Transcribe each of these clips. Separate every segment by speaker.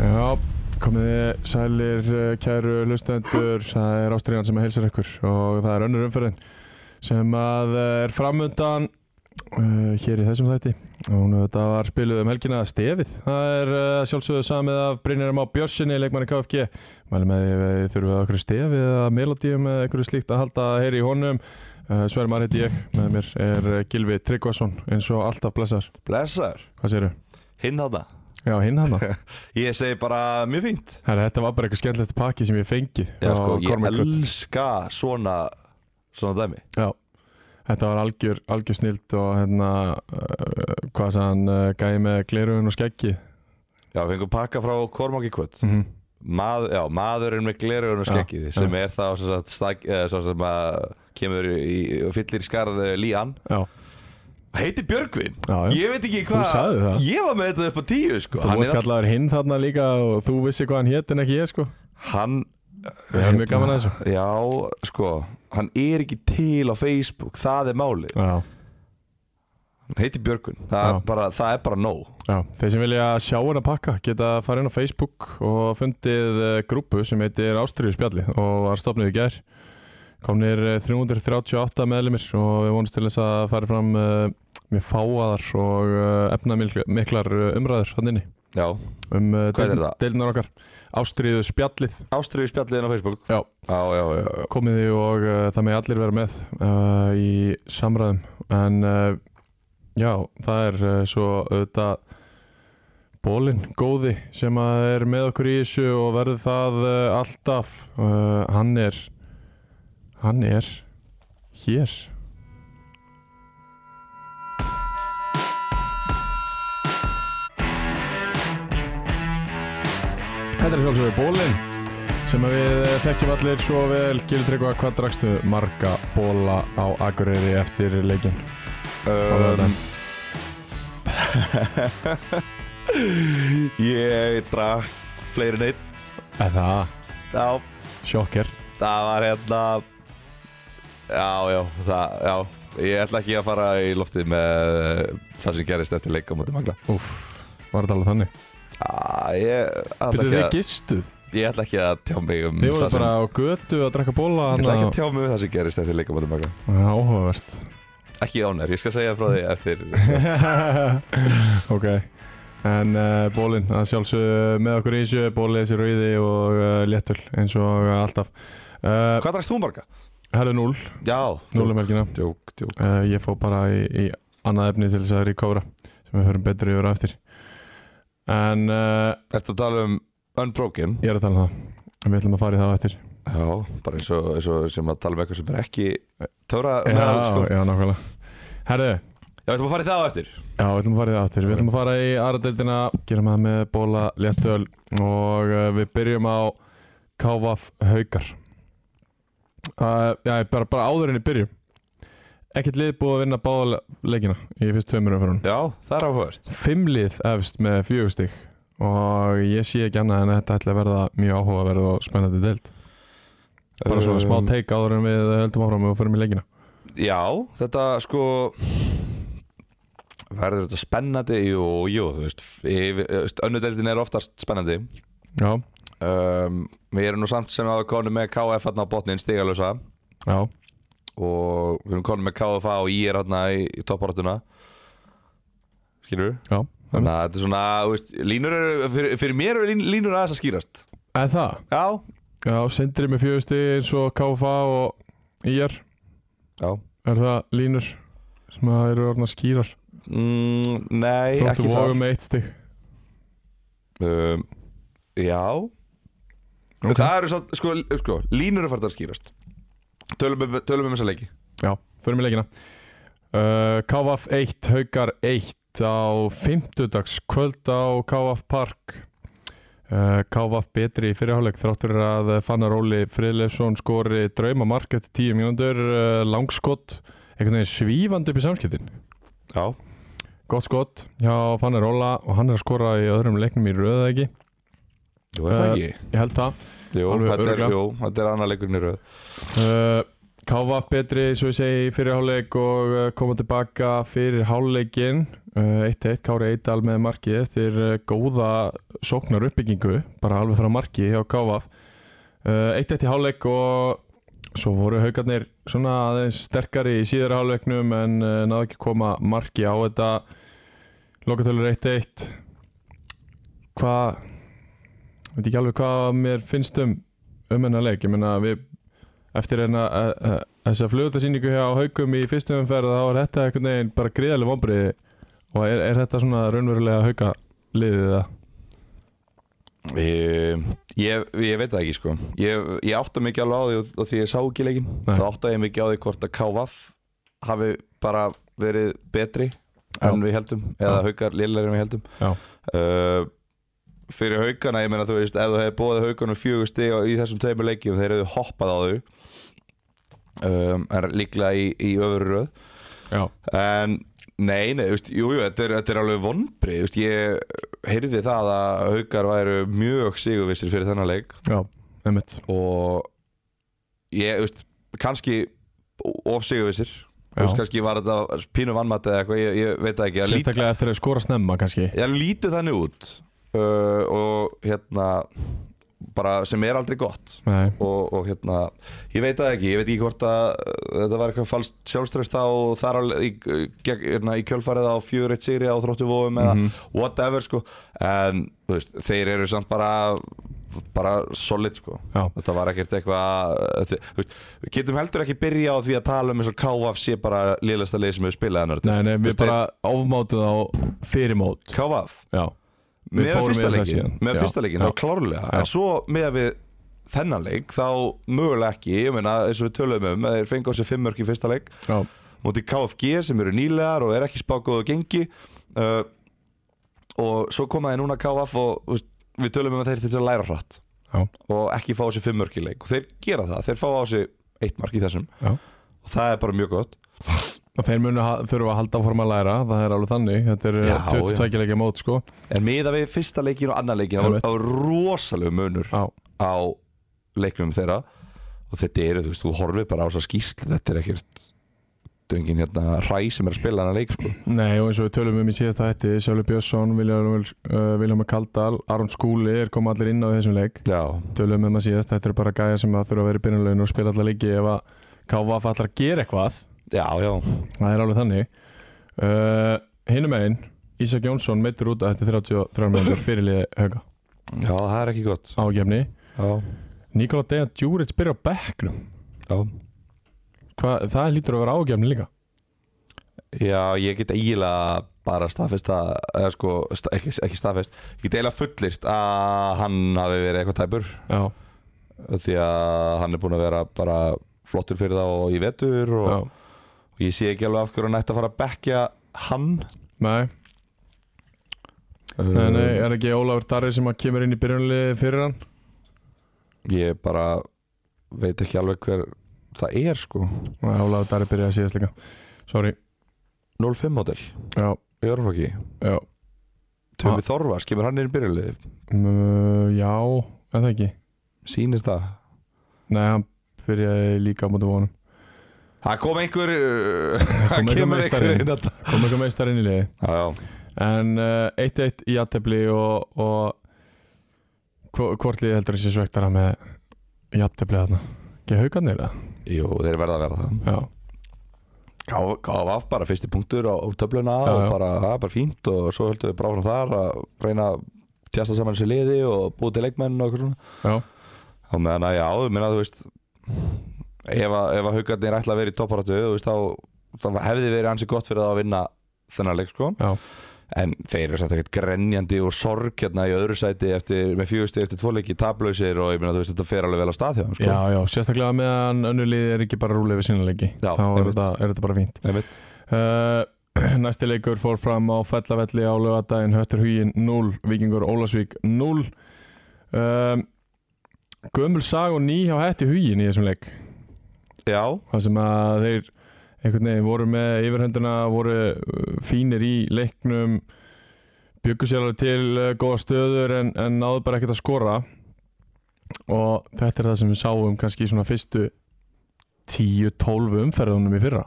Speaker 1: Já, komið þið sælir eh, kæru hlustendur, það er Ástriðan sem heilsar ykkur og það er önnur umferðin sem að eh, er framundan uh, hér í þessum þætti og nú þetta var spiluð um helgina stefið, það er uh, sjálfsögðu samið af Brynjarum á Björnsinni, leikmanni KFG mælum að við þurfum að okkur stefið eða melodíum eða einhverju slíkt að halda að heyri í honum uh, Svermar heiti ég, með mér er eh, Gylfi Tryggvason eins og alltaf blessar,
Speaker 2: Blessar,
Speaker 1: hvað séru?
Speaker 2: hinn þarna
Speaker 1: Já, hinn hana
Speaker 2: Ég segi bara mjög fínt
Speaker 1: Herra, þetta var bara eitthvað skemmtilegt pakki sem ég fengi
Speaker 2: Já,
Speaker 1: frá
Speaker 2: sko, Ég
Speaker 1: Cormac Gutt.
Speaker 2: elska svona svona dæmi
Speaker 1: Þetta var algjör, algjör snilt og hérna, uh, hvað sagði hann, uh, gæði með glerugun og skeggi.
Speaker 2: Já, við fengum pakka frá Kormáki Kvöld
Speaker 1: Mm -hmm.
Speaker 2: Mað, Já, maðurinn með glerugun og
Speaker 1: Já,
Speaker 2: skeggið sem er þá sem sagt, stag, eh, svo sem að kemur í, og fyllir í skarð eh, Lían
Speaker 1: Já,
Speaker 2: Heiti Björgvin
Speaker 1: já, já.
Speaker 2: Ég veit ekki hvað
Speaker 1: sagðir það.
Speaker 2: Ég var með þetta upp á tíu sko.
Speaker 1: þú
Speaker 2: hann,
Speaker 1: varst
Speaker 2: er,
Speaker 1: kallaður hinn þarna líka og þú vissi hvað hann hétt en ekki ég sko.
Speaker 2: hann,
Speaker 1: Við hefum mjög gaman að þessu.
Speaker 2: já, sko Hann er ekki til á Facebook Það er máli
Speaker 1: Já,
Speaker 2: Hann heiti Björgvin Það,
Speaker 1: Já.
Speaker 2: er bara, það er bara nóg
Speaker 1: já. Þeir sem vilja sjá hennar pakka geta farið inn á Facebook og fundið uh, grúpu sem heitir Ástriðu spjalli og var stopnið í gær. Komnir eh, 338 meðlumir og við vonumst til þess að fara fram uh, mjög fáaðar og uh, efnamiklar eh, umræður hann inni.
Speaker 2: Já,
Speaker 1: um uh,
Speaker 2: Hvað er
Speaker 1: deildin-
Speaker 2: það?
Speaker 1: deildinar okkar Ástriðu spjallið
Speaker 2: Ástriðu spjalliðin á Facebook
Speaker 1: Já.
Speaker 2: Já, já, já, já.
Speaker 1: komiði og uh, það með allir vera með uh, í samræðum en uh, já, það er uh, svo auðvitað Bólin, góði, sem að er með okkur í þessu og verður það uh, alltaf uh, hann er hann er hér Þetta er sjálfsögur Bólin sem að við eh, þekkjum allir svo vel Gildrykva, hvað drakstu marga bóla á Akureyri eftir leikin?
Speaker 2: Um, ég drakk fleiri neitt
Speaker 1: Eða,
Speaker 2: Já,
Speaker 1: sjokker
Speaker 2: það var hérna Já, já, það, já Ég ætla ekki að fara í loftið með eh, það sem gerist eftir leika mútið magla
Speaker 1: Úff, var að tala þannig
Speaker 2: Já, Ég ætla
Speaker 1: Býttu
Speaker 2: ekki
Speaker 1: þið
Speaker 2: að,
Speaker 1: gistuð?
Speaker 2: ég ætla ekki að tjá mig um
Speaker 1: Þið voru
Speaker 2: það sem
Speaker 1: bara á götu að drakka bóla
Speaker 2: Ég ætla ekki að
Speaker 1: þarna
Speaker 2: tjá mig um það sem gerist eftir leika mútið magla
Speaker 1: Já, Áhugavert
Speaker 2: Ekki ánær, ég skal segja frá því eftir
Speaker 1: Ok En uh, bólin, að sjálfsög með okkur í þessu Bólið þessi rauði og uh, léttul eins og alltaf uh,
Speaker 2: Hvað drakst þú marga?
Speaker 1: Herðu 0,
Speaker 2: Já,
Speaker 1: 0 um helgina
Speaker 2: djók, djók
Speaker 1: uh, Ég fó bara í, í annað efni til þess að recovera sem við förum betri yfir á eftir En uh,
Speaker 2: Ertu að tala um Unbroken?
Speaker 1: ég er að tala um það En Við ætlum að fara í það á eftir
Speaker 2: Já, bara eins og, eins og sem að tala um eitthvað sem er ekki Töfra
Speaker 1: Já,
Speaker 2: með hann sko
Speaker 1: já, nákvæmlega Herðu,
Speaker 2: Já, ætlum að fara í það á eftir
Speaker 1: já, við ætlum að fara í það aftur Við ætlum að fara í aðra deildina Gerum það með bóla, léttöl Og uh, við byrjum á Kávaf Haukar uh, Já, bara, bara áður en í byrjum Ekkert lið búið að vinna báða leikina Í fyrst tveimur umferðunum
Speaker 2: Já, það er áhugast
Speaker 1: Fimm lið efst með fjögustig Og ég sé ekki annað en að þetta ætla að verða Mjög áhugaverð og spennandi deild Bara svona smá teik áður en við höldum áfram Og förum í leikina
Speaker 2: Um, Já, þetta sko Verður þetta spennandi? Jú, jú, þú veist, yfir- þú veist Önnudeldin er oftast spennandi
Speaker 1: Já,
Speaker 2: um, Við erum nú samt sem að konu með KF hann á botnin stigalösa
Speaker 1: já,
Speaker 2: Og við erum konu með KFA og ég er hann í, í topparáttuna Skilur
Speaker 1: já
Speaker 2: Þannig að þetta er svona, þú veist, línur eru, fyrir, fyrir mér eru lín- línur aðeins að skýrast.
Speaker 1: Eða það
Speaker 2: Já.
Speaker 1: Já, Sindri með fjögusti eins og KFA og IR
Speaker 2: Já.
Speaker 1: Er það línur sem að eru orðna skýrar
Speaker 2: Mm, nei,
Speaker 1: Þróttu
Speaker 2: ekki það.
Speaker 1: vóðum með eitt stig
Speaker 2: Um, já.
Speaker 1: Ok.
Speaker 2: Það eru svona, sko, sko, línur eru farin að skýrast. Tölum um, tölum um þessa leiki.
Speaker 1: Já, förum í leikina uh, KFA 1, Haukar 1 á fimmtudagskvöld á KFA Park Uh, Kávaf betri í fyrirháleik þráttur að eh, Fannar Óli Friðleifsson skori draumamark eftir 10 mínúndur uh, langskott, einhvern veginn svífandi upp í samskiptin.
Speaker 2: Já,
Speaker 1: Gott skott hjá Fannar Óla og hann er að skora í öðrum leiknum í röða ekki,
Speaker 2: jú, er það
Speaker 1: Eh,
Speaker 2: ekki?
Speaker 1: ég held það.
Speaker 2: Jú,
Speaker 1: alveg
Speaker 2: þetta er,
Speaker 1: örugglega.
Speaker 2: jú, þetta er annar leikurinn í röð
Speaker 1: Uh, Kávaf betri, svo ég segi, í fyrirháleik og uh, koma tilbaka fyrir háleikin uh, 1-1, Kári Eidal með markið eftir uh, góða sóknar uppbyggingu, bara alveg frá marki hjá Kávaf uh, 1-1 í háleik og svo voru haugarnir svona aðeins sterkari í síðara háleiknum en uh, náðu ekki að koma marki á þetta lokatölur 1-1 hvað veit ekki alveg hvað mér finnst um um hennar leik, ég meina við eftir hérna eh, eh, þessa flugutarsýningu hjá haugum í fyrstu umferð þá er þetta einhvern veginn bara gríðarlega vonbriði og er, er þetta svona raunverulega hauka liðið það?
Speaker 2: Ég, Ehm, ég, ég veit það ekki sko Ég, ég átta mig ekki alveg á því og, og því ég sá ekki leikin
Speaker 1: Nei.
Speaker 2: þá átta ég mig ekki á því hvort að KVF hafi bara verið betri en
Speaker 1: Já.
Speaker 2: við heldum eða
Speaker 1: Já.
Speaker 2: haukar lillar en við heldum
Speaker 1: Já.
Speaker 2: uh, Fyrir haukana, ég meina þú veist ef þú hefði bóðið haukanum fjögur stig á- í þessum tveimur leikjum þeir hefðu hoppað á þau um, en líklega í, í öfru röð
Speaker 1: Já,
Speaker 2: En nei, nei, þú veist, jú, jú, þetta er, þetta er alveg vonbrið, þú veist, ég heyrði það að haukar væru mjög sigurvissir fyrir þennan leik
Speaker 1: já, einmitt
Speaker 2: og ég, þú veist, kannski of sigurvissir, þú veist,
Speaker 1: já.
Speaker 2: kannski var þetta pínu vannmatt eða eitthvað, ég, ég veit það ekki, ég, lít,
Speaker 1: Sérstaklega eftir að skora snemma kannski
Speaker 2: ég lítu þannig út uh, og hérna, bara sem er aldrei gott
Speaker 1: Nei,
Speaker 2: og, og hérna, ég veit það ekki ég veit ekki hvort að uh, þetta var eitthvað falskt sjálfströst á þar á, í, gegn, hérna, í kjölfarið á 4-1 sigri á þróttu vóum eða
Speaker 1: Mhm.
Speaker 2: whatever sko en þú veist, þeir eru samt bara bara solid sko
Speaker 1: já,
Speaker 2: þetta var ekkert eitthvað uh, þetta- þú veist, við getum heldur ekki byrja á því að tala um eins og KVF sé bara liðlasta lið sem við spilaði
Speaker 1: nei, nei, við
Speaker 2: Þú veist,
Speaker 1: bara ofmátum þá fyrir mót
Speaker 2: KVF
Speaker 1: Já, Við
Speaker 2: með
Speaker 1: fórum
Speaker 2: fyrsta
Speaker 1: yfir það
Speaker 2: leikin
Speaker 1: síðan.
Speaker 2: með
Speaker 1: Já.
Speaker 2: fyrsta leikin,
Speaker 1: Já.
Speaker 2: þá klárlega
Speaker 1: Já.
Speaker 2: en svo með við þennan leik þá mögulega ekki, ég meina eins og við töluðum um að þeir fengi á sig fimm mörk í fyrsta leik
Speaker 1: já,
Speaker 2: mútið KFG sem eru nýlegar og er ekki spákóðu gengi uh, og svo komaði núna KF og þú veist, við tölum um að þeir þetta læra hratt
Speaker 1: já,
Speaker 2: og ekki fá á sig fimm mörk í leik og þeir gera það, þeir fá á sig eitt mark í þessum
Speaker 1: já
Speaker 2: og það er bara mjög gott
Speaker 1: Og þeir munu ha- þurfa að halda áfram að læra, það er alveg þannig, þetta er
Speaker 2: Já,
Speaker 1: eh, 22 leikja mót sko
Speaker 2: en miða við fyrsta leikin og annan leikin
Speaker 1: Einmitt.
Speaker 2: þá er rosalega munur
Speaker 1: Já,
Speaker 2: á leiknum þeirra og þetta eru, þú veist, þú horfir bara á þess að skýsl þetta er ekkert þetta er engin hérna hræ sem er að spila hann að leik sko.
Speaker 1: Nei og eins og við tölum um í síðasta hætti Sjölu Björnsson, Viljálfur uh, Viljálfur Kaldal, Aron Skúli er koma allir inn á í þessum leik
Speaker 2: já,
Speaker 1: Tölum um að síðast, þetta eru bara gæjar sem að þurfa að vera í byrjunlegin og spila allar leiki ef að KVF allar að gera eitthvað
Speaker 2: já, já
Speaker 1: Það er alveg þannig uh, Hinnum einn, Ísak Jónsson meittur út að þetta 33 minnur fyrirliði höga
Speaker 2: já, það er ekki gott
Speaker 1: á gefni
Speaker 2: já,
Speaker 1: Nikola Dejan Djúrits byrja á bekknum
Speaker 2: já
Speaker 1: Hva, Það lítur að vera ágefni líka
Speaker 2: Já, ég get eiginlega bara staðfest að, eða sko, sta, ekki, ekki staðfest, ég get eiginlega fullist að hann hafi verið eitthvað tæpur
Speaker 1: Já,
Speaker 2: því að hann er búin að vera bara flottur fyrir þá og í vetur og,
Speaker 1: já.
Speaker 2: og ég sé ekki alveg af hverju hann ætti að fara að bekja hann.
Speaker 1: Nei, nei, nei, er ekki Ólafur Darri sem að kemur inn í byrjunliði fyrir hann?
Speaker 2: Ég bara veit ekki alveg hver það er sko.
Speaker 1: Nei, Ólafur Darri byrjaði síðast líka Sorry,
Speaker 2: 05 model,
Speaker 1: já,
Speaker 2: Jörfaki,
Speaker 1: já
Speaker 2: Tömi Þorvars, kemur hann inn í byrjulegið,
Speaker 1: mm, Já, er það ekki
Speaker 2: sýnist það?
Speaker 1: Nei, hann byrjaði líka á móti vonum
Speaker 2: Það kom einhver,
Speaker 1: kom
Speaker 2: það
Speaker 1: einhver
Speaker 2: kemur
Speaker 1: meistari.
Speaker 2: einhver inn að það.
Speaker 1: Kom eitthvað meistar inn í liði
Speaker 2: Já, já.
Speaker 1: En eh, 1-1 í aðtefli og, og hvo- hvort liði heldur þessi svektara með í aðtefli þarna Ekki haugarnir það?
Speaker 2: Jú, þeir verða að verða það.
Speaker 1: Já,
Speaker 2: KVF bara fyrsti punktur á, á töfluna
Speaker 1: Já,
Speaker 2: og
Speaker 1: já.
Speaker 2: bara, það er bara fínt og svo höldum við bara áfram þar að reyna að tjasta saman sér liði og búið til leikmenn og eitthvað svona
Speaker 1: já,
Speaker 2: og meðan að já, ég meina þú veist ef að, ef að haugarnir ætla að vera í topparatu þú veist þá, þá hefði verið ansi gott fyrir það að vinna þennan leik sko
Speaker 1: já,
Speaker 2: en þeir eru samt ekkert grenjandi og sorg hérna í öðru sæti eftir, með fjögusti eftir tvo leiki taplausir og ég meina þú veist þetta fer alveg vel á stað hjá þeim,
Speaker 1: já,
Speaker 2: sko.
Speaker 1: já, sérstaklega meðan önnur liði er ekki bara rúlega við sínleiki
Speaker 2: Já,
Speaker 1: Þá er
Speaker 2: einmitt.
Speaker 1: þetta, er þetta bara fínt
Speaker 2: Einmitt.
Speaker 1: Eh, Næsti leikur fór fram á fellavelli á lögadaginn Höttur Hugin 0, Víkingur Ólasvík 0 um, Gömul sag og ný hjá hætti hugin í þessum leik
Speaker 2: Já,
Speaker 1: Það sem að þeir einhvern veginn voru með yfirhöndina voru uh, fínir í leiknum byggu sér alveg til uh, góða stöður en, en náðu bara ekkert að skora og þetta er það sem við sáum kannski í svona fyrstu 10-12 umferðunum í fyrra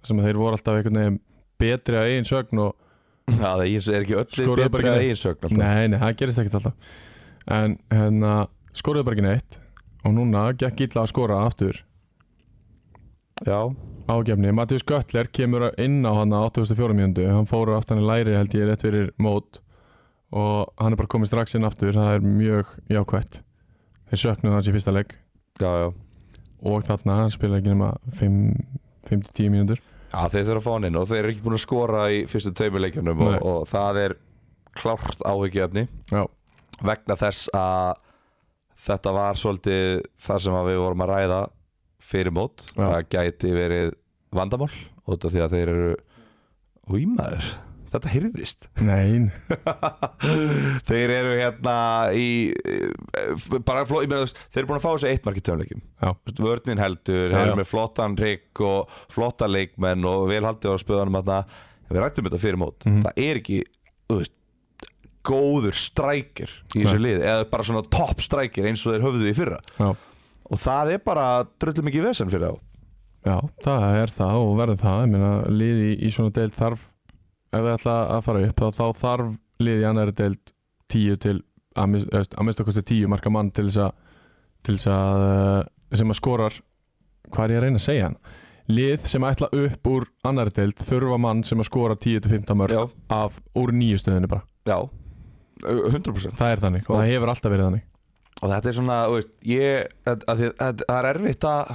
Speaker 1: Það sem að þeir voru alltaf einhvern veginn betri að eigin sögn og
Speaker 2: það er eigin- er ekki öllu
Speaker 1: Skoruðu bara
Speaker 2: betri
Speaker 1: ekki
Speaker 2: að
Speaker 1: neitt.
Speaker 2: eigin sögn alltaf.
Speaker 1: Nei, nei, það gerist ekkert alltaf En hérna, skoraði bara ekki neitt Og núna gekk illa að skora aftur
Speaker 2: Já,
Speaker 1: Ágefni, Mattius Göttler kemur inn á hann á 84 mjöndu Hann fór aftan í læri held ég rétt fyrir mót Og hann er bara komið strax inn aftur Það er mjög jákvætt Þeir söknuðu hans í fyrsta legg
Speaker 2: já, já
Speaker 1: Og þarna, hann spilaði ekki nema 5-10 mjöndur
Speaker 2: Já, þeir þurfa að fá hann inn og þeir eru ekki búin að skora í fyrstu tveimur leikjunum og,
Speaker 1: Nei.
Speaker 2: og það er klárt áhyggjöfni
Speaker 1: Já,
Speaker 2: vegna þess að þetta var svolítið það sem að við vorum að ræða fyrir mót
Speaker 1: Já.
Speaker 2: það gæti verið vandamál út af því að þeir eru Újmaður, þetta heyrðist
Speaker 1: nein
Speaker 2: Þeir eru hérna í eh, bara fló, ég meina, þú veist, þeir eru búin að fá þessu eitt marki tömleikum
Speaker 1: Já.
Speaker 2: Vörnin heldur,
Speaker 1: Já,
Speaker 2: þeir
Speaker 1: já.
Speaker 2: eru með flottan rigg og flotta leikmenn og vel haldið á spöðanum þarna. Við rættum þetta fyrir mót
Speaker 1: Mhm.
Speaker 2: Það er ekki, þú veist góður strækir í þessu liði eða bara svona topp strækir eins og þeir höfðu í fyrra
Speaker 1: Já.
Speaker 2: og það er bara drullum ekki vesen fyrir þá
Speaker 1: Já, það er það og verður það ég meina, liði í, í svona deild þarf ef það ætla að fara upp þá, þá þarf liði í annari deild 10 til að mis- eða, að mista kosti 10 marka mann til þess að, til þess að eh, sem að skorar hvað er ég að reyna að segja hann lið sem ætla upp úr annari deild þurfa mann sem að skora 10 til 15 mörg
Speaker 2: Já,
Speaker 1: af úr nýju stöðinu bara
Speaker 2: já, 100%
Speaker 1: það er þannig og það hefur alltaf verið þannig
Speaker 2: og þetta er svona, þú veist, ég að, að, að, að, það er erfitt að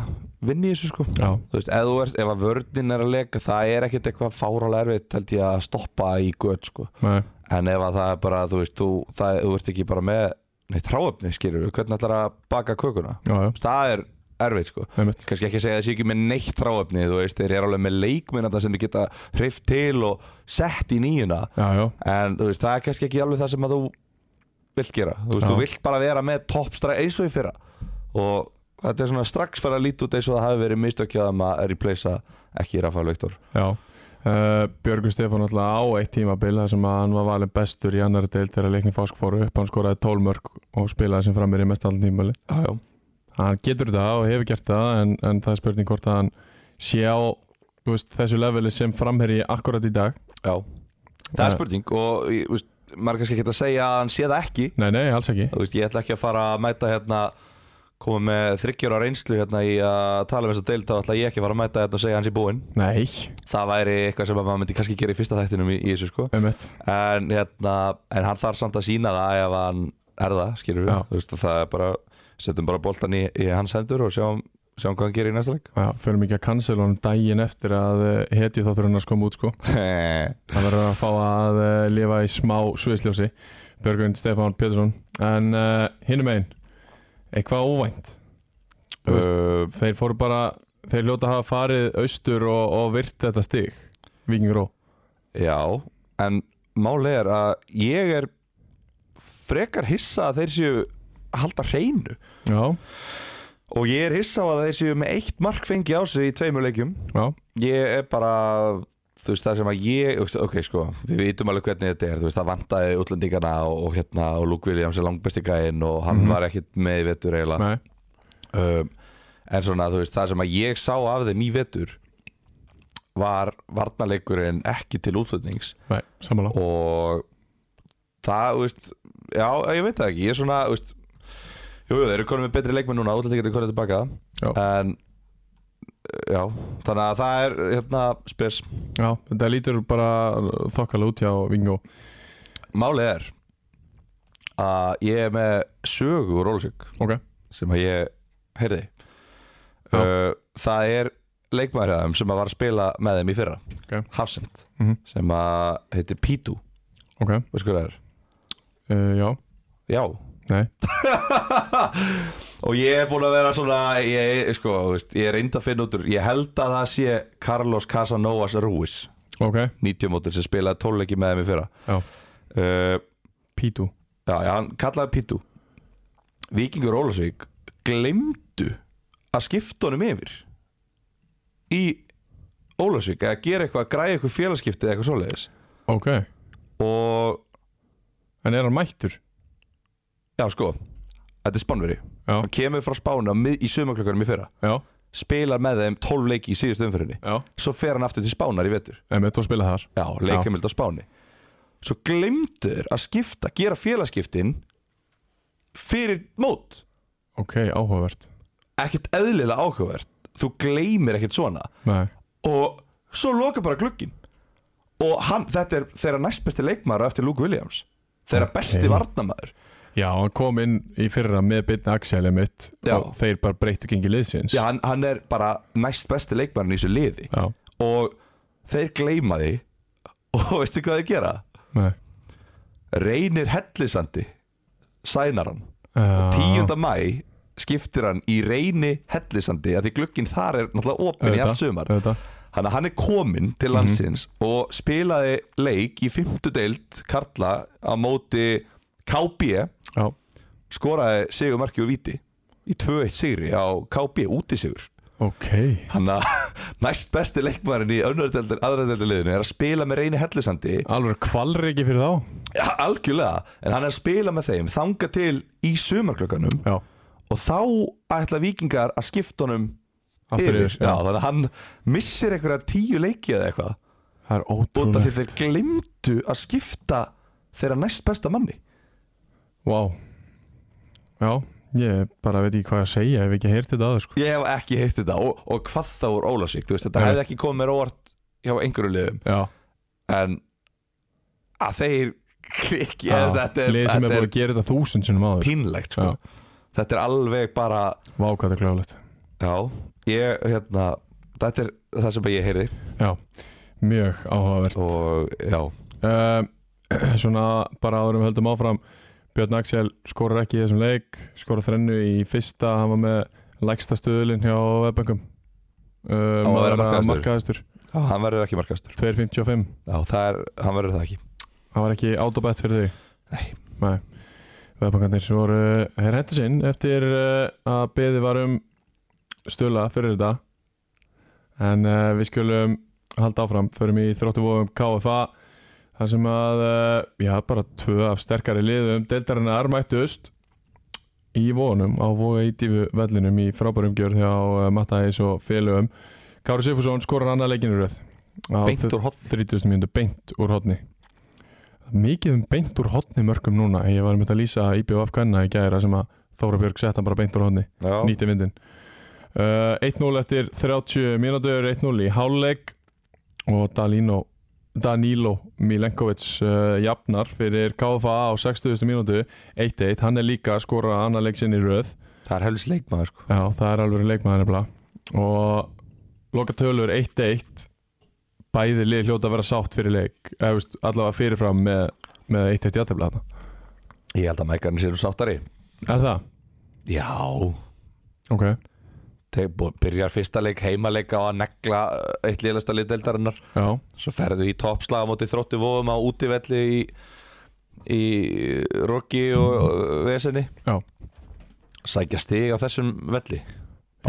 Speaker 2: vinna í þessu sko
Speaker 1: Já,
Speaker 2: þú veist, ef, þú ert, ef að vörnin er að leka það er ekkert eitthvað fárálega erfitt held ég að stoppa í gött sko
Speaker 1: nei,
Speaker 2: en ef að það er bara, þú veist, þú, það, þú ert ekki bara með neitt ráöfni, skilur við hvernig ætlar að baka kökuna
Speaker 1: já, já,
Speaker 2: Þú veist, það er erfitt sko
Speaker 1: einmitt
Speaker 2: kannski ekki að segja að það sé ekki með neitt ráöfni þú veist, þeir eru alveg með leikminn þarna sem þeir geta hreift til og sett í nýjuna
Speaker 1: Já, já,
Speaker 2: en þú veist, það er kannski ekki alveg það sem að þú vilt gera, þú veist,
Speaker 1: Já.
Speaker 2: þú vilt bara vera með toppstra eins og í fyrra og þetta er svona strax fara að líta út eins og það hafi verið mistökjaðum að replacea ekki Rafael Viktor
Speaker 1: Já, uh, Björgur Stefán alltaf á eitt tímabil þar sem að hann var valin bestur í annari deil þegar leikni fásk fóru upp, hann skoraði 12 mörg og spilaði sem framir í mest allan tímabili
Speaker 2: já, já.
Speaker 1: hann getur það og hefur gert það en, en það er spurning hvort að hann sé á þú veist, þessu leveli sem framherji akkurat í dag
Speaker 2: það
Speaker 1: Eh,
Speaker 2: er spurning og ég, þú veist, maður er kannski ekki að segja að hann sé það ekki
Speaker 1: Nei, nei, alls ekki
Speaker 2: þú veist, ég ætla ekki að fara að mæta hérna koma með þryggjur á reynslu hérna í að tala um þess að deilta ætla ég ekki að fara að mæta hérna og segja að hann sé búinn
Speaker 1: Nei,
Speaker 2: það væri eitthvað sem að maður myndi kannski gera í fyrsta þættinum í, í þessu sko
Speaker 1: einmitt
Speaker 2: en, hérna, en hann þarf samt að sína það ef hann er það, skilur við
Speaker 1: Já.
Speaker 2: Þú veist, það er bara, setjum bara boltan í, í hans hendur og sjáum, sjáum hvað hann gerir í næsta leik
Speaker 1: Já, förum ekki að cancel honum daginn eftir að eh, hetju þáttur hann að skoma út sko Það verður að fá að uh, lifa í smá sviðsljósi Björgun Stefán Pétursson En uh, hinum einn Eitthvað óvænt Þú veist,
Speaker 2: uh,
Speaker 1: Þeir fóru bara Þeir hljóta að hafa farið austur og, og virt þetta stig Víkingur Ó
Speaker 2: Já, en máli er að ég er frekar hissa að þeir séu að halda hreinu
Speaker 1: Já,
Speaker 2: og ég er hissa á að þeir séu með eitt mark fengi á sig í tveimur leikjum
Speaker 1: já,
Speaker 2: ég er bara þú veist það sem að ég ok sko, við vitum alveg hvernig þetta er þú veist það vantaði útlendingana og, og hérna og Luke Williams er langbesti gæinn og hann
Speaker 1: Mhm.
Speaker 2: var ekkit með í vetur eiginlega
Speaker 1: nei,
Speaker 2: um, en svona þú veist það sem að ég sá af þeim í vetur var varnaleikurinn ekki til útlendings
Speaker 1: nei, samanlá
Speaker 2: og það, þú veist já, ég veit það ekki, ég er svona þú veist, jú, jú, þeir eru konum með betri leikmenn núna útlendingar eru konum tilbaka
Speaker 1: Já.
Speaker 2: en já, þannig að það er hérna spes
Speaker 1: Já, þetta lítur bara þokkala út hjá Víkingur Ó
Speaker 2: Málið er að ég er með sögu úr Ólusvík
Speaker 1: Ok,
Speaker 2: sem að ég heyrði
Speaker 1: Já.
Speaker 2: uh, Það er leikmaður hjá þeim sem að var að spila með þeim í fyrra
Speaker 1: Ok.
Speaker 2: Hafsend
Speaker 1: Mhm.
Speaker 2: sem að heitir Pítu
Speaker 1: ok,
Speaker 2: Veist hvað það er?
Speaker 1: uh, já,
Speaker 2: Já
Speaker 1: nei,
Speaker 2: Og ég er búin að vera svona ég, sko, þú veist, ég er reynd að finna út úr Ég held að það sé Carlos Casanovas Ruiz
Speaker 1: ok,
Speaker 2: 90 mótur sem spilaði tónleiki með þeim í fyrra
Speaker 1: Já.
Speaker 2: uh,
Speaker 1: Pítu
Speaker 2: Já, já, hann kallaði Pítu Víkingur Ólasvík glemdu að skipta honum yfir í Ólasvík eða gera eitthvað, græja eitthvað félagskipti eða eitthvað svoleiðis
Speaker 1: Ok,
Speaker 2: og
Speaker 1: en er hann mættur?
Speaker 2: já sko, þetta er Spánveri
Speaker 1: Já,
Speaker 2: hann kemur frá Spána mið- í sömaklökkunum í fyrra
Speaker 1: já,
Speaker 2: spilar með þeim 12 leiki í síðustu umfyrinni
Speaker 1: já
Speaker 2: svo fer hann aftur til Spánar í vetur
Speaker 1: En með þú spila þar
Speaker 2: já, leikamild á Spáni svo glemdur að skipta, gera félagskiptin fyrir mót
Speaker 1: Ok, áhugavert
Speaker 2: ekkert eðlilega áhugavert þú gleymir ekkert svona
Speaker 1: Nei,
Speaker 2: og svo loka bara glukkin og hann, þetta er þeirra næstbesti leikmaður á eftir Luke Williams þeirra
Speaker 1: Ok.
Speaker 2: besti varnamaður
Speaker 1: já, hann kom inn í fyrra með byrna axjæli mitt
Speaker 2: Já.
Speaker 1: og þeir bara breyttu gengi liðsins
Speaker 2: Já, hann, hann er bara næstbesti leikmaðurinn í þessu liði
Speaker 1: já,
Speaker 2: og þeir gleyma því og veistu hvað þeir gera?
Speaker 1: nei
Speaker 2: Reynir Hellisandi sænar hann
Speaker 1: uh,
Speaker 2: 10. mæ skiptir hann í reyni Hellisandi að því glukkin þar er náttúrulega opinn í allt sumar Þannig að hann er kominn
Speaker 1: Mhm.
Speaker 2: til landsins og spilaði leik í 5. deild Karla á móti KB
Speaker 1: Já,
Speaker 2: skoraði Sigur Marki og Viti í 2-1 sigri á KB útisigur
Speaker 1: ok
Speaker 2: Þannig að næst besti leikmærin í aðræðeldarliðinu er að spila með reyni hellisandi
Speaker 1: Alveg kvalriki fyrir þá
Speaker 2: ja, algjörlega, en hann er að spila með þeim þanga til í sumarklökanum
Speaker 1: Já,
Speaker 2: og þá ætla vikingar að skipta honum
Speaker 1: aftur yfir
Speaker 2: Já, þannig að hann missir einhverja tíu leiki eða eitthvað
Speaker 1: Það er
Speaker 2: út af því
Speaker 1: ótrúlega
Speaker 2: þeir glimtu að skipta þeirra næst besta manni
Speaker 1: Vá Já, ég bara veit ekki hvað að segja ef ég ekki heyrti þetta aður sko
Speaker 2: ég hef ekki heitt þetta og, og hvað þá úr Ólasík þú veist, þetta
Speaker 1: Nei.
Speaker 2: hefði ekki komið mér óvart hjá einhverju liðum
Speaker 1: Já,
Speaker 2: en að þeir klikki
Speaker 1: já.
Speaker 2: eða þetta er,
Speaker 1: lið sem er
Speaker 2: þetta
Speaker 1: búin
Speaker 2: er
Speaker 1: að gera þetta þúsund sinnum áður
Speaker 2: pínlegt sko.
Speaker 1: Já.
Speaker 2: þetta er alveg bara
Speaker 1: Vá, hvað þetta er kláðlegt
Speaker 2: já, ég, hérna, þetta er það sem ég heyrði
Speaker 1: Já, mjög áhugavert
Speaker 2: og já,
Speaker 1: um, svona bara áður um höldum áfram Björn Axel skorar ekki í þessum leik skorar þrennu í fyrsta hann var með lægsta stöðulinn hjá Webbankum um,
Speaker 2: Á að vera
Speaker 1: markaðistur
Speaker 2: hann verður ekki markastur
Speaker 1: 2.55
Speaker 2: já, það er, hann verður það ekki
Speaker 1: hann var ekki autobett fyrir þig
Speaker 2: Nei.
Speaker 1: Nei. Webbankarnir voru hér hendur sinn eftir uh, að beðið var um stöðla fyrir þetta en uh, við skulum halda áfram, förum í þróttuvofum KFA þar sem að eh, já, bara tvö af sterkari liðum deildarinnar mættust í vonum á voga í dífu vellinum í frábærumgjörð hjá eh, Matta Eis og félögum Kári Sifursson skorar annað leikinu röð á
Speaker 2: beint úr hotn
Speaker 1: 30. mínútu beint úr hotni mikið um beint úr hotni mörgum núna ég var um þetta að lýsa IBF Ganna í gæra sem að Þóra Björg setta bara beint úr hotni
Speaker 2: já,
Speaker 1: nýtti myndin uh, 1-0 eftir 30 mínútur 1-0 í hálfleik og Dalino, Danilo Milenkovic uh, jafnar fyrir KFA á 60. mínútu 1-1, hann er líka að skora annar leik sinni í röð
Speaker 2: það er helst leikmaður sko.
Speaker 1: Já, það er alveg leikmaður nefnilega og loka tölur 1-1 bæði lið hljóta að vera sátt fyrir leik eða veist, allavega fyrirfram með, með 1-1 játefla þarna.
Speaker 2: ég held að mækarnir séu sáttari
Speaker 1: Er það?
Speaker 2: já,
Speaker 1: Ok,
Speaker 2: þeir bú- byrjar fyrsta leik heimaleika á að negla uh, eitt liðlasta liðdeldarinnar
Speaker 1: já,
Speaker 2: svo ferðu í toppslaga móti þrótti vóðum á útivelli í, í Rokki og uh, Vesenni
Speaker 1: já,
Speaker 2: sækja stig á þessum velli
Speaker 1: já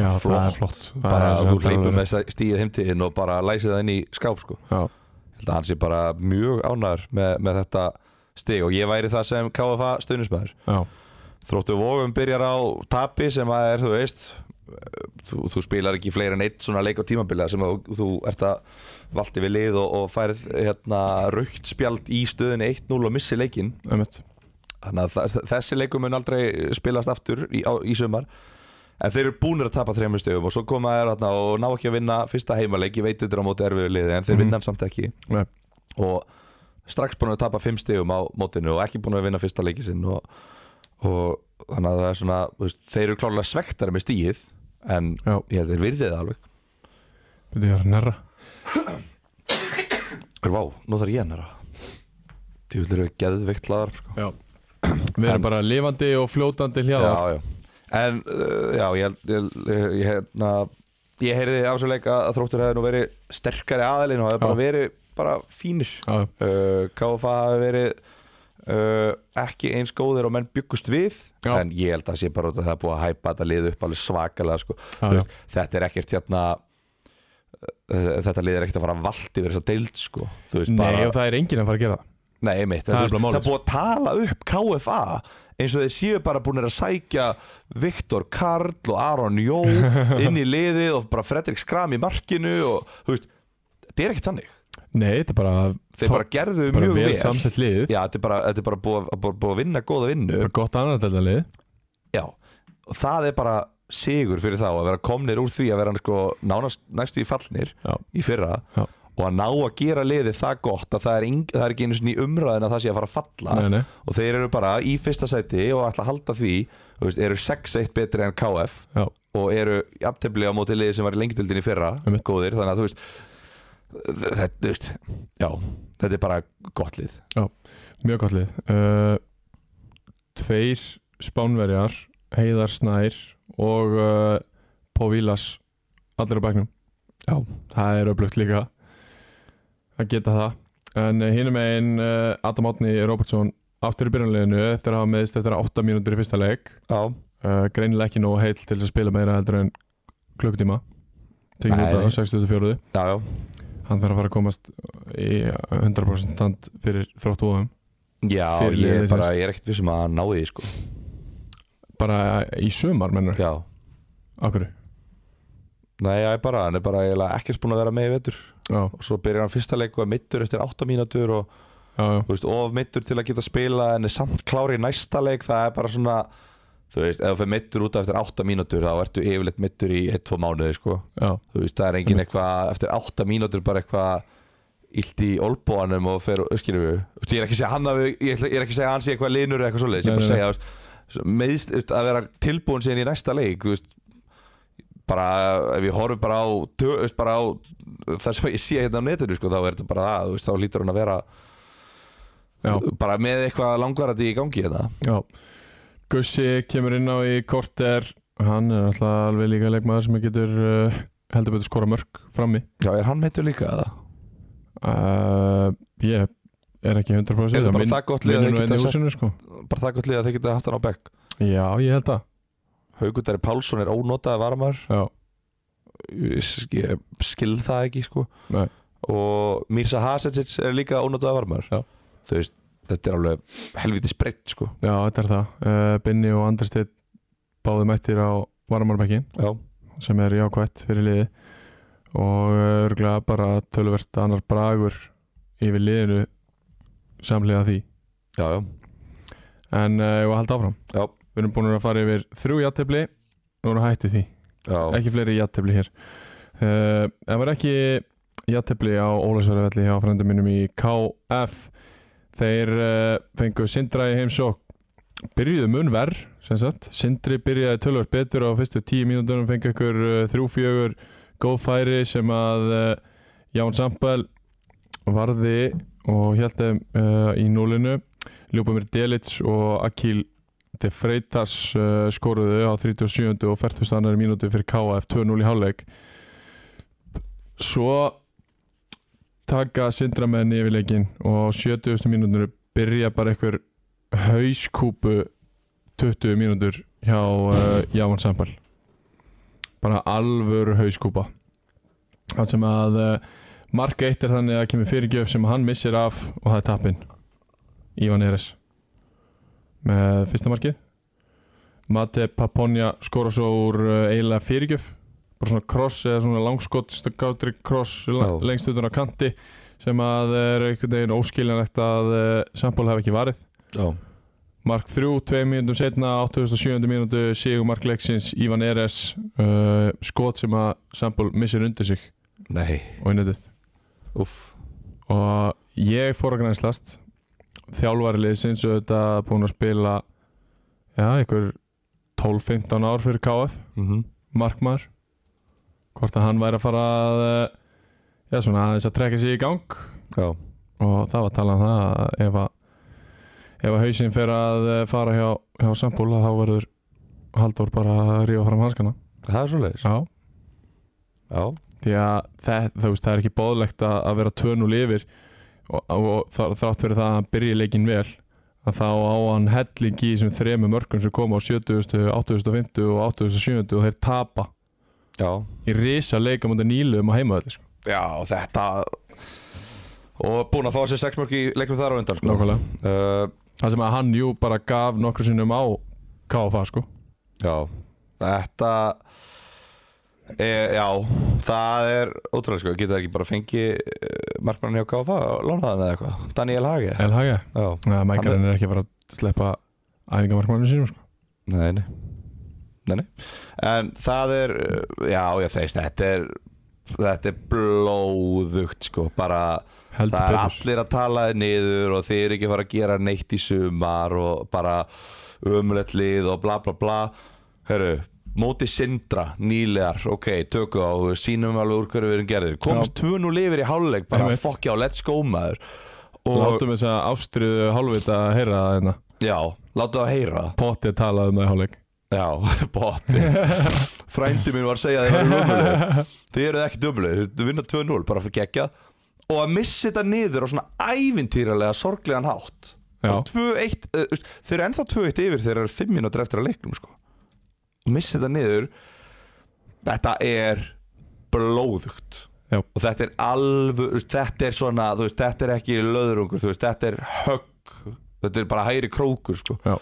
Speaker 2: Bara
Speaker 1: það er flott Það
Speaker 2: bara
Speaker 1: er-
Speaker 2: að
Speaker 1: það
Speaker 2: þú
Speaker 1: er
Speaker 2: hleypur
Speaker 1: alveg-
Speaker 2: með stíð heimtíðin og bara læsið það inn í skáp sko.
Speaker 1: Já,
Speaker 2: Ég held að hann sé bara mjög ánæður með, með þetta stig og ég væri það sem KFA stuðnismæður
Speaker 1: já,
Speaker 2: þróttu vóðum byrjar á tapi sem að er þú veist þú, þú spilar ekki fleiri en eitt svona leik á tímabila sem að þú, þú ert að valdi við lið og, og færð hérna, raukt spjald í stöðinni 1-0 og missi leikinn
Speaker 1: einmitt
Speaker 2: þannig að þa- þessi leikum mun aldrei spilast aftur í, á, í sumar en þeir eru búnir að tapa þreymur stöðum og svo koma þeir hérna, og ná ekki að vinna fyrsta heimaleik ég veit þetta er á móti erfiðu liði en þeir
Speaker 1: Mhm.
Speaker 2: vinna hann samt ekki
Speaker 1: Nei.
Speaker 2: og strax búin að tapa fimm stöðum á mótinu og ekki búin að vinna fyrsta leiki sinn og, og þannig að það er svona þú veist, þeir eru klárlega svektari með stíð en
Speaker 1: Já.
Speaker 2: ég held þeir virðið það alveg
Speaker 1: Þetta er nærra
Speaker 2: Vá, nú þarf ég að næra Því vil eru geðveikt laðar sko.
Speaker 1: Já Við erum
Speaker 2: En-
Speaker 1: bara lifandi og fljótandi hljá
Speaker 2: já, já. En uh, já, ég, held- ég, ég, ég, hérna, ég heyrði af svo leik að að þróttur hefði nú verið sterkari aðilinn og hefði bara
Speaker 1: Já.
Speaker 2: verið bara fínir
Speaker 1: Já,
Speaker 2: uh, KFA hefði verið uh, ekki eins góðir og menn byggust við
Speaker 1: Já.
Speaker 2: en ég held að það sé bara út af það er búið að hæpa þetta lið upp alveg svakalega sko.
Speaker 1: Já,
Speaker 2: Þú veist, þetta er ekkert hérna uh, þetta lið er ekkert að fara að valdi verið þess að deild sko. Þú veist,
Speaker 1: Nei,
Speaker 2: bara,
Speaker 1: og það er enginn að fara að gera það
Speaker 2: Nei, einmitt,
Speaker 1: Það er
Speaker 2: það, það,
Speaker 1: bara málið. sko.
Speaker 2: það er búið að tala upp KFA eins og þeir séu bara búin að sækja Viktor Karl og Aron Jó inn í liðið og bara Fredrik Skram í markinu og þú veist, þetta er ekkert þannig
Speaker 1: Nei, þetta er bara
Speaker 2: þeir bara gerðu
Speaker 1: bara
Speaker 2: mjög
Speaker 1: vel
Speaker 2: vel,
Speaker 1: samsett lið.
Speaker 2: Já, þetta er bara, þetta er bara búið, að- búið, búið að vinna góða vinnu
Speaker 1: bara gott annað þetta lið
Speaker 2: Já, og það er bara sigur fyrir þá að vera komnir úr því að vera sko, nánast næstu í fallnir
Speaker 1: Já,
Speaker 2: í fyrra
Speaker 1: Já.
Speaker 2: og að ná að gera liðið það gott að það er, ing, það er ekki einu sinni í umræðin að það sé að fara að falla
Speaker 1: nei, nei,
Speaker 2: og þeir eru bara í fyrsta sæti og ætla að halda því þú veist, eru 6-1 betri en KF
Speaker 1: já,
Speaker 2: og eru jafntefli á móti liði sem var í lengdildin í fyrra
Speaker 1: Einmitt.
Speaker 2: góðir, þannig að þú veist þetta, þú veist, já þetta er bara gott lið
Speaker 1: mjög gott lið uh, Tveir spánverjar Heiðar Snær og uh, Póvílas allir á bæknum
Speaker 2: Já.
Speaker 1: Það er öflugt líka að geta það en uh, hinum einn uh, Adam Átni Robertson aftur í byrjanleginu eftir að hafa meðist eftir að 8 mínútur í fyrsta leik
Speaker 2: já,
Speaker 1: uh, greinilega ekki nógu heill til þess að spila meira heldur en klukkutíma tekið
Speaker 2: Nei,
Speaker 1: út
Speaker 2: nei.
Speaker 1: á 64
Speaker 2: já, já,
Speaker 1: hann þarf að fara að komast í 100% stand fyrir þrótt og
Speaker 2: já
Speaker 1: Fyrir
Speaker 2: ég,
Speaker 1: liðið
Speaker 2: er bara, ég er ekkert vissum að hann ná því sko.
Speaker 1: bara í sumar mennur
Speaker 2: já,
Speaker 1: okkur
Speaker 2: nei, já, ég bara, hann er bara eiginlega ekkert búin að vera með í vetur
Speaker 1: já,
Speaker 2: og svo byrjar hann fyrsta leik og er mittur eftir 8 mínútur og
Speaker 1: já, já,
Speaker 2: þú veist, of mittur til að geta spila en er samt klári í næsta leik það er bara svona þú veist, ef þú fyrir mittur út af eftir 8 mínútur þá ertu yfirleitt mittur í 1-2 mánuði sko.
Speaker 1: já.
Speaker 2: þú veist, það er engin
Speaker 1: Einmitt.
Speaker 2: eitthvað eftir 8 mínútur bara eitthvað illt í olbóanum og fer, skilur við þú veist, ég er ekki að segja hann að við, ég, ætla- ég er ekki að segja að hann sé eitthvað linur eða eitthvað svoleiðis, ég er
Speaker 1: Nei,
Speaker 2: bara að
Speaker 1: nei,
Speaker 2: segja þú veist, meðst, þú veist, að vera tilbúin síðan í næsta leik þú veist bara ef ég horfum bara á, tö- þú veist, bara á það sem ég sé hérna á netinu sko, þá er þetta bara það, þú veist, þá lítur hann að vera
Speaker 1: já.
Speaker 2: bara með eitthvað langvarandi í gangi hérna. þetta
Speaker 1: já. Gussi kemur inn á í korter hann er alltaf alveg líka leikmaður sem getur uh, heldur betur skora mörg frammi
Speaker 2: Já, er hann meittur líka eða?
Speaker 1: uh, ég er ekki 100%
Speaker 2: Er það bara
Speaker 1: Minn-
Speaker 2: það gott lið að
Speaker 1: minnir
Speaker 2: þeir
Speaker 1: nú
Speaker 2: geta
Speaker 1: einn í
Speaker 2: sett-
Speaker 1: húsinu sko
Speaker 2: Bara það gott lið að þeir geta haft hann á bekk
Speaker 1: já, ég held það
Speaker 2: Haugundari Pálsson er ónotaði varamar
Speaker 1: já,
Speaker 2: Ég ég skil það ekki sko
Speaker 1: Nei.
Speaker 2: Og Mirza Hasecic er líka ónotaði varamar
Speaker 1: Já.
Speaker 2: Þú veist, þetta er alveg helviti spreitt sko
Speaker 1: já þetta er það uh, Binni og Andrstedt báðu mættir á varamarbekkin
Speaker 2: Já,
Speaker 1: sem er jákvætt fyrir liði og örgulega bara tölvert annar bragur yfir liðinu samlega því
Speaker 2: já, já,
Speaker 1: en uh, ég var að halda áfram
Speaker 2: Já.
Speaker 1: við erum búin að fara yfir þrjú játtöfli og erum hættið því,
Speaker 2: já.
Speaker 1: ekki fleiri játtöfli hér uh, það var ekki játtöfli á Ólasverðarvelli hjá frændum mínum í KF þeir uh, fengu Sindra í heimsók byrjuðu mun verð sem sagt, Sindri byrjaði tölvöld betur á fyrstu tíu mínúndunum fengi ykkur uh, þrjú fjögur góð færi sem að uh, Ján Sambal varði og held þeim uh, í núlinu Ljúbamir Delits og Akil De Freitas uh, skoruðu á 37. og 42. mínútu fyrir KF 2-0 í hálfleik svo taka sindramenn yfir leikinn og á 70. mínútur byrja bara einhver hauskúpu 20 mínútur hjá uh, Jávan Sambal bara alvöru hauskúpa það sem að uh, mark eitt er þannig að kemur fyrirgjöf sem hann missir af og það er tappinn Ívan Eres með fyrsta markið Mate Paponja skora svo úr uh, eiginlega fyrirgjöf bara svona kross eða svona langskott stokkáttri kross la-
Speaker 2: Já.
Speaker 1: lengst utan á kanti sem að er einhvern veginn óskiljanlegt að uh, Sambal hef ekki varið
Speaker 2: já.
Speaker 1: Mark 3, 2 mínútum setna 87. mínútu, Sigur Mark Leiksins Ívan Eres uh, skot sem að Sambol missir undir sig
Speaker 2: Nei,
Speaker 1: og innöðið
Speaker 2: uff
Speaker 1: og ég fór að grænslast þjálfari liðsins auðvitað búin að spila já, einhver 12-15 ár fyrir KF
Speaker 2: mm
Speaker 1: markmaður hvort að hann væri að fara að eh, já, svona aðeins að trekka sig í gang
Speaker 2: Já,
Speaker 1: og það var talað um það að ef að ef að hausinn fer að eh, fara hjá, hjá sambúla þá verður Halldór bara að rífa fram hanskana
Speaker 2: það er svoleiðis
Speaker 1: Já,
Speaker 2: Já,
Speaker 1: því að það, þú veist, það er ekki bóðlegt að, að vera 2-0 yfir og, og, og þar- þrátt fyrir það að hann byrja leikin vel að þá á hann helling í þessum þremu mörgum sem koma á 70, 850 og 870 og þeir tapa
Speaker 2: Já,
Speaker 1: í risa leika mútið nýluðum á heimaðalli sko.
Speaker 2: já og þetta og búin að fá sér sex mörg í leikum þar á undan sko.
Speaker 1: Nákvæmlega.
Speaker 2: uh,
Speaker 1: það sem að hann jú bara gaf nokkru sinnum á KFA sko.
Speaker 2: Já, þetta e, Já, það er ótrúlega sko, geta ekki bara fengið eh, markmann hjá KFA og lóna þannig eða eitthvað Daniel Hage
Speaker 1: El Haga,
Speaker 2: Já,
Speaker 1: ja,
Speaker 2: Hann
Speaker 1: mækarinn er ekki að fara að sleppa æfingamarkmanninu sínum sko.
Speaker 2: nei, nei Nei, nei En það er, eh, já, já, þeist, þetta er Þetta er blóðugt sko, bara
Speaker 1: heldur
Speaker 2: það er
Speaker 1: betur
Speaker 2: allir að tala þér niður og þið eru ekki að fara að gera neitt í sumar og bara umlegt lið og bla bla bla Herru, móti sindra, nýlegar, ok, tökum á og sínum alveg úr hverju við erum gerðir komst 2-0 yfir í háluleik, bara
Speaker 1: Einmitt.
Speaker 2: fokkja og let's go maður og
Speaker 1: Látum þess að ástriðu hálfvita að heyra það hérna
Speaker 2: já, látum að heyra það
Speaker 1: Potti talaði um það í hálfleik
Speaker 2: Já, bótti Frændi mín var að segja að þið eru umlugur Þið eruð ekki umlugur, þið vinna 2-0 bara fyrir gegja og að missa þetta niður á svona ævintýralega sorglegan hátt
Speaker 1: Já.
Speaker 2: Bara 2-1, eh, þú veist, þeir eru ennþá 2-1 yfir þeir eru 5 minútur eftir að leiknum sko. og missa þetta niður þetta er blóðugt
Speaker 1: Já.
Speaker 2: og þetta er alveg þú veist, þetta er svona, þú veist, þetta er ekki löðrungur, þú veist, þetta er högg þetta er bara hægri krókur sko
Speaker 1: Já.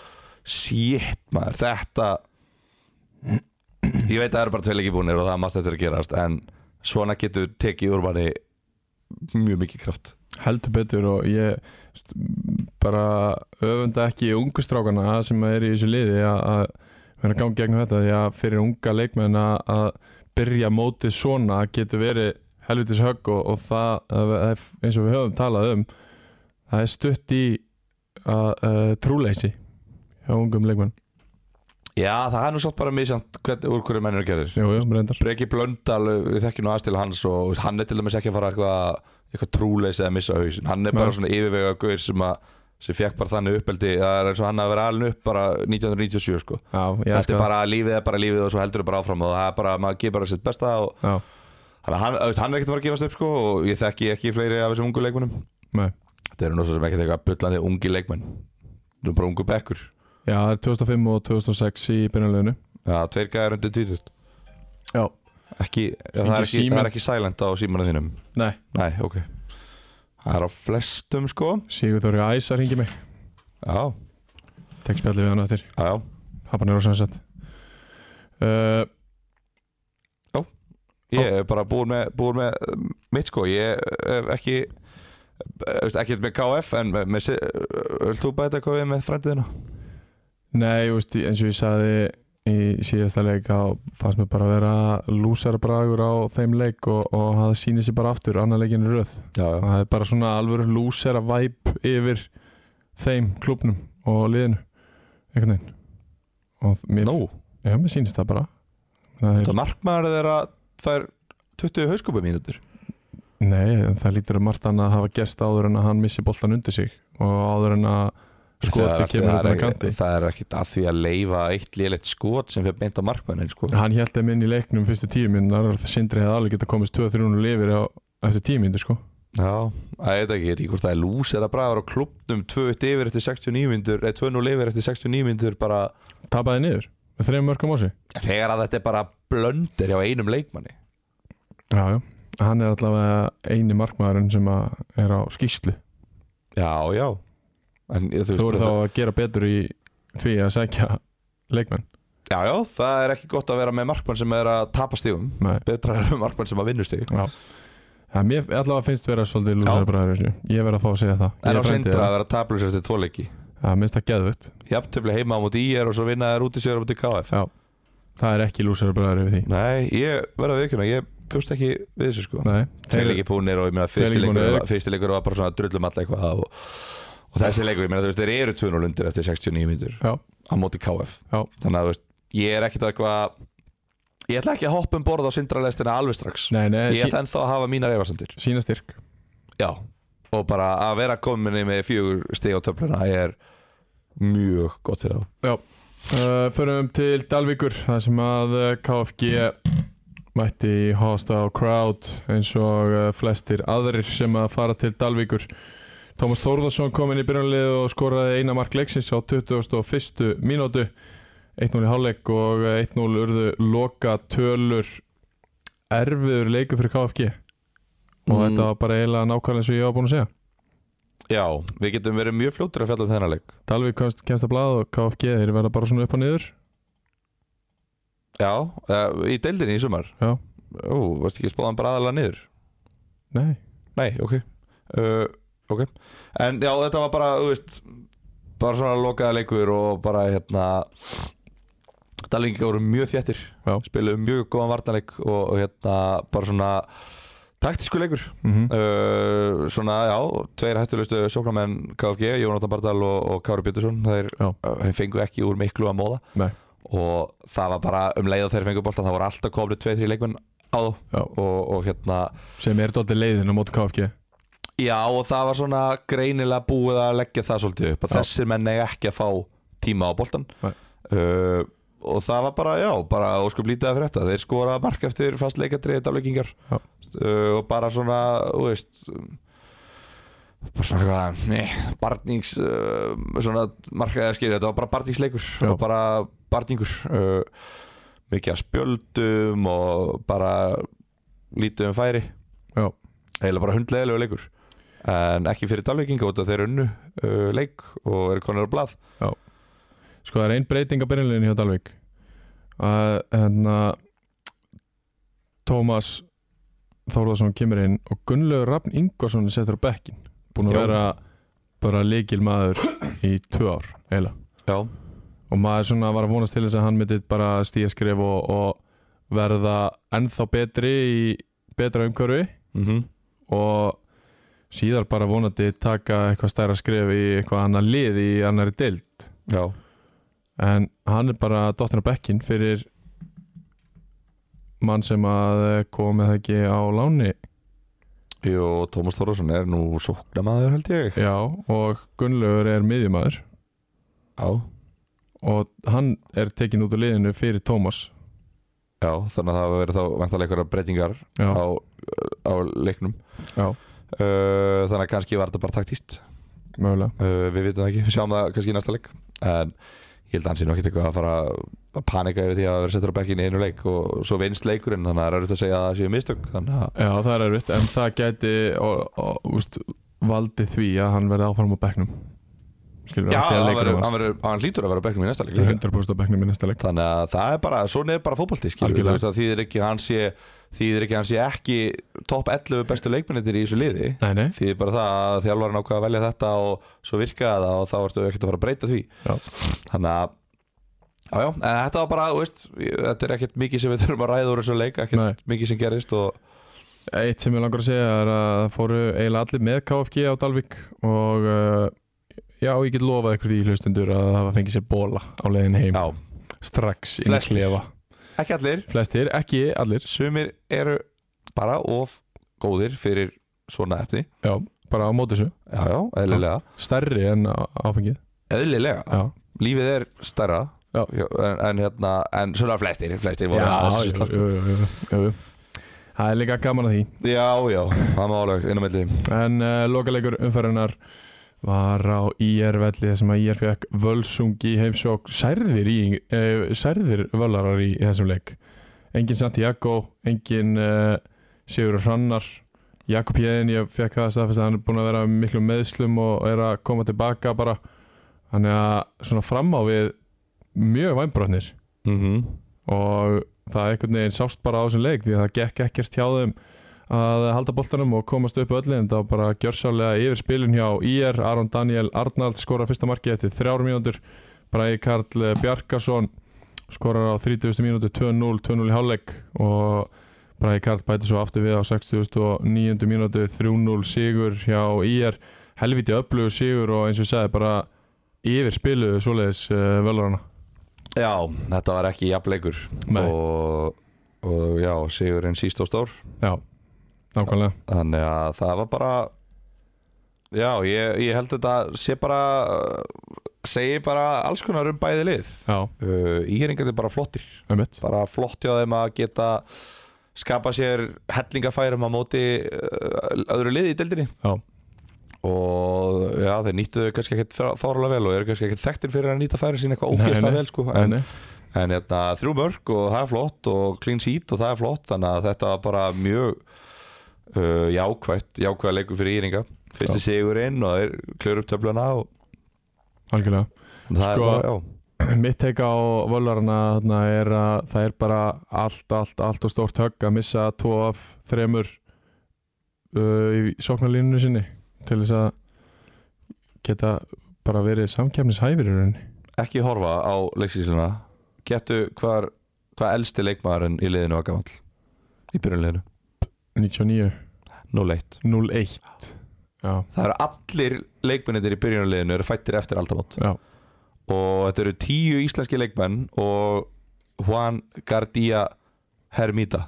Speaker 2: Shit maður, þetta Ég veit að það eru bara tveil ekki búinir og það er margt eftir að gerast en svona getur tekið úr manni mjög mikið kraft
Speaker 1: heldur betur og ég st- m, bara öfunda ekki ungu strákana sem er í þessu liði að- að vera gangi gegnum þetta því að fyrir unga leikmenn að- að byrja mótið svona getur verið helvitis högg og, og það, það er eins og við höfum talað um það er stutt í að uh, trúleysi hjá ungum leikmenn
Speaker 2: Já, það er nú samt bara misjant hvernig, úr hverju mennur gerir
Speaker 1: Jú, jú, reyndar
Speaker 2: Breki Blöndal, við þekkjum nú aðstil hans og þú veist, hann er til dæmis ekki að fara eitthvað eitthvað trúleis eða missa hausinn hann er bara
Speaker 1: Nei.
Speaker 2: svona yfirvega gaur sem að sem fekk bara þannig uppeldi það er eins og hann að vera alveg upp bara 1997 sko.
Speaker 1: Já, ég
Speaker 2: þetta
Speaker 1: elska
Speaker 2: er
Speaker 1: það
Speaker 2: bara lífið er bara lífið og svo heldur bara áfram og það er bara, maður gefur bara sitt besta og
Speaker 1: Já,
Speaker 2: Þannig að hann, þú veist, hann er ekkert að fara að gefast upp sko og ég þekki ekki fleiri af þessum ungu leikmennum
Speaker 1: nei
Speaker 2: Þetta eru náttúrulega sem ekkert eitthvað bullandi ungi leikmenn Þetta eru bara ungu bekkur
Speaker 1: Já, það er 2005 og 2006 í byrjanleginu
Speaker 2: Já, tveir gæðar undir tvítust
Speaker 1: Já
Speaker 2: Ekki, það
Speaker 1: Engin
Speaker 2: er ekki, það
Speaker 1: síminn.
Speaker 2: er ekki silent á símanu þínum
Speaker 1: Nei,
Speaker 2: Nei, ok Það er á flestum sko
Speaker 1: Sigur Þóri Æsar hingi mig
Speaker 2: Já,
Speaker 1: Tekst spjallið við hann eftir
Speaker 2: já, já
Speaker 1: Habanero Sunset uh,
Speaker 2: Ég er bara búin með, búin með um, mitt sko Ég hef ekki eh, þú veist, Ekkert með KF en með, með, Vilt þú bæta eitthvað við með frændiðina?
Speaker 1: Nei, þú veist, eins og ég sagði í síðasta leik þá fannst mér bara að vera lúsarbragur á þeim leik og, og það sýnir sér bara aftur annar leikin er röð
Speaker 2: Já, já,
Speaker 1: það er bara svona alvöru lúsera væp yfir þeim klubnum og liðinu einhvern veginn og mér,
Speaker 2: Nú,
Speaker 1: já, mér sýnist það bara það
Speaker 2: þetta
Speaker 1: er,
Speaker 2: markmaður þeirra fær 20 hauskúpa mínútur
Speaker 1: Nei, en það lítur um margt annað að hafa gest áður en að hann missi boltan undir sig og áður en að
Speaker 2: Það er
Speaker 1: skoti
Speaker 2: allt-
Speaker 1: kemur
Speaker 2: það
Speaker 1: út
Speaker 2: er
Speaker 1: með
Speaker 2: ekki-
Speaker 1: kanti
Speaker 2: Það er ekkit að því að leifa eitt lélegt skot sem fyrir beint á markmannin sko.
Speaker 1: hann held þeim inn í leiknum fyrstu tíu minnar Sindri hefði alveg geta komist 2-3 lifir á, eftir tíu minnir sko
Speaker 2: Já, það er ekki, ég veit ekki hvort það er lús eða bragar á klubnum 2-1 yfir eftir 69 myndur eða 2-0 yfir eftir 69 myndur bara
Speaker 1: tapaði niður með þreim mörgum á sig
Speaker 2: þegar að þetta er bara blöndir hjá einum leikmanni
Speaker 1: já, já. hann er allavega eini markmaðurinn sem að er á skýslu
Speaker 2: Já, já en, ég-
Speaker 1: þú voru þá
Speaker 2: það,
Speaker 1: að gera betur í því að sækja leikmenn
Speaker 2: Já, já, það er ekki gott að vera með markmann sem er að tapa stífum
Speaker 1: Nei.
Speaker 2: Betra er með markmann sem að vinna stíg
Speaker 1: já. Já, mér allavega finnst vera svolítið
Speaker 2: Já.
Speaker 1: lúsarbræður ég verð að fá að segja það Ég
Speaker 2: En á
Speaker 1: frændi
Speaker 2: sindra að
Speaker 1: það.
Speaker 2: vera taplus eftir tvo leiki
Speaker 1: Já, mér finnst það geðvögt
Speaker 2: Jafntöfli heima á móti IR og svo vinna þær út í sér á móti KF
Speaker 1: já. það er ekki lúsarbræður yfir því
Speaker 2: Nei, ég verða að viðkjöna, ég bjóst ekki við þessu sko
Speaker 1: Nei,
Speaker 2: Tveir leikir búnir og ég meina fyrsti
Speaker 1: Tveir leikir
Speaker 2: leikur,
Speaker 1: búnir.
Speaker 2: var- fyrsti leikur var bara svona drullum alla eitthvað og, og þessi leikur, ég meina þú veist, þeir eru 2-0 undir eftir 69 mínútur
Speaker 1: Já.
Speaker 2: á móti KF
Speaker 1: Já.
Speaker 2: Þannig að þú veist, ég er ekkit eitthvað ég ætla ekki að hoppa um borð á sindralestina alveg strax
Speaker 1: nei, nei,
Speaker 2: Ég
Speaker 1: sí,
Speaker 2: ætla ennþá að hafa mínar efasendir
Speaker 1: sína styrk
Speaker 2: Já Og bara að vera kominni með fjögur stig á töfluna er mjög gott fyrir þá
Speaker 1: Uh, förum til Dalvíkur þar sem að uh, KFG mætti í hostile crowd eins og uh, flestir aðrir sem að fara til Dalvíkur Tómas Þórðarsson kom inn í byrjanlið og skoraði eina mark leiksins á 21. mínútu 1-0 í hálfleik og 1-0 urðu loka tölur erfiður leiku fyrir KFG og
Speaker 2: Mm.
Speaker 1: þetta var bara eiginlega nákvæmlega eins og ég var búin að segja
Speaker 2: Já, við getum verið mjög fljótur að fjalla um þennan leik
Speaker 1: Dalvík komst, kemst að blaða og KFG þeir verða bara svona upp og niður
Speaker 2: Já, uh, í deildinni í sumar
Speaker 1: Já.
Speaker 2: Ú, varstu ekki spáðan bara aðalega niður?
Speaker 1: Nei,
Speaker 2: Nei, ok uh, Ok En já, þetta var bara, þú veist Bara svona lokaða leikur og bara hérna Dalvingi voru mjög þjættir
Speaker 1: Já.
Speaker 2: Spiluðu mjög góðan varnarleik og, og hérna bara svona Taktisku leikur
Speaker 1: mm
Speaker 2: uh, Svona, já, tveir hættulegustu sóknarmenn KFG, Jónatan Bardal og, og Kári Pétursson Þeir
Speaker 1: Já.
Speaker 2: uh, þeir fengu ekki úr miklu að móða
Speaker 1: Nei.
Speaker 2: Og það var bara um leið og þeir fengu bolta Það voru alltaf komnið tveir, þrjir leikmenn á þú
Speaker 1: já,
Speaker 2: og, og hérna
Speaker 1: sem er dóttir leiðin á móti KFG
Speaker 2: Já og það var svona greinilega búið að leggja það svolítið upp að
Speaker 1: Já.
Speaker 2: þessir menn eiga ekki að fá tíma á boltan
Speaker 1: Nei.
Speaker 2: uh, og það var bara, já, bara óskup lítið að fyrir þetta þeir skoraða mark eftir fast leikadriði dafleikingar
Speaker 1: Já.
Speaker 2: uh, og bara svona, þú veist um, bara svona eitthvað nei, barnings uh, svona markaði að skilja, þetta var bara barningsleikur
Speaker 1: Já.
Speaker 2: og bara barningur uh, mikið að spjöldum og bara lítið um færi
Speaker 1: Já,
Speaker 2: eiginlega bara hundleðilegu leikur en ekki fyrir Dalvíkinga út að þeir unnu uh, leik og eru konur á blað
Speaker 1: sko það er ein breyting að byrjanlegin hjá Dalvík að hérna Tómas Þórðarsson kemur inn og Gunnlaugur Rafn Ingvarsson er settur á bekkin búin að
Speaker 2: Já.
Speaker 1: vera bara leikil maður í tvö ár eiginlega
Speaker 2: Já,
Speaker 1: og maður svona var að vonast til þess að hann myndi bara stíga skref og, og verða ennþá betri í betra umhverfi
Speaker 2: mm
Speaker 1: og síðar bara vonandi taka eitthvað stærra skref í eitthvað annar lið í annari deild
Speaker 2: já.
Speaker 1: en hann er bara dottin á bekkin fyrir mann sem að kom með það ekki á láni
Speaker 2: Jú, og Tómas Þórðarsson er nú sóknamaður held ég
Speaker 1: já og Gunnlaugur er miðjumæður
Speaker 2: Já,
Speaker 1: og hann er tekin út úr liðinu fyrir Tómas
Speaker 2: já þannig að það hafa verið þá vantarlega einhverja breytingar
Speaker 1: já,
Speaker 2: á, á leiknum
Speaker 1: já,
Speaker 2: uh, þannig að kannski var þetta bara taktíst
Speaker 1: mögulega
Speaker 2: uh, við vitum það ekki, við sjáum það kannski í næsta leik en ég held að hann sé nú ekkert eitthvað að fara að panika yfir því að vera settur á bekkinni í einu leik og svo vinst leikurinn þannig að það er auðvitað að segja að það séu mistök þannig að
Speaker 1: Já, það er erfitt, en það gæti og, og, úst, valdi því að hann verði áfram á bekknum Skilur,
Speaker 2: Já,
Speaker 1: af því að
Speaker 2: hann,
Speaker 1: leikurinn
Speaker 2: verður-
Speaker 1: vannst.
Speaker 2: hann, verður- hann hlýtur að vera á bekknum í næsta leik
Speaker 1: Ég er
Speaker 2: líka.
Speaker 1: 100% á bekknum í næsta leik
Speaker 2: Þannig að það er bara, svona er bara fótbolti skilur við,
Speaker 1: Algjörlega.
Speaker 2: þú veist að Þýðir ekki að hann sé Þýðir ekki að hann sé ekki Topp 11 bestu leikmennir í þessu liði
Speaker 1: Nei, nei,
Speaker 2: Þýðir bara það að þjálfarinn ákvað að velja þetta Og svo virkaði það og þá ertu ekkert að fara að breyta því
Speaker 1: Já.
Speaker 2: Þannig að Já, já, en þetta var bara, þú veist, þetta er ekkert mikið sem við þurfum að ræða úr þessu leik, ekkert
Speaker 1: nei
Speaker 2: mikið sem gerist og
Speaker 1: Eitt sem ég langar að segja er að það fóru eiginlega allir með KFG á Dalvik og uh, já, ég get lofað ykkur því hlustundur að það var fengið sér bóla á leiðin heim
Speaker 2: já,
Speaker 1: strax inn í
Speaker 2: Flestir.
Speaker 1: klefa
Speaker 2: ekki allir,
Speaker 1: Flestir, ekki allir
Speaker 2: sumir eru bara of góðir fyrir svona efni,
Speaker 1: Já, bara á móti þessu
Speaker 2: já, já, eðlilega,
Speaker 1: Stærri en á- áfengið
Speaker 2: eðlilega,
Speaker 1: Já,
Speaker 2: lífið er stærra
Speaker 1: Já.
Speaker 2: en, en, hérna, en svona flestir flestir voru
Speaker 1: já,
Speaker 2: aðeins-
Speaker 1: jú, jú, jú, jú, jú. Það er líka gaman að því
Speaker 2: já, já, það má alveg inn á milli
Speaker 1: En uh, lokaleikur umferðinar var á IR velli þar sem að IR fekk völsung í heimsók særðir, í, uh, særðir völarar í, í þessum leik engin Santiago, engin uh, Sigur Hrannar Jakob Jæðin, ég fekk það að staðfesta að hann er búin að vera með miklum meðslum og er að koma tilbaka bara þannig að svona fram á við mjög væmbrotnir
Speaker 2: mm
Speaker 1: Mhm. og það einhvern veginn sást bara á þessum leik því að það gekk ekkert hjá þeim að halda boltanum og komast upp öllu en það var bara gjörsálega yfir spilin hjá IR, Aron Daniel Arnald skora fyrsta markið eftir þrjár mínútur Bræði Karl Bjarkason skorar á 30. mínútu 2-0, 2-0 í hálfleik og Bræði Karl bæti svo aftur við á 69. mínútu 3-0 sigur hjá IR helviti öflugur sigur og eins og ég sagði bara yfir spiluðu svoleiðis uh, völarana
Speaker 2: já, þetta var ekki jafnleikur
Speaker 1: Nei.
Speaker 2: og, og já, Sigurinn síst og stór
Speaker 1: Já, nákvæmlega
Speaker 2: þannig að það var bara já, ég, ég held þetta sé bara segi bara alls konar um bæði lið
Speaker 1: Já,
Speaker 2: uh, íheringar er bara flottir
Speaker 1: einmitt
Speaker 2: bara flott hjá þeim að geta um eh, skapa sér hellingafærum á móti uh, öðru liði í deildinni
Speaker 1: Já.
Speaker 2: og já, þeir nýttu þau kannski ekkert fá- fárlega vel og eru kannski ekkert þekktir fyrir að nýta færi sín eitthvað
Speaker 1: Nei,
Speaker 2: ógeðslega
Speaker 1: nei.
Speaker 2: vel sko. en,
Speaker 1: En,
Speaker 2: en hérna, þrjú mörg og það er flott og clean sheet og það er flott þannig að þetta var bara mjög uh, jákvætt, jákvæða leikur fyrir Íringa fyrsti sigurinn og þeir klöru upp töfluna og
Speaker 1: algjörlega
Speaker 2: það er
Speaker 1: Sko,
Speaker 2: bara, já
Speaker 1: Mitt teika á völarna þarna er að það er bara allt, allt, allt og stórt högg að missa tvo af þremur uh, í sóknarlínunni sinni til þess að geta bara verið samkjæmnishæfir í rauninni.
Speaker 2: ekki horfa á leiksísluna getu hvar, hvað elsti leikmaðurinn í liðinu var gamall í byrjunliðinu,
Speaker 1: 99,
Speaker 2: 0-1
Speaker 1: 01. Já,
Speaker 2: það eru allir leikmennindir í byrjunliðinu eru fættir eftir aldamót
Speaker 1: já,
Speaker 2: og þetta eru tíu íslenski leikmenn og Juan Gardia Hermita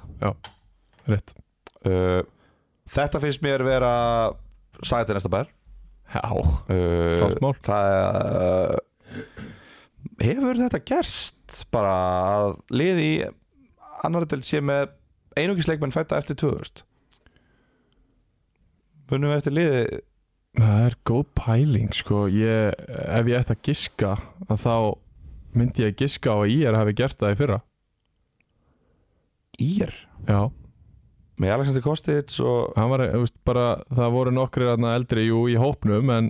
Speaker 1: rétt.
Speaker 2: uh, þetta finnst mér vera sagði þetta næsta bær
Speaker 1: Já,
Speaker 2: uh,
Speaker 1: klárt mál.
Speaker 2: það uh, hefur þetta gerst bara að liði í annar delt sé með einungisleikmenn fætta eftir 2000 munum við eftir liði
Speaker 1: Það er góð pæling, sko. Ég, ef ég ætti að giska að þá myndi ég giska á að ég er að hafi gert það í fyrra.
Speaker 2: ír
Speaker 1: Já.
Speaker 2: með Alexander Kostits og
Speaker 1: hann var, þú veist, bara, það voru nokkrir þarna eldri jú, í hópnum en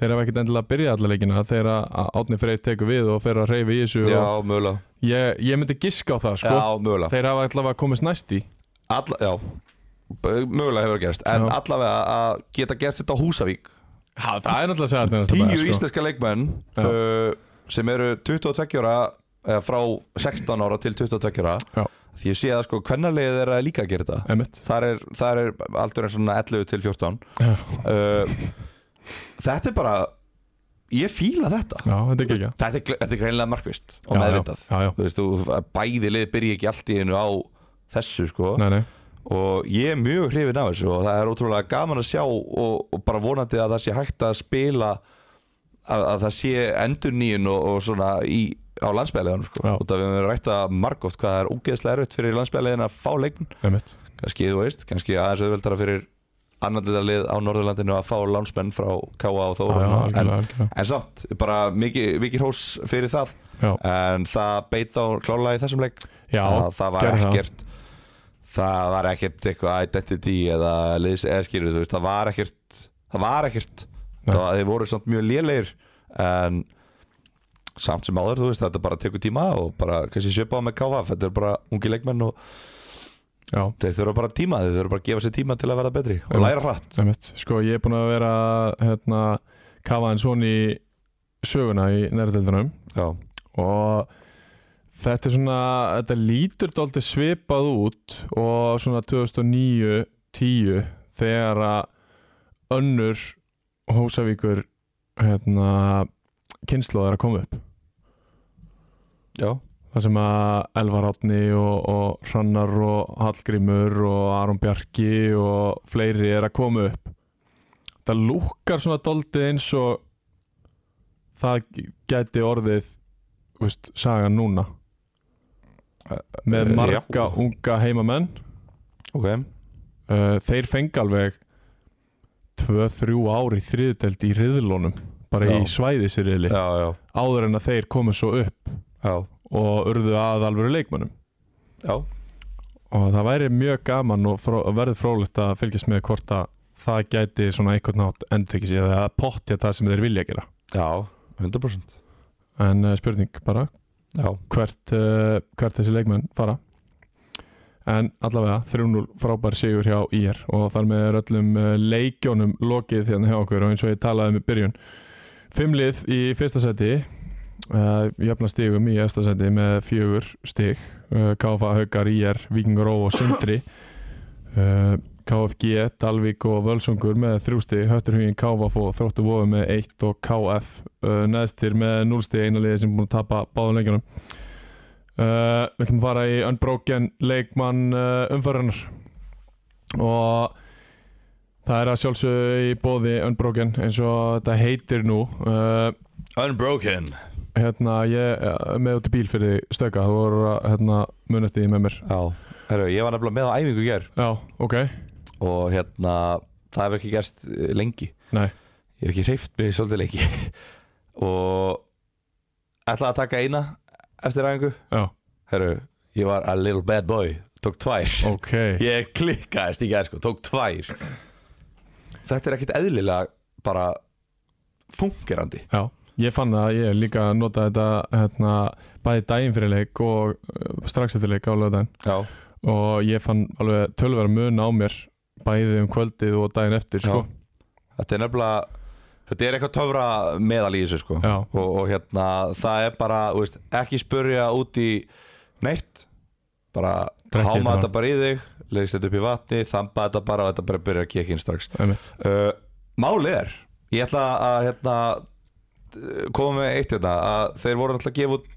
Speaker 1: þeir hafa ekkert endilega að byrja alla leikina þegar að Átni Freyr tekur við og fer að reyfi í þessu og
Speaker 2: já, mögulega
Speaker 1: ég, ég myndi giska á það sko.
Speaker 2: já, mögulega
Speaker 1: þeir hafa allavega komist næst í
Speaker 2: Alla, já, b- mögulega hefur það gerst en
Speaker 1: Já.
Speaker 2: allavega að geta gert þetta á Húsavík
Speaker 1: ha, það er náttúrulega að segja þetta
Speaker 2: tíu
Speaker 1: næsta dag, sko.
Speaker 2: íslenska leikmenn
Speaker 1: Já.
Speaker 2: uh, sem eru 22 ára eða frá 16 ára til 22 ára
Speaker 1: Já.
Speaker 2: því ég sé að sko hvernarlegið er að líka að gera þetta
Speaker 1: Einmitt.
Speaker 2: þar er, þar er aldur en svona 11 til 14
Speaker 1: Já.
Speaker 2: uh, þetta er bara ég fíla þetta
Speaker 1: já, þetta er ekki
Speaker 2: þetta er, gl- þetta er greinlega markvist og
Speaker 1: Já,
Speaker 2: meðvitað
Speaker 1: já, já, já.
Speaker 2: Þú veist, þú, bæði lið byrja ekki allt í einu á þessu sko
Speaker 1: nei, nei.
Speaker 2: og ég er mjög hrifin af þessu og það er ótrúlega gaman að sjá og, og bara vonandi að það sé hægt að spila að, að það sé endur nýjun og, og svona í, á landsbæliðanum sko.
Speaker 1: Já.
Speaker 2: og það við höfum verið að rætta margóft hvað það er ógeðslega erfitt fyrir landsbæliðin að fá leikmenn
Speaker 1: Einmitt.
Speaker 2: kannski þú veist, kannski aðeins auðveldara fyrir annarlega lið á Norðurlandinu að fá landsmenn frá K.A. og þó
Speaker 1: Já, já,
Speaker 2: en,
Speaker 1: algjörlega, algjörlega.
Speaker 2: en samt, bara mikið, mikið hrós fyrir það
Speaker 1: Já.
Speaker 2: en það beit á klála í þessum leik
Speaker 1: Já,
Speaker 2: það, það var
Speaker 1: gerði það.
Speaker 2: ekkert það. var ekkert eitthvað identity eða liðs eða skýrðu þú veist það var ekkert það var ekkert
Speaker 1: Nei.
Speaker 2: það, þeir voru samt mjög lélegir en samt sem áður þú veist þetta bara tekur tíma og bara kannski svipa á með KVF þetta er bara ungi leikmenn og
Speaker 1: já,
Speaker 2: þeir þurfa bara tíma þeir þurfa bara að gefa sér tíma til að verða betri og
Speaker 1: Einmitt.
Speaker 2: læra hratt
Speaker 1: einmitt. sko, ég er búin að vera hérna, kafa en svona í söguna í nærdeldunum
Speaker 2: já,
Speaker 1: og þetta er svona þetta lítur dálítið svipað út og svona 2009-10 þegar að önnur Hósavíkur hérna, kynnslóð er að koma upp
Speaker 2: já,
Speaker 1: það sem að Elvar Átni og, og Hrannar og Hallgrímur og Aron Bjarki og fleiri er að koma upp það lúkkar svona doldið eins og það gæti orðið þú veist, sagan núna með
Speaker 2: Eh,
Speaker 1: marga
Speaker 2: já.
Speaker 1: unga heimamenn
Speaker 2: ok
Speaker 1: uh, þeir fengi alveg 2-3 ári þriðdelt í riðlónum bara
Speaker 2: Já.
Speaker 1: í svæðisriðli
Speaker 2: já, já,
Speaker 1: áður en að þeir komu svo upp
Speaker 2: já,
Speaker 1: og urðu að alvöru leikmönnum
Speaker 2: já
Speaker 1: og það væri mjög gaman og fró, verður frólægt að fylgjast með hvort að það gæti svona einhvern nátt endurtekis eða að potja það sem þeir vilja gera
Speaker 2: já, 100%
Speaker 1: en uh, spurning bara
Speaker 2: já,
Speaker 1: hvert, uh, hvert þessi leikmenn fara en allavega 3-0 frábær sigur hjá IR og þar með er öllum uh, leikjónum lokið hérna hjá okkur og eins og ég talaði um í byrjun Fimmlið í fyrsta seti uh, jafna stigum í efsta seti með fjögur stig uh, KFA, Haukar, IR, Vikingur Ó og Sundri uh, KFG, Dalvík og Völsungur með þrjú stig, Hötturhugin, KFF og Þróttu Vofu með eitt og KF uh, neðstir með 0 stig, eina liði sem er búin að tapa báðan leikjunum Uh, við ætlum að fara í unbroken leikmann uh, umförðunar og það er að sjálfsögðu í bóði unbroken eins og þetta heitir nú uh,
Speaker 2: Unbroken
Speaker 1: hérna ég uh, með út í bíl fyrir þig, stöka þú voru að hérna, muna eftir því með mér
Speaker 2: já, Heru, ég var nefnilega með á æfingu í gær
Speaker 1: já, ok,
Speaker 2: og hérna það hefur ekki gerst eh, lengi
Speaker 1: Nei,
Speaker 2: ég hef ekki hreift mig í svolítið leiki og ætlaði að taka eina eftir æfingu
Speaker 1: já,
Speaker 2: herru, ég var a little bad boy tók tvær,
Speaker 1: ok
Speaker 2: ég klikkaðist í gerð sko, tók tvær þetta er ekkit eðlilega bara fungerandi
Speaker 1: Já, ég fann það að ég líka nota þetta hérna, bæði daginn fyrir leik og uh, strax eftir leik á lögdæn
Speaker 2: já,
Speaker 1: og ég fann alveg tölverð mun á mér bæði um kvöldið og daginn eftir sko.
Speaker 2: þetta er nefnilega þetta er eitthvað töfra meðal í þessu sko
Speaker 1: Já.
Speaker 2: og, og hérna, það er bara þú veist, ekki spurja út í neitt bara
Speaker 1: Drekkið
Speaker 2: háma
Speaker 1: bara.
Speaker 2: þetta bara í þig leggst þetta upp í vatni, þamba þetta bara og þetta bara byrjar að kikkin strax
Speaker 1: einmitt.
Speaker 2: uh, Málið er Ég ætla að hérna, koma með eitt hérna að þeir voru alltaf að gefa út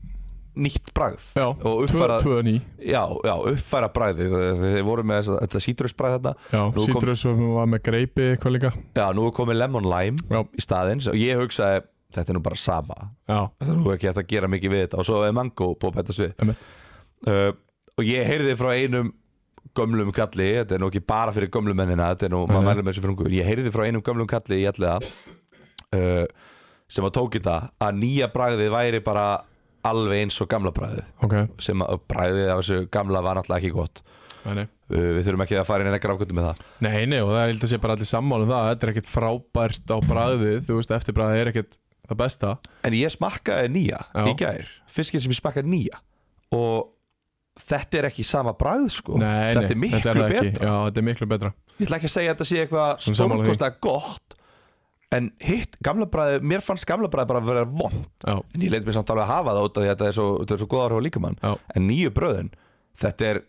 Speaker 2: nýtt bragð
Speaker 1: Já,
Speaker 2: og uppfæra,
Speaker 1: 2-9
Speaker 2: já, já, uppfæra bragðið þeir voru með þessa, þetta sítrusbragð hérna
Speaker 1: Já,
Speaker 2: Nú kom-
Speaker 1: sítrus og hún var með greipi eitthvað líka
Speaker 2: Já, nú er komið lemon lime
Speaker 1: Já,
Speaker 2: í staðinn og ég hugsaði þetta er nú bara sama
Speaker 1: já,
Speaker 2: það er nú ekki eftir að gera mikið við þetta og svo er mango búið að bætast við
Speaker 1: einmitt
Speaker 2: uh, og ég heyrði frá einum gömlum kalli, þetta er nú ekki bara fyrir gömlum mennina, þetta er nú, maður
Speaker 1: Nei.
Speaker 2: mælum þessu fyrir ungu ég heyrði frá einum gömlum kalli í allega uh, sem að tók í það að nýja bragðið væri bara alveg eins og gamla bragðið
Speaker 1: Ok,
Speaker 2: sem að bragðið af þessu gamla var náttúrulega ekki gott uh,
Speaker 1: nei, nei
Speaker 2: við þurfum ekki að fara inn en ekkert ákvöndum með það
Speaker 1: Nei, nei, og það er held að sé bara allir sammála um það Þetta er ekkert frábært á bragðið Þú veist, eftirbræðið er ekkert það besta
Speaker 2: en ég smakkaði nýja
Speaker 1: Já.
Speaker 2: í gær fiskinn sem ég smakkaði nýja og þetta er ekki sama bragð sko
Speaker 1: Nei, nei,
Speaker 2: þetta er miklu
Speaker 1: það
Speaker 2: betra
Speaker 1: ekki. Já, þetta er miklu betra
Speaker 2: ég ætla ekki að segja að þetta sé eitthvað
Speaker 1: er sammála því.
Speaker 2: stórkostlega gott en hitt, gamla bræði, mér fannst gamla bræði bara að vera vond
Speaker 1: Já,
Speaker 2: en ég leit mér samt alveg að hafa það út af því að þetta er svo, þetta er svo góð áhrif á líkamann
Speaker 1: Já.
Speaker 2: en nýju bröðin, þetta er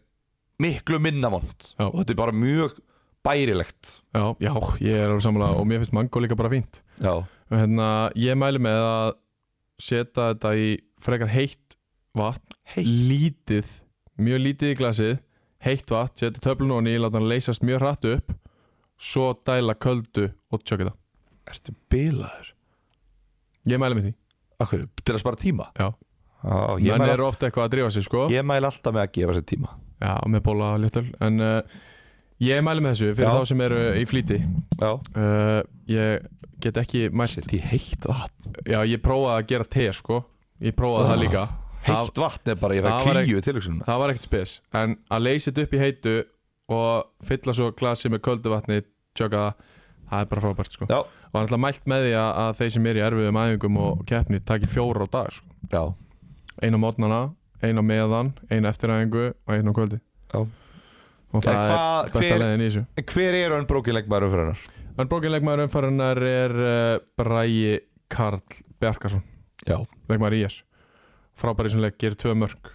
Speaker 2: miklu minna vond
Speaker 1: Já.
Speaker 2: og þetta er bara mjög bærilegt
Speaker 1: já, já, ég er alveg sammála Og mér finnst mango líka bara fínt
Speaker 2: já,
Speaker 1: Og hérna, ég mæli með að Seta þetta í frekar heitt vatn
Speaker 2: heitt
Speaker 1: Lítið, mjög lítið í glasið Heitt vatn, seta töflun og ný Láta hann leysast mjög hratt upp Svo dæla köldu og tjókja það
Speaker 2: ertu bilaður,
Speaker 1: Ég mæli með því,
Speaker 2: okkur, til að spara tíma
Speaker 1: já
Speaker 2: Ó, ég,
Speaker 1: Menn
Speaker 2: mæl
Speaker 1: eru ofta eitthvað að drífa sig, sko
Speaker 2: alltaf, ég mæl alltaf með að gefa sér tíma
Speaker 1: Já, með bóla og léttöl En uh, ég mæli með þessu fyrir
Speaker 2: Já.
Speaker 1: þá sem eru eh, í flýti
Speaker 2: já,
Speaker 1: uh, Ég get ekki mælt
Speaker 2: sett í heitt vatn
Speaker 1: Já, ég prófaði að gera te, sko Ég prófaði
Speaker 2: Ah.
Speaker 1: það líka Það-
Speaker 2: heitt vatn er bara, ég
Speaker 1: það
Speaker 2: fæ
Speaker 1: var
Speaker 2: klíu til hugsunum
Speaker 1: Það var ekkert spes En að leysa þetta upp í heitu Og fylla svo glasi með köldu vatni Tjöka það Það er bara frábært, sko
Speaker 2: já,
Speaker 1: Og hann ætla mælt með því að, að þeir sem eru í erfiðum æfingum og keppni Taki fjóra á dag, sko
Speaker 2: já,
Speaker 1: Einu á mótnana, einu á meðan, einu eftir æfingu Og einu á kvöldi
Speaker 2: já
Speaker 1: Og það
Speaker 2: En hvað-
Speaker 1: er besta
Speaker 2: hver-
Speaker 1: leiðin í þessu
Speaker 2: En hver er hann brókilegmaður fyrir hennar?
Speaker 1: En bókinleikmaður umfærunar er uh, Bræi Karl Bjarkarsson
Speaker 2: Já,
Speaker 1: leikmaður í er frábæri sem leik, gerir tvö mörg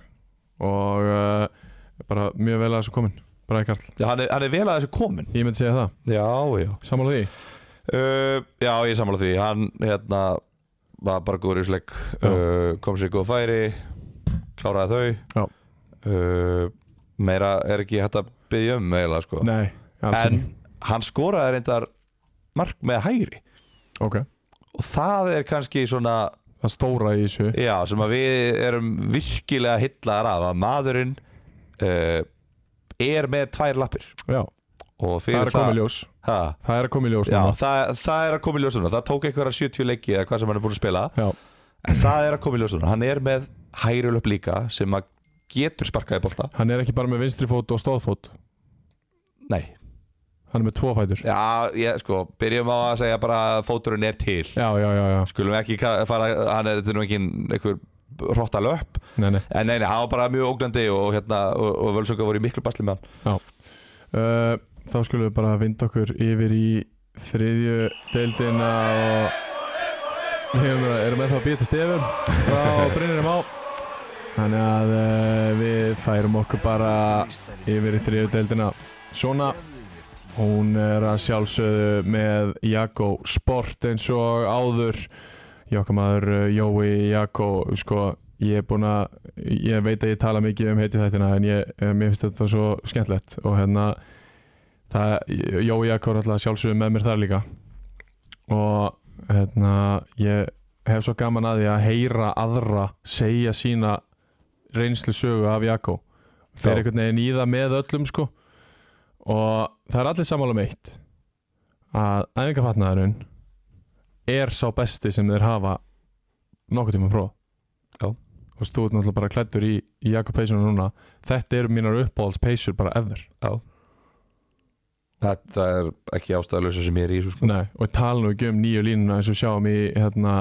Speaker 1: og uh, bara mjög vel að þessu komin Bræi Karl,
Speaker 2: hann, er, hann er vel að þessu komin
Speaker 1: ég myndi segja það
Speaker 2: Já, já
Speaker 1: Sammála því?
Speaker 2: uh, Já, ég er sammála því Hann hérna, var bara góður í sleik
Speaker 1: Já.
Speaker 2: uh, Kom sér í góð færi Kláraði þau
Speaker 1: Já.
Speaker 2: uh, Meira er ekki hægt að byggja um eiginlega sko
Speaker 1: Nei, alls
Speaker 2: En
Speaker 1: ekki
Speaker 2: hann skoraði reyndar mark með hægri
Speaker 1: Ok,
Speaker 2: Og það er kannski svona
Speaker 1: það stóra í þessu
Speaker 2: Já, sem að við erum virkilega hillaðar af að maðurinn uh, er með tvær lappir
Speaker 1: Já,
Speaker 2: og
Speaker 1: það
Speaker 2: fyrir
Speaker 1: er að koma í ljós
Speaker 2: ha,
Speaker 1: Það er að koma í ljós
Speaker 2: Já,
Speaker 1: núna.
Speaker 2: það, það er að koma í ljósuna Það tók einhverja 70 leiki eða hvað sem hann er búin að spila
Speaker 1: Já,
Speaker 2: En það er að koma í ljósuna Hann er með hægri löp líka sem að getur sparkaði bolta
Speaker 1: hann er ekki bara með vinstri fót og stóðfót
Speaker 2: Nei,
Speaker 1: Hann er með tvo fætur
Speaker 2: já, ég, sko, byrjum á að segja bara að fóturinn er til
Speaker 1: Já, já, já, já,
Speaker 2: Skulum ekki ka- fara, hann er þetta er nú engin einhver hrotta löp
Speaker 1: nei, nei
Speaker 2: En nei, nei, hann var bara mjög ógnandi og, hérna, og, og völsönga voru í miklu basli með hann
Speaker 1: Uh, þá skulum við bara vinda okkur yfir í þriðju deildina og við erum, erum með það að býta stefum frá Brynjarum á þannig að uh, við færum okkur bara yfir í þriðju deildina svona hún er að sjálfsögðu með Jakko Sport eins og áður Jokkamaður uh, Jói Jakko sko ég er búin að ég veit að ég tala mikið um heiti þættina en ég, eh, mér finnst þetta svo skemmtlegt og hérna það, Jói Jakko er alltaf sjálfsögðu með mér þar líka og hérna ég hef svo gaman að því að heyra aðra segja sína reynslu sögu af Jakko
Speaker 2: Já.
Speaker 1: fer einhvern veginn í það með öllum sko og það er allir sammála um eitt að æfingafatnaðurinn er sá besti sem þeir hafa nokkuð tíma að prófa
Speaker 2: Já.
Speaker 1: og þú ert náttúrulega bara klættur í, í Jakob Peysunum núna þetta eru mínar uppáhalds Peysun bara ever
Speaker 2: Þetta er ekki ástæðalösa sem ég er í þessu sko.
Speaker 1: Nei, og tala nú ekki um nýju línuna eins og sjáum í hérna,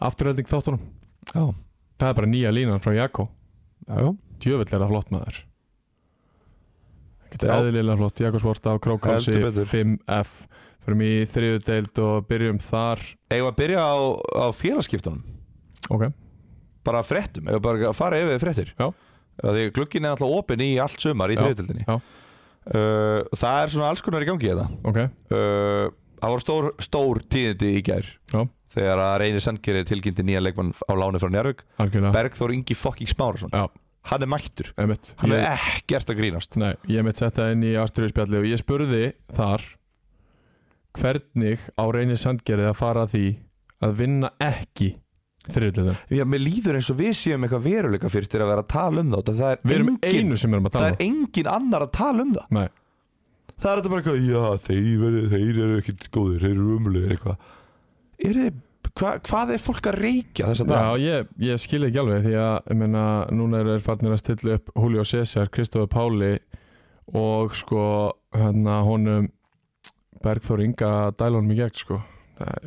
Speaker 1: afturhelding þáttunum
Speaker 2: Já,
Speaker 1: það er bara nýja línan frá Jakob
Speaker 2: já, já
Speaker 1: djöfell er það flott maður
Speaker 2: Já.
Speaker 1: Þetta er eðlilega flott Jakob Svorta á Krókálsi
Speaker 2: Heldur betur.
Speaker 1: 5F fyrir mig í þriðu deild og byrjum þar
Speaker 2: Eigum við að byrja á, á félagskiptunum
Speaker 1: ok,
Speaker 2: bara fréttum, eða bara að fara yfir fréttir
Speaker 1: Já.
Speaker 2: Af Því glugginn er alltaf opinn í allt sumar í
Speaker 1: Já,
Speaker 2: þriðutildinni
Speaker 1: já.
Speaker 2: uh, Það er svona alls konar í gangi þetta
Speaker 1: ok,
Speaker 2: uh, Það var stór, stór tíðindi í gær
Speaker 1: Já.
Speaker 2: Þegar að Reyni Sandgeri tilkynnti nýja leikmann á láni frá Njárvík
Speaker 1: algjörlega
Speaker 2: Bergþór Ingi fucking Smárasson
Speaker 1: Já.
Speaker 2: Hann er mættur,
Speaker 1: Einmitt.
Speaker 2: hann
Speaker 1: Ég-
Speaker 2: er ekkert að grínast
Speaker 1: Nei, ég mitt setta inn í Ástriðspjalli og ég spurði þar hvernig á reynir sandgerði að fara að því að vinna ekki þriðlutum.
Speaker 2: Já, mér líður eins og við séum eitthvað veruleika fyrir að vera að tala um það Það
Speaker 1: Við
Speaker 2: er,
Speaker 1: erum
Speaker 2: engin,
Speaker 1: einu sem erum að
Speaker 2: það
Speaker 1: tala
Speaker 2: er engin annar að tala um það
Speaker 1: um. Nei,
Speaker 2: Það er þetta bara eitthvað, já þeir, veri, þeir eru ekkert góðir, þeir eru umlegir eitthvað Er þið, hva, hvað er fólk að reykja þess að
Speaker 1: Já, ég, ég skil ekki alveg því að ég meina, núna er farnir að stilla upp Julio César, Kristofur Páli og sko hérna honum Bergþór Inga dælunum í gegn sko. Það-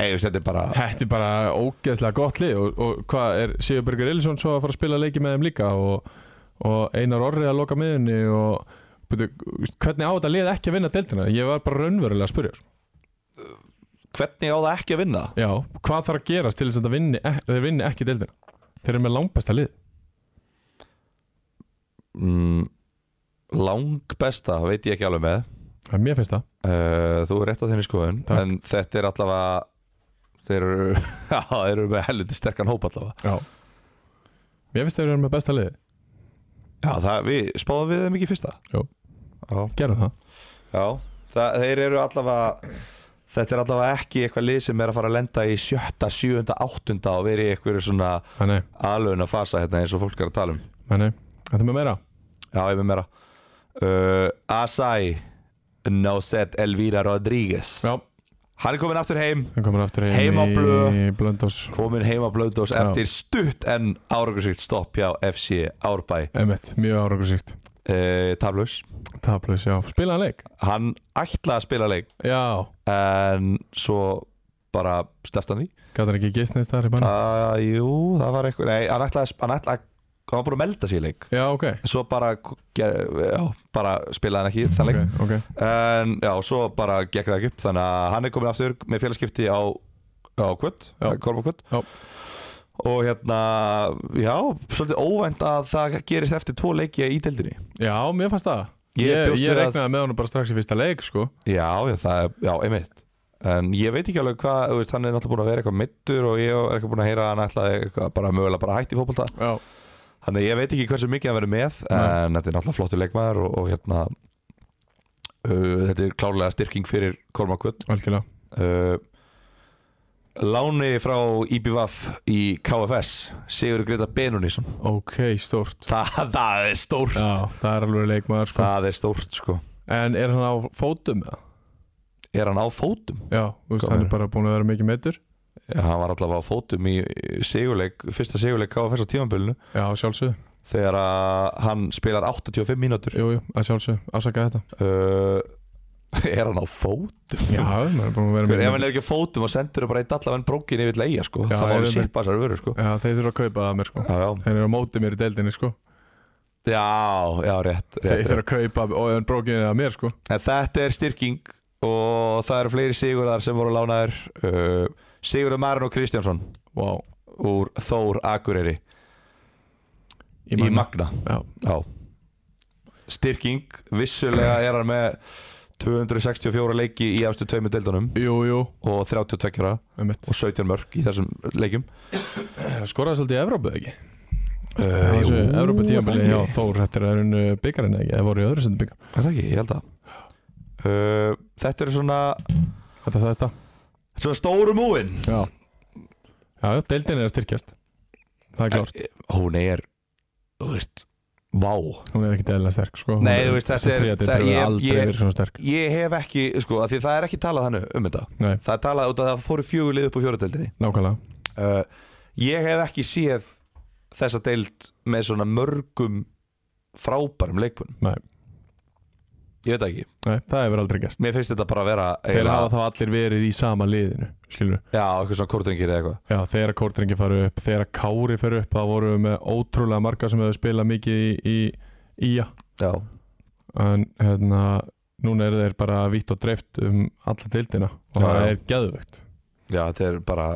Speaker 2: Ei, veist, þetta er bara
Speaker 1: Þetta er bara ógeðslega gott lið og, og hvað er Sigurbergur Elisson svo að fara að spila leiki með þeim líka og, og Einar Orri að loka miðunni og byrju, hvernig á þetta lið ekki að vinna deltina? Ég var bara raunverulega að spyrja sko.
Speaker 2: Hvernig á það ekki að vinna?
Speaker 1: Já, hvað þarf að gerast til þess að þetta vinni, ek- þeir vinni ekki deltina? Þeir eru með langbæsta lið
Speaker 2: Mm, lang besta, veit ég ekki alveg með
Speaker 1: Það er Mér finnst það
Speaker 2: uh, Þú er rétt á þenni skoðun
Speaker 1: Takk.
Speaker 2: En þetta er allavega Þeir eru, já, þeir eru með helviti sterkan hóp allavega
Speaker 1: Já Mér finnst þeir eru með besta lið
Speaker 2: Já, það, við spáðum við þeim ekki í fyrsta
Speaker 1: Jú.
Speaker 2: Já,
Speaker 1: Gerum það
Speaker 2: já það, Þeir eru allavega Þetta er allavega ekki eitthvað lið sem er að fara að lenda í sjötta, sjöunda, áttunda og verið í einhverju svona
Speaker 1: Nei, nei,
Speaker 2: alvegna fasa hérna eins og fólk er að tala um
Speaker 1: nei, nei Þetta er með meira
Speaker 2: Já, ég er með meira uh, Asai Nozet Elvira Rodríguez
Speaker 1: Já,
Speaker 2: Hann er komin aftur heim
Speaker 1: það komur aftur
Speaker 2: Heim á
Speaker 1: í
Speaker 2: blöð.
Speaker 1: Blöndós
Speaker 2: Komin heim að blöndós
Speaker 1: Já.
Speaker 2: eftir stutt en áraugursvíkt stopp hjá FC Árbæ
Speaker 1: Emmett, mjög áraugursíkt
Speaker 2: uh, Tablaus
Speaker 1: Tablis, já Spilaðan leik
Speaker 2: Hann ætlaði að spila leik
Speaker 1: Já,
Speaker 2: en svo bara slefti hann því
Speaker 1: Gat hann ekki gistnist þar í banni?
Speaker 2: það, Jú, það var eitthvað Nei, hann ætlaði, hann ætlaði hann var búin að melda sig í leik
Speaker 1: Já, ok
Speaker 2: Svo bara, já, bara spilaði hann ekki þann leik
Speaker 1: Ok, ok
Speaker 2: En já, svo bara gekk það ekki upp Þannig að hann er komin aftur með félagskipti á, á Kvöld,
Speaker 1: Já.
Speaker 2: Korma Kvöld
Speaker 1: Já.
Speaker 2: Og hérna, já, svolítið óvænt að það gerist eftir tvo leikja í deildinni
Speaker 1: Já, mér fannst það
Speaker 2: Ég
Speaker 1: Ég, ég,
Speaker 2: bjóst við að-
Speaker 1: reiknaði með honum bara strax í fyrsta leik, sko
Speaker 2: Já, já, það er, já, einmitt En ég veit ekki alveg hvað, þú veist, hann er náttúrulega búin að vera eitthvað mittur og ég er eitthvað búin að heyra að hann ætlaði eitthvað bara mögulega bara hætti í fótbolta
Speaker 1: Já
Speaker 2: Þannig að ég veit ekki hversu mikið hann verið með
Speaker 1: Nei.
Speaker 2: en þetta er náttúrulega flottur leikmaður og, og hérna uh, þetta er klárlega styrking fyrir Korma Kvöld
Speaker 1: Algjörlega
Speaker 2: Uh, Láni frá IBVF í KFS Sigur Greta Benunísson
Speaker 1: Ok, stórt
Speaker 2: Þa, Það er stórt
Speaker 1: Já, það er alveg leikmaður, sko
Speaker 2: Það er stórt sko
Speaker 1: En er hann á fótum, eða?
Speaker 2: Er hann á fótum?
Speaker 1: Já, þú veist, hann
Speaker 2: Hvað
Speaker 1: er
Speaker 2: meinarðu?
Speaker 1: bara búin að vera mikið meittur
Speaker 2: Já, hann var allavega á fótum í í sigurleik Fyrsta sigurleik KFS á tímambilinu
Speaker 1: Já, að sjálfsögðu
Speaker 2: Þegar að hann spilar 85 mínútur uh,
Speaker 1: Jú, jú, að sjálfsögðu Afsaka þetta
Speaker 2: Er hann á fótum?
Speaker 1: Já, hann er búin að vera
Speaker 2: Hver, ef
Speaker 1: mikið
Speaker 2: hann er ekki á fótum og sendur bara eitt allavega brókin yfir leiða sko
Speaker 1: Já,
Speaker 2: Það
Speaker 1: er
Speaker 2: var að
Speaker 1: hann-
Speaker 2: sippa þessar vörur sko
Speaker 1: Já, þeir þurfa að kaupa það mér, sko
Speaker 2: Já, já,
Speaker 1: Þeir eru á móti mér í deildinni, sko
Speaker 2: já, já rétt, rétt,
Speaker 1: Þeir
Speaker 2: rétt.
Speaker 1: þurfa að kaupa og hann brókinni það mér, sko
Speaker 2: En þetta er styrking og það eru fleiri sigurðar sem voru lánaðir uh, Sigurður Marin og Kristjánsson
Speaker 1: Vá
Speaker 2: úr Þór Akureyri í,
Speaker 1: manna.
Speaker 2: Magna
Speaker 1: Já,
Speaker 2: Já. Styrking, vissulega er hann með 264 leiki í afstu tveimur deildunum
Speaker 1: jú, jú
Speaker 2: og 32 ára
Speaker 1: einmitt.
Speaker 2: og 17 mörg í þessum leikjum
Speaker 1: Skoraði eh, svolítið í Evrópu, ekki?
Speaker 2: uh,
Speaker 1: Eh, Þessu Evrópa tímabili, já,
Speaker 2: Er
Speaker 1: Þór, þetta er unnu byggarinn ekki, það voru í öðru sendu byggar
Speaker 2: það ekki, ég held að uh, Þetta eru svona,
Speaker 1: Þetta sagðist það
Speaker 2: svona stóru múin
Speaker 1: Já, já, já, deildin er að styrkjast Það er klárt
Speaker 2: hún er þú veist, Vá
Speaker 1: Hún er ekkert eðlilega sterk sko.
Speaker 2: Nei, þú veist, þetta er-
Speaker 1: Þetta
Speaker 2: það-
Speaker 1: er
Speaker 2: ég-
Speaker 1: aldrei
Speaker 2: ég-
Speaker 1: verið svona sterk
Speaker 2: Ég hef ekki, sko, af því það er ekki talað þannig um þetta
Speaker 1: Nei,
Speaker 2: Það er talað út af því að það fóru fjögur lið upp á fjóradeldinni
Speaker 1: nákvæmlega
Speaker 2: uh, Ég hef ekki séð þessa deild með svona mörgum frábærum leikmunum
Speaker 1: Nei.
Speaker 2: Ég veit það ekki
Speaker 1: Nei, það hefur aldrei gerst
Speaker 2: Mér finnst þetta bara að vera
Speaker 1: Þeir
Speaker 2: eiginlega-
Speaker 1: hafa þá allir verið í sama liðinu Skilur
Speaker 2: Já, eitthvað svona kortringir eða eitthvað
Speaker 1: Já, þegar kórdrengi fara upp, þegar kári fara upp þá vorum við með ótrúlega marga sem hefur spilað mikið í, í íja
Speaker 2: Já,
Speaker 1: en hérna, núna eru þeir bara vitt og dreift um alla deildina og
Speaker 2: Já,
Speaker 1: það
Speaker 2: já.
Speaker 1: er geðvögt
Speaker 2: já þetta er bara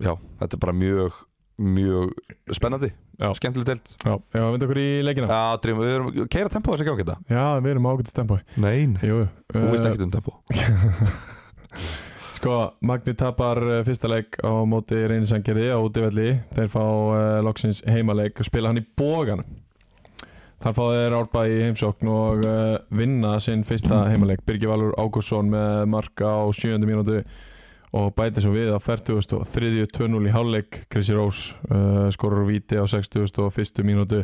Speaker 2: Já, þetta er bara mjög mjög spennandi,
Speaker 1: Já.
Speaker 2: skemmtileg deild
Speaker 1: Já, ef að vinda okkur í leikina Já,
Speaker 2: Já, drýmum, við erum, keira tempó þessi gangi þetta
Speaker 1: við erum ágætið tempói
Speaker 2: Nei, nei
Speaker 1: Jú,
Speaker 2: Þú
Speaker 1: eh,
Speaker 2: veist ekkert um tempó
Speaker 1: Sko, Magni tapar eh, fyrsta leik á móti reynisangerði á útivelli Þeir fá uh, loksins heimaleik og spila hann í bógan Þar fá þeir árbæ í heimsókn og uh, vinna sinn fyrsta heimaleik Birgir Valur Ágússon með marka á 7. mínútu og bæti svo við á 40. og 30. 2-0 í hálfleik Krissi Rós uh, skorur víti á 60. og 1. mínútu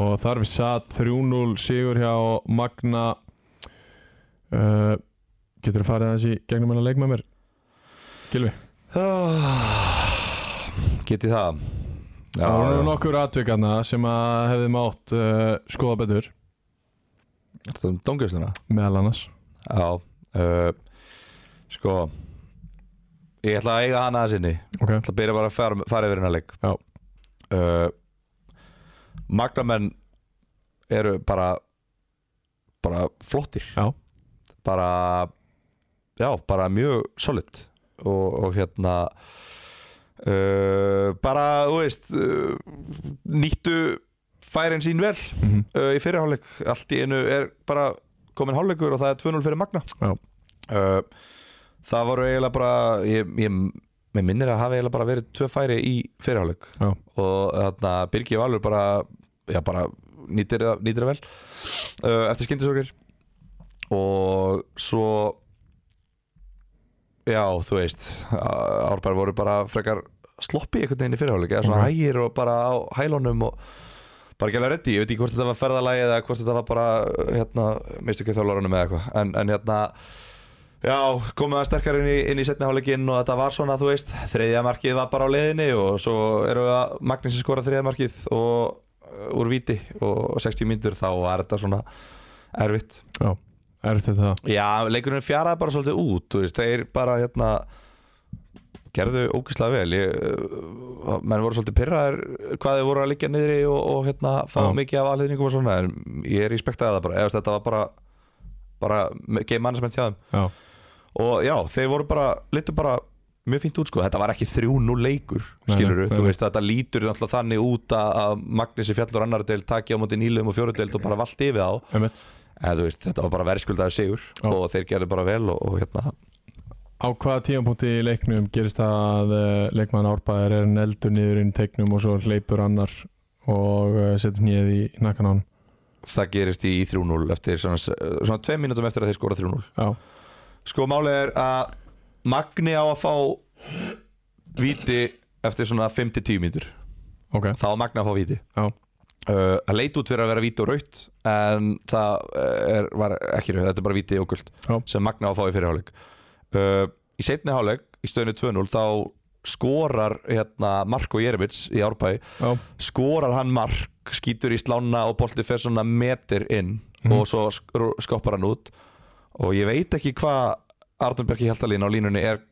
Speaker 1: og þar við satt 3-0 sigur hjá Magna uh, Getur þú farið aðeins í gegnum hennar leik með mér? Gilvi,
Speaker 2: Ah, Get ég það? Já,
Speaker 1: það voru
Speaker 2: já.
Speaker 1: nú nokkur atvikarna sem að hefði mátt uh, skoða betur
Speaker 2: Þetta um dóngjöfsluna
Speaker 1: meðal annars
Speaker 2: Já uh, Sko Ég ætla að eiga hana að sinni Ég
Speaker 1: Ok,
Speaker 2: ætla að byrja bara að fara, fara yfir hennar leik
Speaker 1: Já.
Speaker 2: uh, Magnamenn eru bara bara flottir
Speaker 1: Já.
Speaker 2: Bara Já, bara mjög solid og, og hérna uh, bara, þú veist uh, nýttu færin sín vel
Speaker 1: mm
Speaker 2: uh, í fyrirháleik allt í einu er bara komin hálfleikur og það er 2-0 fyrir Magna
Speaker 1: Já.
Speaker 2: uh, það voru eiginlega bara ég, ég mér minnir að hafa eiginlega bara verið tvö færi í fyrirháleik
Speaker 1: Já.
Speaker 2: og þarna Birgi Valur bara, já, bara nýtir, það- nýtir það vel uh, eftir skyndisókir og svo já þú veist árbær voru bara frekar sloppi einhvern veginn í fyrirháleik eða svona
Speaker 1: Ok.
Speaker 2: hægir og bara á hælunum og bara gæla reddi, ég veit ekki hvort þetta var ferðalagi eða hvort þetta var bara hérna, mistu ekki þjálfarunum eða eitthvað en, en hérna, já, komið það sterkar inn í, inn í setni hálfleikinn og þetta var svona, þú veist þriðja markið var bara á leiðinni og svo erum við að Magnus sem skora þriðja markið og uh, úr viti og 60 myndur þá var þetta svona erfitt
Speaker 1: er þetta það?
Speaker 2: Já, leikurinn fjaraði bara svolítið út þú veist, þeir bara hérna gerðu ógislega vel ég, uh, menn voru svolítið pyrraðir hvað þeir voru að liggja niðri og, og hérna fá
Speaker 1: Já.
Speaker 2: mikið af aðliðningum og svona en ég er í spektaði það bara, eða þetta var bara bara game management hjá þeim
Speaker 1: Já,
Speaker 2: og já, þeir voru bara, litur bara mjög fínt út sko, þetta var ekki 3-0 leikur
Speaker 1: Nei,
Speaker 2: skilur
Speaker 1: nei,
Speaker 2: þú
Speaker 1: nei.
Speaker 2: veist, þetta lítur náttúrulega þannig út að- að Magnussi fjallur annar del taki á móti nýlum og fjórudeld og bara vald yfir þá
Speaker 1: einmitt
Speaker 2: eða þú veist, þetta var bara verðskuldaði sigur
Speaker 1: Já.
Speaker 2: og þeir gerðu bara vel og, og hérna
Speaker 1: Á hvaða tíðanpunkti í leiknum gerist það að uh, leikmann árbæðar er neldur niður inn teiknum og svo hleypur annar og uh, setur nýðið í nakkan á hann
Speaker 2: það gerist í, í 3-0 eftir svona, svona tveim mínútum eftir að þeir skora 3-0
Speaker 1: Já,
Speaker 2: sko málið er að Magni á að fá viti eftir svona 5-10 mínútur
Speaker 1: ok,
Speaker 2: þá á Magni að fá viti
Speaker 1: Já.
Speaker 2: Uh, það leit út fyrir að vera víti og raut en það eh, er, var ekki raut þetta er bara víti og guld
Speaker 1: Já.
Speaker 2: sem Magna á að fá í fyrirháleik uh, í setni háleik, í stöðinu 2-0 þá skorar hérna, Marko Jeremits í Árbæ
Speaker 1: já,
Speaker 2: skorar hann mark skýtur í slána og bolti fer svona metir inn
Speaker 1: Mhm.
Speaker 2: og svo skr- skoppar hann út og ég veit ekki hvað Arnur Bergi Hjaltalín á línunni er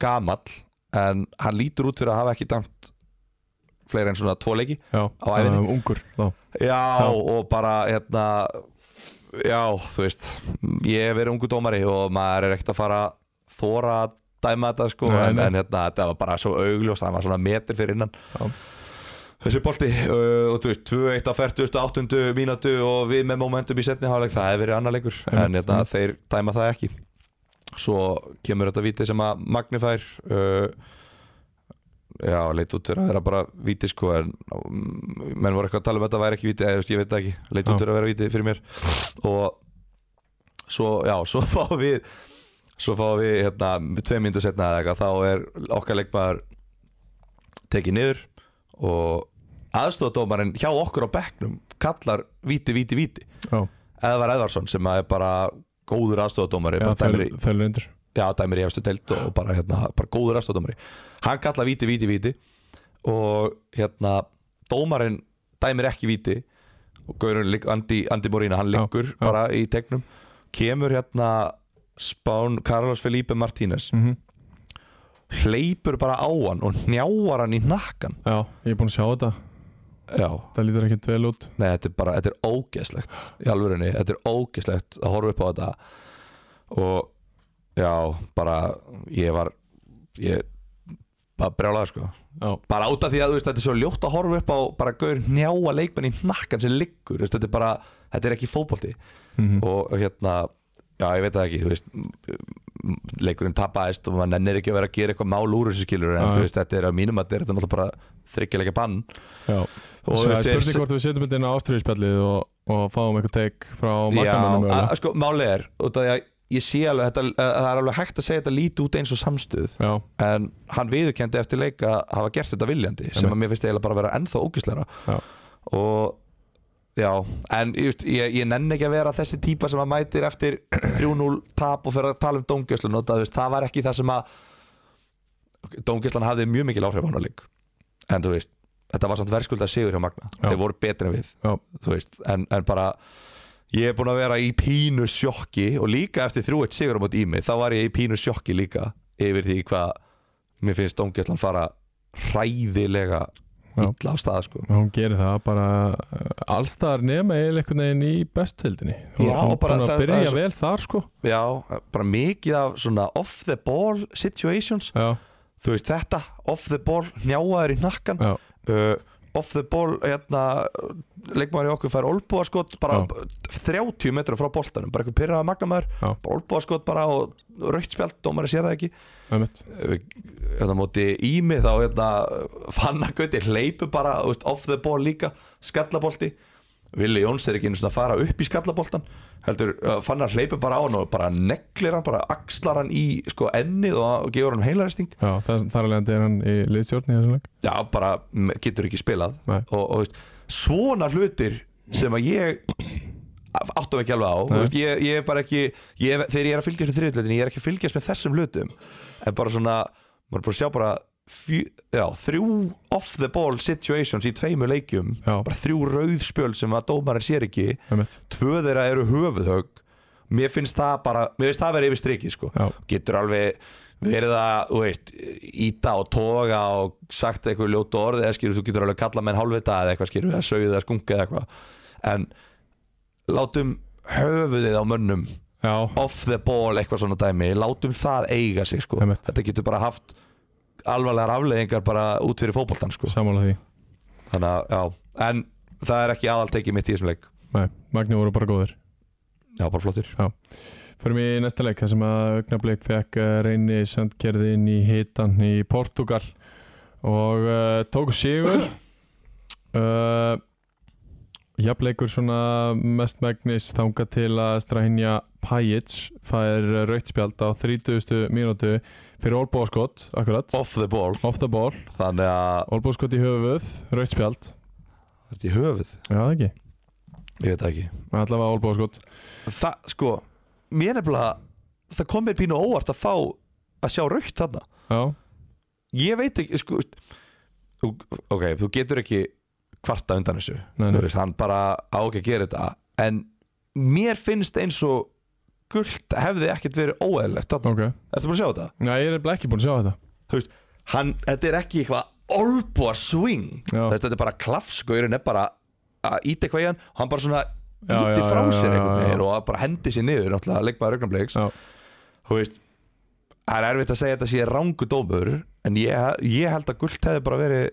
Speaker 2: gamall en hann lítur út fyrir að hafa ekki dæmt fleiri en svona tvo leiki
Speaker 1: já
Speaker 2: Á ævinni?
Speaker 1: um, Ungur, þá
Speaker 2: já, og bara hérna já, þú veist ég hef verið ungu dómari og maður er ekkert að fara að þóra að dæma þetta sko
Speaker 1: Nei,
Speaker 2: en,
Speaker 1: nei.
Speaker 2: en hérna, þetta var bara svo augljóst það var svona metir fyrir innan
Speaker 1: Já.
Speaker 2: þessi bolti uh, og þú veist 2-1 á 48. mínútu og við með momentum í setni hálfleik það hefur verið annar leikur
Speaker 1: Einmitt,
Speaker 2: en hérna, þeir dæma það ekki svo kemur þetta víti sem að Magni fær uh, já, leit út fyrir að vera bara víti sko en mm, menn voru eitthvað að tala um að þetta væri ekki víti eða þú veist, ég veit það ekki, leit
Speaker 1: Já.
Speaker 2: út fyrir að vera víti fyrir mér og svo, já, svo fáum við svo fáum við hérna tvei myndu setna eða eitthvað þá er okkar leikmaður tekið niður og aðstofadómarinn hjá okkur á bekknum kallar víti, víti, víti
Speaker 1: Já,
Speaker 2: Eðvar Eðvarsson sem að er bara góður aðstofadómari
Speaker 1: já
Speaker 2: bara dæmir í-
Speaker 1: þölur undir
Speaker 2: já, dæmir í efstu deild og bara, hérna, bara góður aðstofadómari hann kallar víti, víti, víti og hérna dómarinn dæmir ekki víti og gaurinn, ligg- Andi, Andi Morína hann
Speaker 1: Já,
Speaker 2: liggur
Speaker 1: já.
Speaker 2: bara í tegnum kemur hérna Spán Carlos Felipe Martínez
Speaker 1: Mhm.
Speaker 2: hleypur bara á hann og hnjáar hann í nakkan
Speaker 1: Já, ég er búinn að sjá þetta
Speaker 2: já,
Speaker 1: Það lítur ekkert vel út
Speaker 2: Nei, þetta er bara, þetta er ógeðslegt í alvörinni, þetta er ógeðslegt að horfa upp á þetta og já, bara ég var ég bara brjálaði sko
Speaker 1: Já,
Speaker 2: bara át af því að þú veist, þetta er svo ljótt að horfa upp á bara gaur njáa leikmenn í nakkan sem liggur þú veist, þetta er bara, þetta er ekki fótbolti
Speaker 1: Mhm.
Speaker 2: og hérna já, ég veit það ekki, þú veist m- m- leikurinn tapaðist og maður nennir ekki að vera að gera eitthvað mál úr þessu skilur en
Speaker 1: Já,
Speaker 2: þú
Speaker 1: já.
Speaker 2: veist, þetta er að mínum að þetta er þetta náttúrulega bara þryggjuleika bann
Speaker 1: já
Speaker 2: og
Speaker 1: Það er
Speaker 2: er-
Speaker 1: spurning hvort við setjum þetta inn á ástriðspjallið og, og fáum eitthvað teik frá makamönnum
Speaker 2: Já,
Speaker 1: mögulega
Speaker 2: að- sko, máli er út af því að ég sé alveg, þetta, að það er alveg hægt að segja þetta lítið út eins og samstuð
Speaker 1: Já,
Speaker 2: en hann viðurkendi eftir leika að hafa gert þetta viljandi sem
Speaker 1: Einmitt.
Speaker 2: að mér finnst eiginlega bara að vera ennþá ógisleira
Speaker 1: Já.
Speaker 2: og já, en just, ég, ég nenni ekki að vera þessi típa sem að mætir eftir 3-0 tap og fyrir að tala um dóngjöslun og það, þú veist, það var ekki það sem að dóngjöslan hafði mjög mikil áhrif á hana leik en þú veist, þetta var samt verðskuldað sigur hjá Magna,
Speaker 1: Já.
Speaker 2: þeir voru betri en við
Speaker 1: já,
Speaker 2: þú veist, en, en bara ég er búin að vera í pínu sjokki og líka eftir 3-1 sigur á mót í mig þá var ég í pínu sjokki líka yfir því hvað mér finnst Dóngjallan fara hræðilega
Speaker 1: Já.
Speaker 2: illa á stað sko.
Speaker 1: hún gerir það bara eh, allstaðar nema eiginlega einhvern veginn í bestvildinni
Speaker 2: Já,
Speaker 1: hún
Speaker 2: bara
Speaker 1: búin að
Speaker 2: það-
Speaker 1: byrja
Speaker 2: það er svo-
Speaker 1: vel þar sko
Speaker 2: já, bara mikið af svona off the ball situations
Speaker 1: Já,
Speaker 2: þú veist þetta, off the ball njáaður í nakkan
Speaker 1: já,
Speaker 2: uh, off the ball hérna, leikmaður í okkur fær olbúaskot bara
Speaker 1: Já.
Speaker 2: 30 metra frá boltanum bara eitthvað pyrraða magnamaður
Speaker 1: Já.
Speaker 2: olbúaskot bara og raukt spjald, dómari sér það ekki
Speaker 1: ömmit
Speaker 2: hérna móti ími þá hérna fannagöti hleypu bara þú veist, off the ball líka skallabolti Vili Jóns er ekki einu svona að fara upp í skallaboltan heldur uh, fannar hleypu bara á hann og bara neglir hann, bara axlar hann í sko ennið og, og gefur hann heilaresting
Speaker 1: Já, þar, þar alveg er hann í liðstjórn í þessum leik
Speaker 2: já bara m- getur ekki spilað
Speaker 1: Nei.
Speaker 2: og, og þú veist, svona hlutir sem að ég áttum ekki alveg á Þú
Speaker 1: Nei.
Speaker 2: veist, ég, ég er bara ekki ég, þegar ég er að fylgjast með þriðutlutin ég er ekki að fylgjast með þessum hlutum en bara svona, maður er bara að sjá bara fjö, já, þrjú off the ball situations í tveimur leikjum
Speaker 1: Já.
Speaker 2: bara þrjú rauðspjöl sem að dómarinn sér ekki
Speaker 1: Ömmit,
Speaker 2: tvö þeirra eru höfuðhögg mér finnst það bara, mér finnst það verið yfir strikið sko.
Speaker 1: Já.
Speaker 2: getur alveg verið að, þú veist, íta og toga og sagt eitthvað ljótu orði eða skilur, þú getur alveg kalla menn hálfvita eða eitthvað skilur, eða sögðu eða skunka eða eitthvað en látum höfuðið á mönnum
Speaker 1: já,
Speaker 2: off the ball eitthvað svona dæmi, látum það eiga sig sko,
Speaker 1: Einmitt.
Speaker 2: þetta getur bara haft alvarlegar afleðingar bara út fyrir fótboltan sko,
Speaker 1: sammála því
Speaker 2: þannig að, já, en það er ekki aðaltekið mitt í þessum leik,
Speaker 1: Nei, Magni voru bara góðir
Speaker 2: já, bara flottir
Speaker 1: Förum í næsta leik, þar sem að augnablik fekk eh, reyni sandkerði inn í hitan í Portugal og uh, tók sigur uh, jafnleikur svona mestmægnis þanga til að Strahinja Pajic fær rautspjald á 30. mínútu fyrir olbóskott, akkurat
Speaker 2: off the ball
Speaker 1: off the ball,
Speaker 2: Þannig að
Speaker 1: olbóskott í höfuð rautspjald,
Speaker 2: Þetta í höfuð
Speaker 1: já það ekki
Speaker 2: Ég veit það ekki
Speaker 1: allavega olbóskott,
Speaker 2: Það, sko Mér nefnilega Það kom mér pínu óvart að fá Að sjá raukt þarna
Speaker 1: já,
Speaker 2: Ég veit ekki, sko þú, Ok, þú getur ekki Kvarta undan þessu
Speaker 1: Nei,
Speaker 2: Þú
Speaker 1: nei.
Speaker 2: veist, hann bara á ekki að gera þetta En mér finnst eins og Gult hefði ekkert verið óeðlegt þarna
Speaker 1: ok
Speaker 2: Ertu búin að sjá þetta?
Speaker 1: Nei, ég er nefnilega ekki búinn að sjá þetta
Speaker 2: Þú veist, hann, þetta er ekki eitthvað Olbúa swing
Speaker 1: Já.
Speaker 2: Þess, Þetta er bara klafsgörin er bara að íta eitthvað í hann og hann bara svona
Speaker 1: Já,
Speaker 2: íti
Speaker 1: já,
Speaker 2: frá
Speaker 1: já,
Speaker 2: sér
Speaker 1: já,
Speaker 2: einhvern
Speaker 1: já,
Speaker 2: veginn og bara hendi sér niður náttúrulega leikmaður augnabliks
Speaker 1: Já.
Speaker 2: þú veist það er erfitt að segja þetta sé rangu dómur en ég, ég held að gult hefði bara verið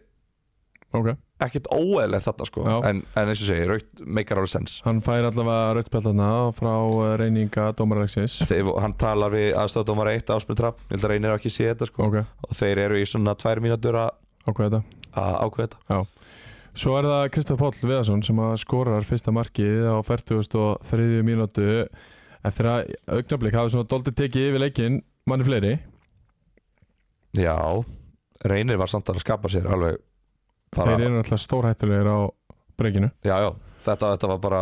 Speaker 1: ok
Speaker 2: ekkert óeðlegt þarna sko
Speaker 1: Já.
Speaker 2: en, en eins og segir, raukt meikar alveg sens
Speaker 1: Hann fær allavega rautspjaldana frá eh, reyninga dómaralegsins
Speaker 2: þegar hann talar við aðstofdómar eitt ásmund trapp, ég held að reynir ekki sé þetta sko
Speaker 1: Ok,
Speaker 2: og þeir eru í svona tvær mínútur að
Speaker 1: ákveða þetta
Speaker 2: að ákveða þetta
Speaker 1: Svo er það Kristof Páll Viðarsson sem að skorar fyrsta markið á 43. mínútu eftir að augnablik hafi svona doldið tekið yfir leikinn manni fleiri
Speaker 2: já, reynir var samt að skapa sér alveg bara,
Speaker 1: Þeir eru náttúrulega stórhættulegir á breyginu
Speaker 2: já, já, þetta, þetta var bara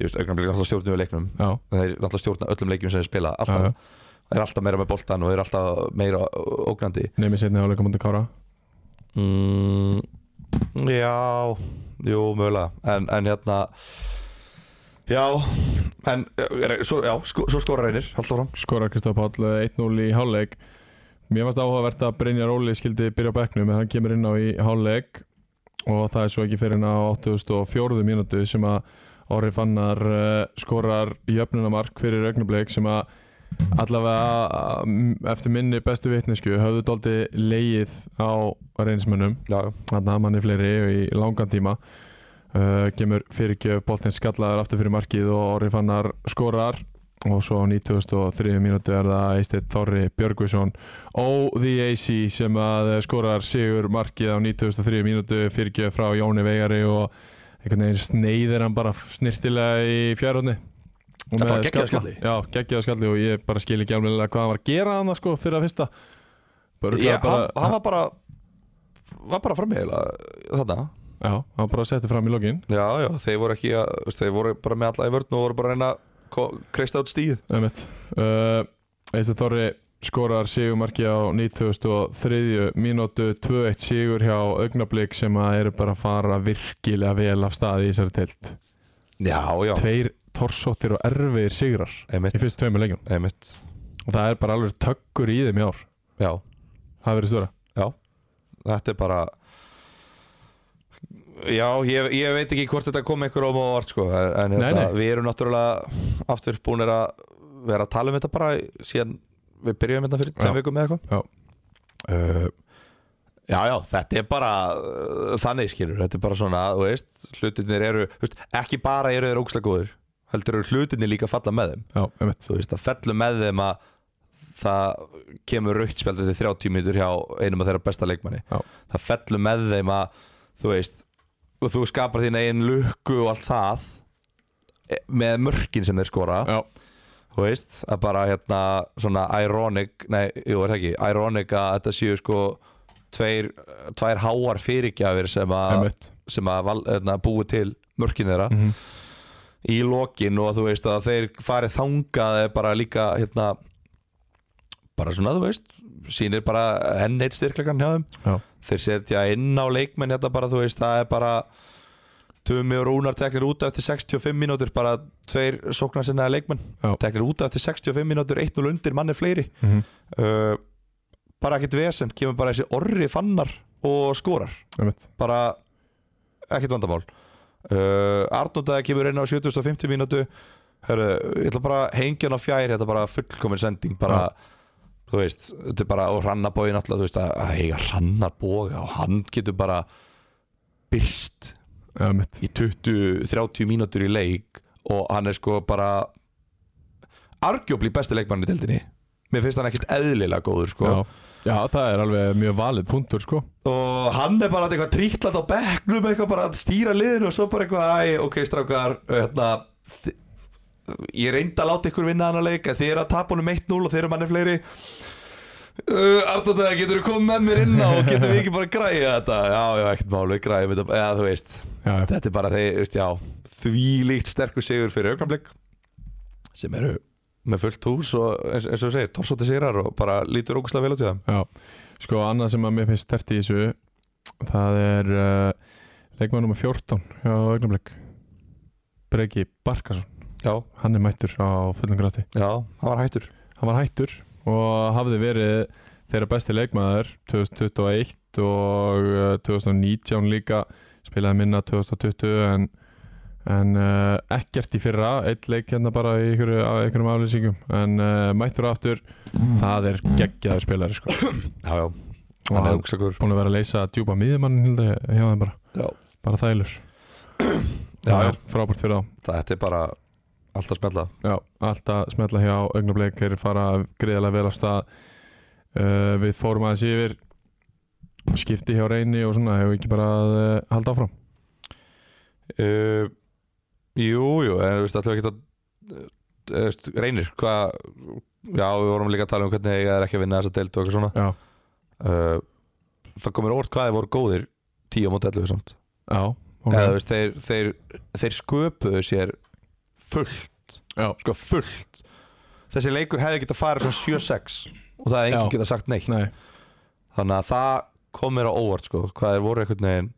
Speaker 2: ég veist, augnablik náttúrulega stjórnum við leiknum
Speaker 1: Já,
Speaker 2: þeir náttúrulega stjórna öllum leikjum sem þeir spila alltaf,
Speaker 1: já, já.
Speaker 2: þeir eru alltaf meira með boltan og þeir eru alltaf meira ógnandi
Speaker 1: nefnir setni á leikamóti Kára
Speaker 2: mm, Já Jú, mögulega En, en hérna Já, en eh, svo, já, sko, svo skora reynir Haldur fram
Speaker 1: skorar Kristof Páll eh, 1-0 í hálfleik Mér fannst áhugavert að Brynjar Óli skildi byrja á bekknum en hann kemur inn á í hálfleik og það er svo ekki fyrir en á 84. mínútu sem að Orri Fannar eh, skorar jöfnunamark fyrir augnablik sem að allavega mm, eftir minni bestu vitnesku höfðu dóldi leið á reynismönnum
Speaker 2: Já, já.
Speaker 1: þannig að manni fleiri í langan tíma uh, kemur fyrirgjöf boltinn skallaður aftur fyrir markið og Orri Fannar skorar og svo á 2003 mínútu er það Eisteinn Þorri Björgvisson og The AC sem að skorar sigur markið á 2003 mínútu fyrirgjöf frá Jóni Veigari og einhvern veginn sneiðir hann bara snirtilega í fjárhóðni
Speaker 2: Þetta var geggjaður skalli.
Speaker 1: Já, geggjaða skalli og ég bara skil ekki alveg hvað hann var að gera hann sko fyrir að fyrsta bara,
Speaker 2: Já,
Speaker 1: bara,
Speaker 2: hann, hann var bara var bara frammi eiginlega, þarna
Speaker 1: já, hann bara setti fram í lokin
Speaker 2: Já, já, þeir voru ekki að, veist, þeir voru bara með alla í vörn og voru bara að reyna að ko- kreista út stíð
Speaker 1: Einmitt. Uh, Eistur Þorri skorar sigumarki á 2003 mínútu 2-1 sigur hjá augnablík sem að eru bara að fara virkilega vel af staði í þessari teilt.
Speaker 2: Já, já,
Speaker 1: Tveir torsóttir og erfiðir sigrar í
Speaker 2: einmitt,
Speaker 1: fyrst tveimur leikjum
Speaker 2: einmitt
Speaker 1: og það er bara alveg tökkur í þeim í ár.
Speaker 2: Já,
Speaker 1: Það verður stóra.
Speaker 2: þetta er bara Já, ég, ég veit ekki hvort þetta kom einhver óm á orð sko, en en
Speaker 1: Nei,
Speaker 2: hérna,
Speaker 1: nei.
Speaker 2: við erum náttúrulega aftur búinir að vera að tala um þetta bara síðan við byrjum þetta fyrir tveim
Speaker 1: Já.
Speaker 2: vikum eða eitthvað
Speaker 1: Já.
Speaker 2: uh, já, já, þetta er bara uh, þannig skilur, þetta er bara svona þú veist, hlutinir eru, þú veist, ekki bara eru þeir ókslega góðir, heldur eru hlutinir líka að falla með þeim,
Speaker 1: Já, einmitt.
Speaker 2: þú veist, það fellur með þeim að það kemur rautspjaldið til 30 mínútur hjá einum af þeirra besta leikmanni
Speaker 1: Já.
Speaker 2: það fellur með þeim að þú veist, og þú skapar þín eigin lukku og allt það e- með mörkin sem þeir skora
Speaker 1: Já,
Speaker 2: þú veist, að bara hérna svona ironic, nei, jú, er það ekki ironic að þetta séu sko tveir, tvær háar fyrirgjafir sem að,
Speaker 1: einmitt.
Speaker 2: sem að val, hérna, búi til mörkin þeirra
Speaker 1: Mm
Speaker 2: í lokin og þú veist að þeir farið þangað er bara líka hérna bara svona þú veist sýnir bara enn eitt styrklegan hjá þeim
Speaker 1: Já.
Speaker 2: þeir setja inn á leikmenn hérna bara þú veist það er bara Tumi og Rúnar teknir út eftir 65 mínútur bara tveir sóknar sinna leikmenn
Speaker 1: Já.
Speaker 2: teknir út eftir 65 mínútur 1-0 undir manni fleiri
Speaker 1: Mhm.
Speaker 2: uh, bara ekkert vesen kemur bara þessi orri fannar og skorar
Speaker 1: Einmitt.
Speaker 2: bara ekkert vandamál uh, Arnóndaði kemur inn á 750 mínútu Hörru, ég ætla bara að hengja hann á fjær þetta er bara fullkomin sending bara, þú veist, þetta er bara og rannarbói náttúrulega, þú veist, að, að eiga rannarbóga og hann getur bara byrst
Speaker 1: Einmitt.
Speaker 2: í 20-30 mínútur í leik og hann er sko bara argjóbli besti leikmann í deildinni mér finnst hann ekkert eðlilega góður sko
Speaker 1: Já. Já, það er alveg mjög valið punktur sko.
Speaker 2: og hann er bara eitthvað trítlat á bekknum eitthvað bara að stýra liðinu og svo bara eitthvað æ, ok strákar hérna, þi- ég reyndi að láta ykkur vinna hann að leika þið eru að tapa honum 1-0 og þið eru manni fleiri uh, Arnóttæða getur þú komið með mér inn á og getum við ekki bara að græja þetta já, já, ekkert mál, við græjum þetta eða þú veist,
Speaker 1: Já, já.
Speaker 2: þetta er bara þeir, veist, já, því líkt sterkur sigur fyrir augnablik sem eru með fullt hús og eins, eins og þú segir, torsóti sigrar og bara lítur ógustlega vel út í það
Speaker 1: Já, sko annað sem að mér finnst stert í þessu það er uh, leikmann nummer 14 hjá augnablik Breki Barkarsson,
Speaker 2: já,
Speaker 1: hann er mættur á fullum gráti,
Speaker 2: já, hann var hættur
Speaker 1: hann var hættur og hafði verið þeirra besti leikmaður 2021 og uh, 2019 líka spilaði minna 2020 en, en uh, ekkert í fyrra, eitt leik hérna bara í einhverju, á einhverjum aflýsingum en uh, mættur aftur, það er geggjaður spilari sko
Speaker 2: Já, já,
Speaker 1: Og
Speaker 2: hann er úksakur
Speaker 1: búin að vera að leysa djúpa miðjumann held ég, hjá þeim bara,
Speaker 2: Já,
Speaker 1: bara þælur
Speaker 2: já,
Speaker 1: Það er frábært fyrir þá
Speaker 2: það- þetta er bara allt að smetla
Speaker 1: já, allt að smetla hjá augnablik er fara greiðlega vel á stað uh, við fórum aðeins yfir skipti hjá reyni og svona hefur ekki bara að uh, halda áfram
Speaker 2: uh, Jú, jú, en þú veist, ætlum við ekki að uh, þú veist, Reynir, hvað Já, við vorum líka að tala um hvernig ég er ekki að vinna þess að deild og eitthvað svona
Speaker 1: já,
Speaker 2: uh, Það komur óvart hvað þið voru góðir 10 á móti 11 samt
Speaker 1: Já, ok
Speaker 2: eða þú veist, þeir, þeir, þeir sköpuðu sér fullt
Speaker 1: Já.
Speaker 2: sko fullt þessi leikur hefði getað farið svona 7-6 og það hefði enginn
Speaker 1: Já.
Speaker 2: getað sagt neitt
Speaker 1: Nei,
Speaker 2: þannig að það kom mér á óvart sko hvað þeir voru einhvern veginn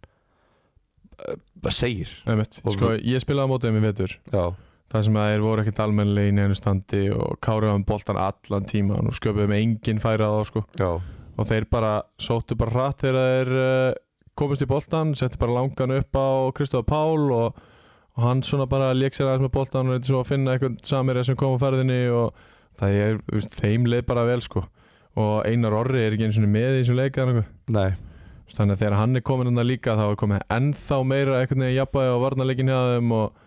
Speaker 2: eh, bara segir
Speaker 1: einmitt
Speaker 2: Og
Speaker 1: Sko, ég spilaði á mótið þeim í vetur
Speaker 2: já,
Speaker 1: Það sem að þeir voru ekkert almennilega í neinu standi og káruðum boltan allan tíman og sköpuðum engin færað á sko
Speaker 2: já,
Speaker 1: og þeir bara sóttu bara hratt þegar þeir uh, komist í boltan settu bara langan upp á Kristofa Pál og, og hann svona bara lék sér aðeins með boltan og reyndi svo að finna einhvern samir sem kom á ferðinni og það er, þú veist, þeim leið bara vel sko og Einar Orri er ekki eins og með í þessum leika eða nokkuð.
Speaker 2: nei
Speaker 1: Þú veist, þannig að þegar hann er komin hann líka þá er komið ennþá meira einhvern veginn jafnvægi á varnarleikin hjá þeim og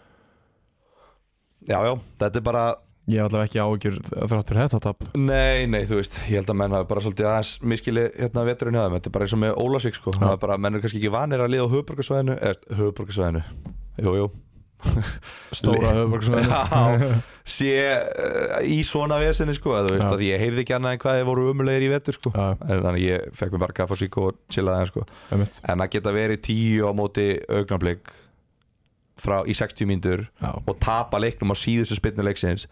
Speaker 2: já, já, þetta er bara
Speaker 1: ég hef allavega ekki áhyggjur þráttur þetta tap
Speaker 2: Nei, nei, þú veist, ég held að menn hafi bara svolítið aðeins miskili hérna veturinn hjá þeim Þetta er bara eins og með Ólasvík sko Það er bara, menn eru kannski ekki vanir að liða á höfuborgarsvæðinu Eða höfuborgarsvæðinu, jú, jú
Speaker 1: stóra höfbörgsvæðinu
Speaker 2: Já, sé uh, í svona vesinni sko að Þú veist,
Speaker 1: Já.
Speaker 2: að ég heyrði ekki annað en hvað þeir voru umulegir í vetur sko
Speaker 1: Já,
Speaker 2: En þannig ég fekk mér bara kaffa sík og chillaði hann sko
Speaker 1: einmitt.
Speaker 2: En að geta verið tíu á móti augnablík frá í 60 mínútur
Speaker 1: Já,
Speaker 2: og tapa leiknum á síðustu spynnu leiksins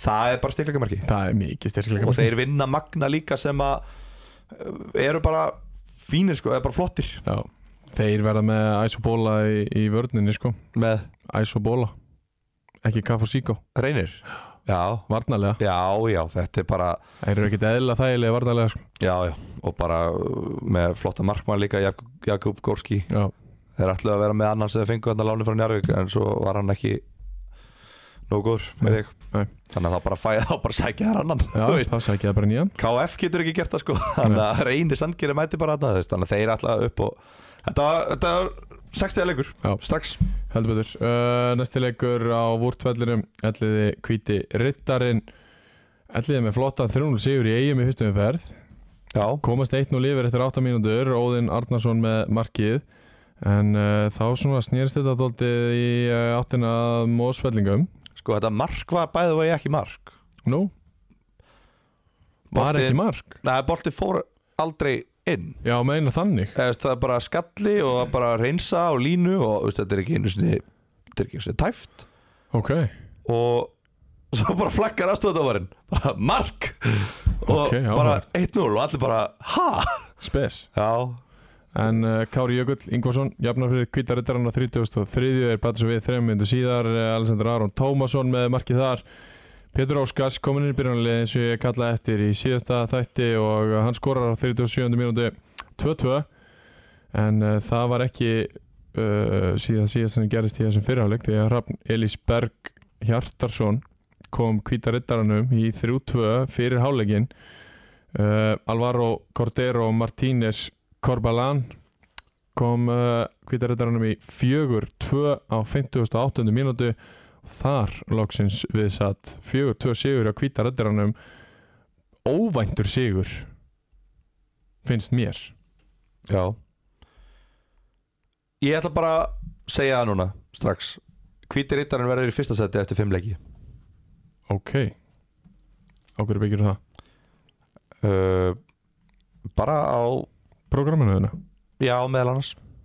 Speaker 2: það er bara stikleikamarki
Speaker 1: það er mikið styrkleika
Speaker 2: og þeir vinna magna líka sem að uh, eru bara fínir sko, eða bara flottir
Speaker 1: Já, þeir verða með æsobóla í, í vörninni sko
Speaker 2: með
Speaker 1: Æsobóla Ekki kaff og síkó,
Speaker 2: reynir já,
Speaker 1: varnarlega
Speaker 2: já, já, þetta er bara
Speaker 1: Þeir eru ekkit eðla þægilega varnarlega sko
Speaker 2: já, já, og bara uh, með flotta markmann líka Jak Jakub Gorski
Speaker 1: Já,
Speaker 2: þeir ætluðu að vera með annan sem þeir fengu þarna láni frá Njarvík en svo var hann ekki nógu góður með þig
Speaker 1: nei.
Speaker 2: þannig að þá bara, fæ, þá bara sækja þær annan
Speaker 1: Já
Speaker 2: þú veist
Speaker 1: það sækja það bara nýjan
Speaker 2: KF getur ekki gert það sko þannig að reynir sangeri mæti bara þarna þú veist, þannig að þeir ætlaðu upp og þetta var, þetta var 60 leikur
Speaker 1: Já.
Speaker 2: strax
Speaker 1: Heldur betur uh, Næsti leikur á vúrtvellinum Elliði hvíti rittarinn Elliði með flottan 300 sigur í eigum í fyrstu umferð
Speaker 2: já,
Speaker 1: Komast 1-0 yfir eftir 8 mínútur Óðinn Arnarsson með markið En uh, þá svona snýrst þetta dóltið í uh, áttina að mósfellingum
Speaker 2: Sko þetta mark var bæðið vegi ekki mark
Speaker 1: Nú, var
Speaker 2: Boltinn-
Speaker 1: ekki mark
Speaker 2: Nei, bolti fór aldrei inn
Speaker 1: Já, meina þannig
Speaker 2: Eða, þú veist, Það er bara skalli og það er bara að reynsa á línu og þú veist, þetta er ekki einu sinni þetta er ekki einu sinni tæft
Speaker 1: Ok,
Speaker 2: og svo bara flakkar aðstofaðarinn bara mark og
Speaker 1: Ok, já,
Speaker 2: bara
Speaker 1: það
Speaker 2: 1-0 og allir bara ha
Speaker 1: spes
Speaker 2: Já,
Speaker 1: En uh, Kári Jökull, Ingvarsson, jafnar fyrir kvítarittarinn á 33. er bætið svo við þrejum myndu síðar, uh, Alexander Aron Tómasson með markið þar Pétur Óskars komin inn í byrjanlega eins og ég kallaði eftir í síðasta þætti og uh, hann skorar á 37. mínúti 2-2 en uh, það var ekki uh, síðan síðast sem gerist í þessum fyrirháleik því að Hrafn Elís Berg Hjartarsson kom kvítarittarannum í 3-2 fyrir háleikin uh, Alvaro Cordero Martínez Corbalan kom uh, kvítarittarannum í 4-2 á 58. mínútu þar loksins við satt 4-2 sigur á kvítarittarannum óvæntur sigur finnst mér
Speaker 2: já Ég ætla bara að segja það núna strax Hvíti rittarinn verður í fyrsta seti eftir fimm leiki
Speaker 1: ok á hverju byggjur það?
Speaker 2: uh, Bara á
Speaker 1: Programminu þarna
Speaker 2: Já, meðal annars
Speaker 1: hérna.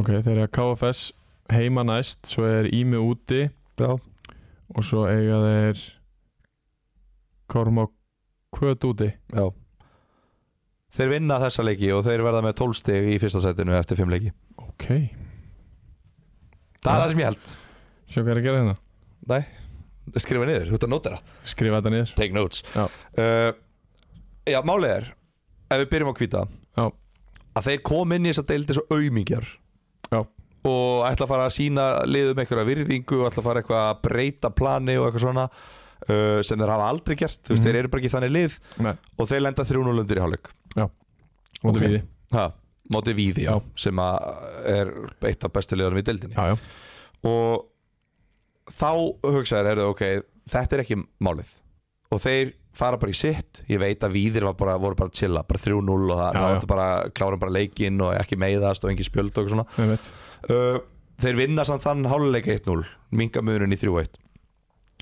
Speaker 1: ok, þeir eru KFS heima næst svo er Ími úti
Speaker 2: Já,
Speaker 1: og svo eiga þeir Kormák Kvöt úti
Speaker 2: Já Þeir vinna þessa leiki og þeir verða með 12 stig í fyrsta setinu eftir 5 leiki
Speaker 1: ok,
Speaker 2: Það
Speaker 1: Já.
Speaker 2: er það sem ég held
Speaker 1: sjá hvað er að gera hérna
Speaker 2: Nei, skrifa niður, þú ert að nota það
Speaker 1: skrifa þetta niður
Speaker 2: Take notes
Speaker 1: Já.
Speaker 2: uh, já málið er Ef við byrjum á hvita
Speaker 1: Já.
Speaker 2: Að þeir kom inn í þess að deildi svo aumingjar
Speaker 1: Já.
Speaker 2: Og ætla að fara að sína liðum einhverja virðingu Og ætla að fara eitthvað að breyta plani og eitthvað svona uh, Sem þeir hafa aldrei gert Þú veist,
Speaker 1: Mhm.
Speaker 2: þeir eru bara ekki þannig lið
Speaker 1: Nei.
Speaker 2: Og þeir lenda 3-0 undir í hálfleik
Speaker 1: og
Speaker 2: Ok.
Speaker 1: okay. við
Speaker 2: Ha, móti Víði, já,
Speaker 1: Já.
Speaker 2: sem að er eitt af bestu liðanum í deildinni
Speaker 1: já, já,
Speaker 2: og þá hugsaður, heyrðu, ok, þetta er ekki málið og þeir fara bara í sitt ég veit að Víðir var bara, voru bara að chilla bara 3-0 og það,
Speaker 1: Já,
Speaker 2: það
Speaker 1: já.
Speaker 2: var bara klárum bara leikinn og ekki meiðast og engin spjöld og eitthvað svona
Speaker 1: við veit
Speaker 2: uh, þeir vinna samt þann háluleik 1-0 minga munurinn í 3-1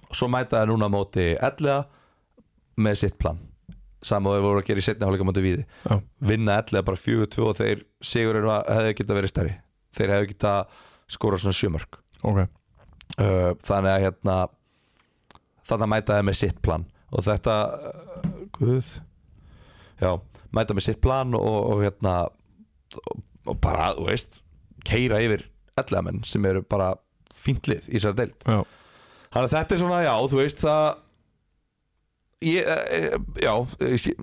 Speaker 2: og svo mæta það núna á móti 11 með sitt plan sama og þeir voru að gera í setni hálfleika mútið við
Speaker 1: Já.
Speaker 2: vinna ellega bara 4-2 og þeir sigurinn var, hefði geta verið stærri þeir hefði geta skórað svona sjömörk
Speaker 1: ok
Speaker 2: uh, þannig að hérna þannig að mæta þeir með sitt plan og þetta uh, guð já, mæta með sitt plan og, og hérna og, og bara, þú veist, keira yfir ellega menn sem eru bara fíntlið í þessari deild
Speaker 1: Já,
Speaker 2: Þannig að þetta er svona, já, þú veist það ég, e, e, Já ég sé-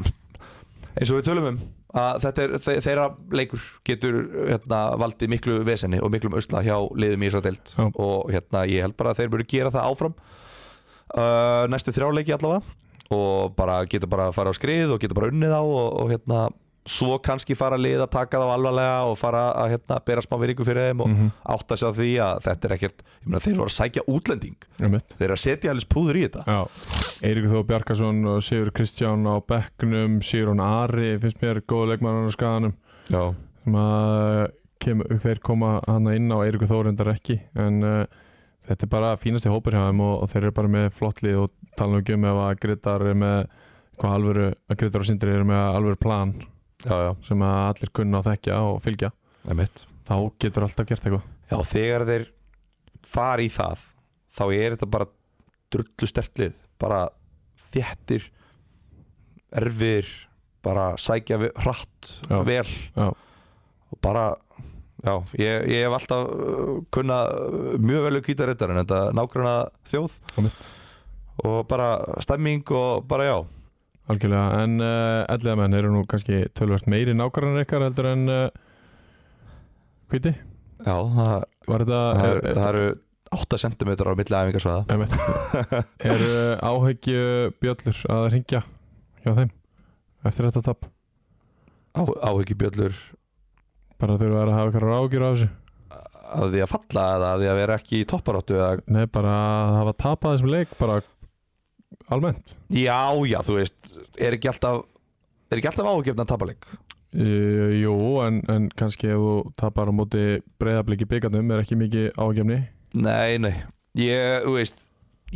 Speaker 2: eins og við tölum um að þetta er, þe þeirra leikur getur hérna, valdið miklu vesenni og miklum usla hjá liðum í þessar deild
Speaker 1: Já.
Speaker 2: og hérna, ég held bara að þeir munu gera það áfram uh, næstu þrjáleiki allavega og bara geta bara að fara á skrið og geta bara unnið á og, og hérna svo kannski fara lið að taka það alvarlega og fara að hérna, bera smá viringu fyrir þeim og
Speaker 1: Mhm,
Speaker 2: átta sig á því að þetta er ekkert ég meina þeir voru að sækja útlending
Speaker 1: einmitt
Speaker 2: þeir eru að setja alveg púður í þetta
Speaker 1: Já, Eiríkur Þó Bjarkason og Sigur Kristján á Becknum, Sigrun Ari finnst mér góð leikmann á skaganum
Speaker 2: já,
Speaker 1: sem að kem, þeir koma hann inn á Eiríkur Þó reyndar ekki en uh, þetta er bara fínasti hópur hjá þeim og, og þeir eru bara með flott lið og tala nú ekki um ef að Gretar er með hvað alvöru, að Gretar og Sindri eru með alvöru plan
Speaker 2: já, já,
Speaker 1: sem að allir kunna að þekkja og fylgja
Speaker 2: emitt
Speaker 1: þá getur alltaf gert eitthvað
Speaker 2: já, þegar þeir fara í það þá er þetta bara drullu stertlið bara þéttir erfir bara sækja ve- hratt
Speaker 1: Já.
Speaker 2: vel
Speaker 1: Já.
Speaker 2: og bara Já, ég, ég hef alltaf uh, kunna uh, mjög vel að kýta reyndar en þetta nágrunna þjóð
Speaker 1: Einmitt.
Speaker 2: og bara stemming og bara já,
Speaker 1: Algjörlega, en uh, ellega menn eru nú kannski tölvert meiri nákvæmlega ykkar heldur en uh, hviti?
Speaker 2: já það,
Speaker 1: Var þetta
Speaker 2: það,
Speaker 1: er,
Speaker 2: er, það eru 8 cm á milli æfingarsvæða
Speaker 1: Einmitt. eru áhyggju bjöllur að ringja hjá þeim eftir þetta tap?
Speaker 2: áhyggjubjöllur
Speaker 1: Bara þurfa þær að hafa eitthvað ágjur á þessu?
Speaker 2: að því að falla eða að því að vera ekki í topparóttu eða...
Speaker 1: Nei, bara að hafa tapað þessum leik bara almennt
Speaker 2: já, já, þú veist er ekki alltaf er ekki alltaf áhugjöfn að tapa leik
Speaker 1: e, Jú, en, en kannski ef þú tapar á móti breyðabliki byggarnum er ekki mikið ágjumni
Speaker 2: nei, nei, ég, þú veist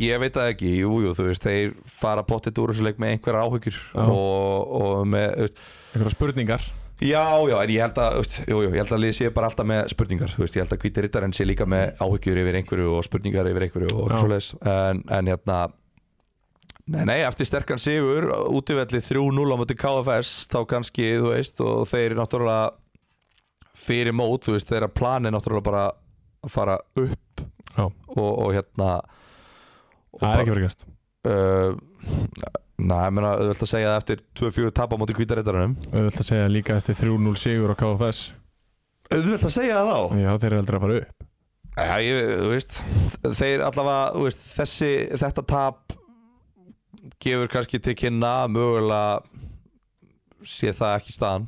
Speaker 2: ég veit það ekki, jú, jú, þú veist þeir fara pottet úr þessu leik með einhverja áhyggjur
Speaker 1: Já.
Speaker 2: og, og með, þú veist
Speaker 1: einhverja spurningar
Speaker 2: já, já, en ég held að, þú veist, jú, jú, ég held að liðið sé bara alltaf með spurningar, þú veist, ég held að hvíti rittarinn sé líka með áhyggjur yfir einhverju og spurningar yfir einhverju og
Speaker 1: Já.
Speaker 2: svoleiðis, en, en hérna Nei, nei, eftir sterkan sigur, útivelli 3-0 á móti KFS, þá kannski, þú veist, og þeir náttúrulega fyrir mót, þú veist, þeirra plan er náttúrulega bara að fara upp
Speaker 1: Já.
Speaker 2: og, og hérna og
Speaker 1: Það er ekki verið gæst
Speaker 2: bara, uh, Nei, ég meina, auðvelt að segja það eftir 2-4 tap á móti kvítareitarunum
Speaker 1: auðvitað að segja líka eftir 3-0 sigur á KFS
Speaker 2: Auðvelt að segja það þá?
Speaker 1: Já, þeir eru aldrei að fara upp
Speaker 2: Já, ég, þú veist, þeir allavega, þú veist, þessi, þetta tap gefur kannski til kynna mögulega sé það ekki staðan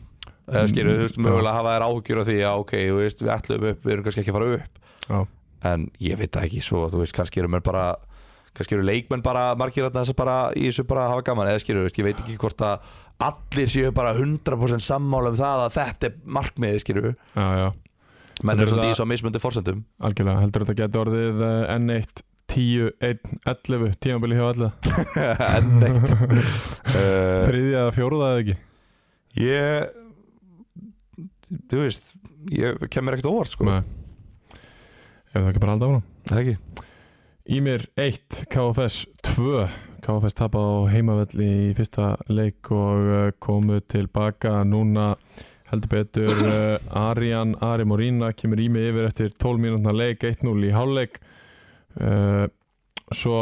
Speaker 2: eða skilur, þú veist,
Speaker 1: Mm,
Speaker 2: mögulega hafa þær áhugjur á því að ok, þú veist, við ætlum upp, við erum kannski ekki að fara upp
Speaker 1: Já,
Speaker 2: en ég veit það ekki svo, þú veist, kannski eru mér bara kannski eru leikmenn bara margir þarna þess að bara í þessu bara hafa gaman eða skilur, þú veist, ég veit ekki hvort að allir séu bara 100% sammála um það að þetta er markmiðið, skilur
Speaker 1: já, já,
Speaker 2: menn
Speaker 1: Þetta
Speaker 2: eru
Speaker 1: er
Speaker 2: svolítið
Speaker 1: það-
Speaker 2: í svo mismöndi forsendum
Speaker 1: algjörlega heldur þetta getur orðið eh, N1 10, 1, 11 tímabili hjá alla
Speaker 2: en neitt uh,
Speaker 1: þriðja eða fjóruða eða ekki
Speaker 2: Ég Þú veist Ég kemur ekkert á óvart sko
Speaker 1: Nei Ef það ekki bara halda áfram
Speaker 2: Það ekki
Speaker 1: Ímir 1, KFS 2 KFS tap á heimavelli í fyrsta leik og eh, komu tilbaka núna heldur betur eh, Arian Ari Morína kemur í mig yfir eftir 12 mínútna leik 1-0 í hálfleik Eh, svo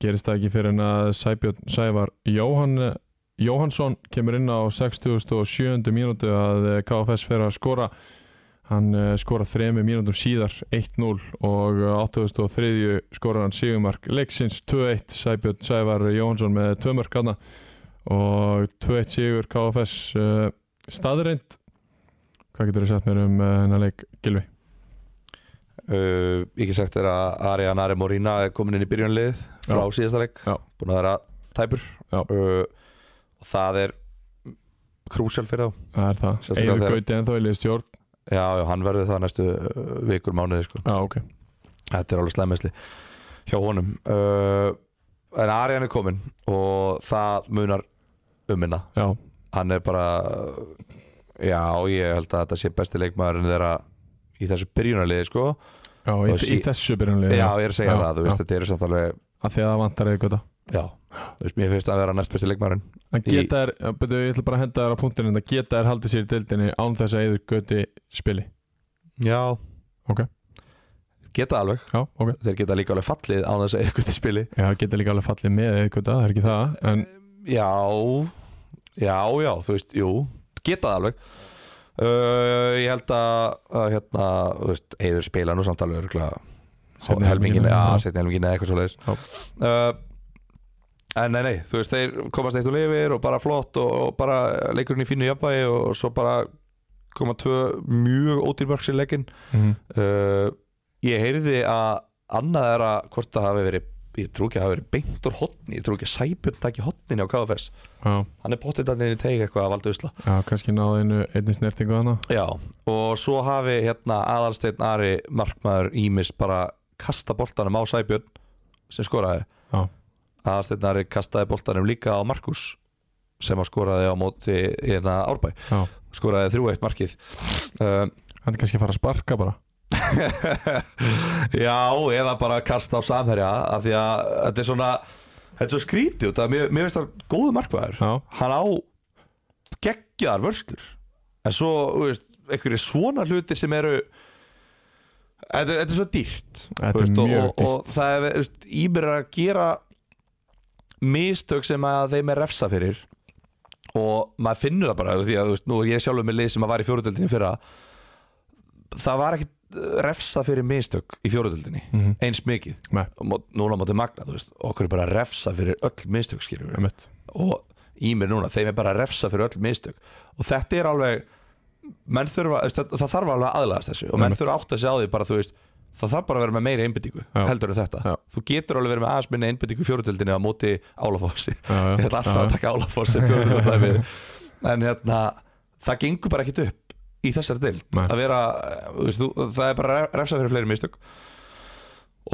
Speaker 1: gerist það ekki fyrir en að Sæbjörn Sævar Jóhann Jóhansson kemur inn á 67. mínútu að eh, KFS fer að skora Hann uh, skora þremi mínútum síðar 1-0 og uh, 83. skora hann sigumark leiksins 2-1 Sæbjörn Sævar Jóhansson með tvömörk hana og 2-1 sigur KFS uh, staðreind Hvað getur þið sagt mér um uh, hennar leik Gilvi?
Speaker 2: uh, Ég get sagt þér að Arian Ari Morína er komin inn í byrjunlið frá síðasta leik
Speaker 1: Já.
Speaker 2: Búin að vera tæpur
Speaker 1: Já.
Speaker 2: uh, Og það er krúsjál fyrir þá
Speaker 1: Það er það,
Speaker 2: Sérstaklega
Speaker 1: Eður
Speaker 2: þegar-
Speaker 1: Gauti ennþá í liðstjórn
Speaker 2: Já, já, hann verður það næstu uh, vikur mánuði sko
Speaker 1: Já, ok
Speaker 2: Þetta er alveg slæmisli hjá honum uh, En Arian er komin og það munar um minna
Speaker 1: já,
Speaker 2: hann er bara já, ég held að þetta sé besti leikmaðurinn þeirra í þessu byrjunarliði sko
Speaker 1: já í,
Speaker 2: Og
Speaker 1: í
Speaker 2: sí-
Speaker 1: þessu byrjunlega
Speaker 2: já, ég er að segja
Speaker 1: Já,
Speaker 2: það, þú
Speaker 1: já.
Speaker 2: veist, þetta eru samt alveg
Speaker 1: að því að það vantar eða gota
Speaker 2: já, þú veist, mér finnst að vera næst besti leikmaðurinn
Speaker 1: en
Speaker 2: Í-
Speaker 1: geta er, betur ég ætla bara að henda þér á punktinu en að geta er haldið sér í deildinni án þess að eður göti spili
Speaker 2: já,
Speaker 1: Ok.
Speaker 2: geta alveg,
Speaker 1: já, ok,
Speaker 2: þeir geta líka alveg fallið án þess að eitthvað til spili
Speaker 1: já, geta líka alveg fallið með eða gota, það er ekki það en
Speaker 2: já, já, já, þú veist, jú geta það alveg uh, ég held að, að hérna, þú veist, eður spila nú samt alveg örgulega
Speaker 1: Seinni
Speaker 2: helmingin,
Speaker 1: helminginn,
Speaker 2: já,
Speaker 1: já.
Speaker 2: setni helmingin eða eitthvað svoleiðis
Speaker 1: Já.
Speaker 2: uh, en nei, nei, þú veist, þeir komast eitt og lifir og bara flott og, og bara leikurinn í fínu jafnvægi og svo bara koma tvö mjög ódýrmörks í leggin
Speaker 1: mhm,
Speaker 2: uh, ég heyrði að annað er að hvort það hafi verið ég trú ekki að það hafi verið beint úr hotni ég trú ekki að sæpum takki hotninni á KFS
Speaker 1: já,
Speaker 2: hann er pottið þannig í teik eitthvað að valda usla
Speaker 1: já, kannski náðu einu einni snertingu hana
Speaker 2: Já, og svo hafi hérna aðalsteinn Ari markmaður Ímis bara kasta boltanum á Sæbjörn sem skoraði
Speaker 1: Já.
Speaker 2: aðalsteinn Ari kastaði boltanum líka á Markus sem að skoraði á móti hérna Árbæ,
Speaker 1: já,
Speaker 2: skoraði 3-1 markið um,
Speaker 1: hann er kannski að fara að sparka bara
Speaker 2: Já, eða bara kasta á samherja af því að þetta er svona þetta er svo skrítið út að mér, mér finnst það góðu markmaður
Speaker 1: já,
Speaker 2: hann á geggjaðar vörslur en svo, þú veist, einhverju svona hluti sem eru þetta, þetta er svo dýrt
Speaker 1: Þetta
Speaker 2: þú
Speaker 1: er
Speaker 2: og,
Speaker 1: mjög
Speaker 2: og, og það er, þú veist, Ímir er að gera mistök sem að þeim er refsa fyrir og maður finnur það bara þú veist, því að, þú veist, nú er ég sjálfur með lið sem að var í fjóruðöldinni fyrra það var ekkit refsa fyrir mistök í fjóruðöldinni
Speaker 1: mhm,
Speaker 2: eins mikið
Speaker 1: Nei.
Speaker 2: Og mó- núna mátu magna, þú veist, okkur er bara að refsa fyrir öll mistök skiljum við
Speaker 1: einmitt
Speaker 2: og í mér núna, þeim er bara að refsa fyrir öll mistök og þetta er alveg menn þurfa, veist, það, það þarf alveg að aðlagast þessu og menn
Speaker 1: Einmitt.
Speaker 2: þurfa að átta sig á því bara þú veist það þarf bara að vera með meiri einbyttingu
Speaker 1: Já.
Speaker 2: heldur en þetta,
Speaker 1: Já.
Speaker 2: þú getur alveg verið með aðeins minni einbyttingu fjóruðöldinni á móti álafossi
Speaker 1: Já, já,
Speaker 2: ég ætla alltaf
Speaker 1: já,
Speaker 2: að taka álafossi en hérna, það gengur bara ekkit upp í þessari deild
Speaker 1: Nei.
Speaker 2: að vera, eh, þú veist, þú, það er bara að refsa fyrir fleiri mistök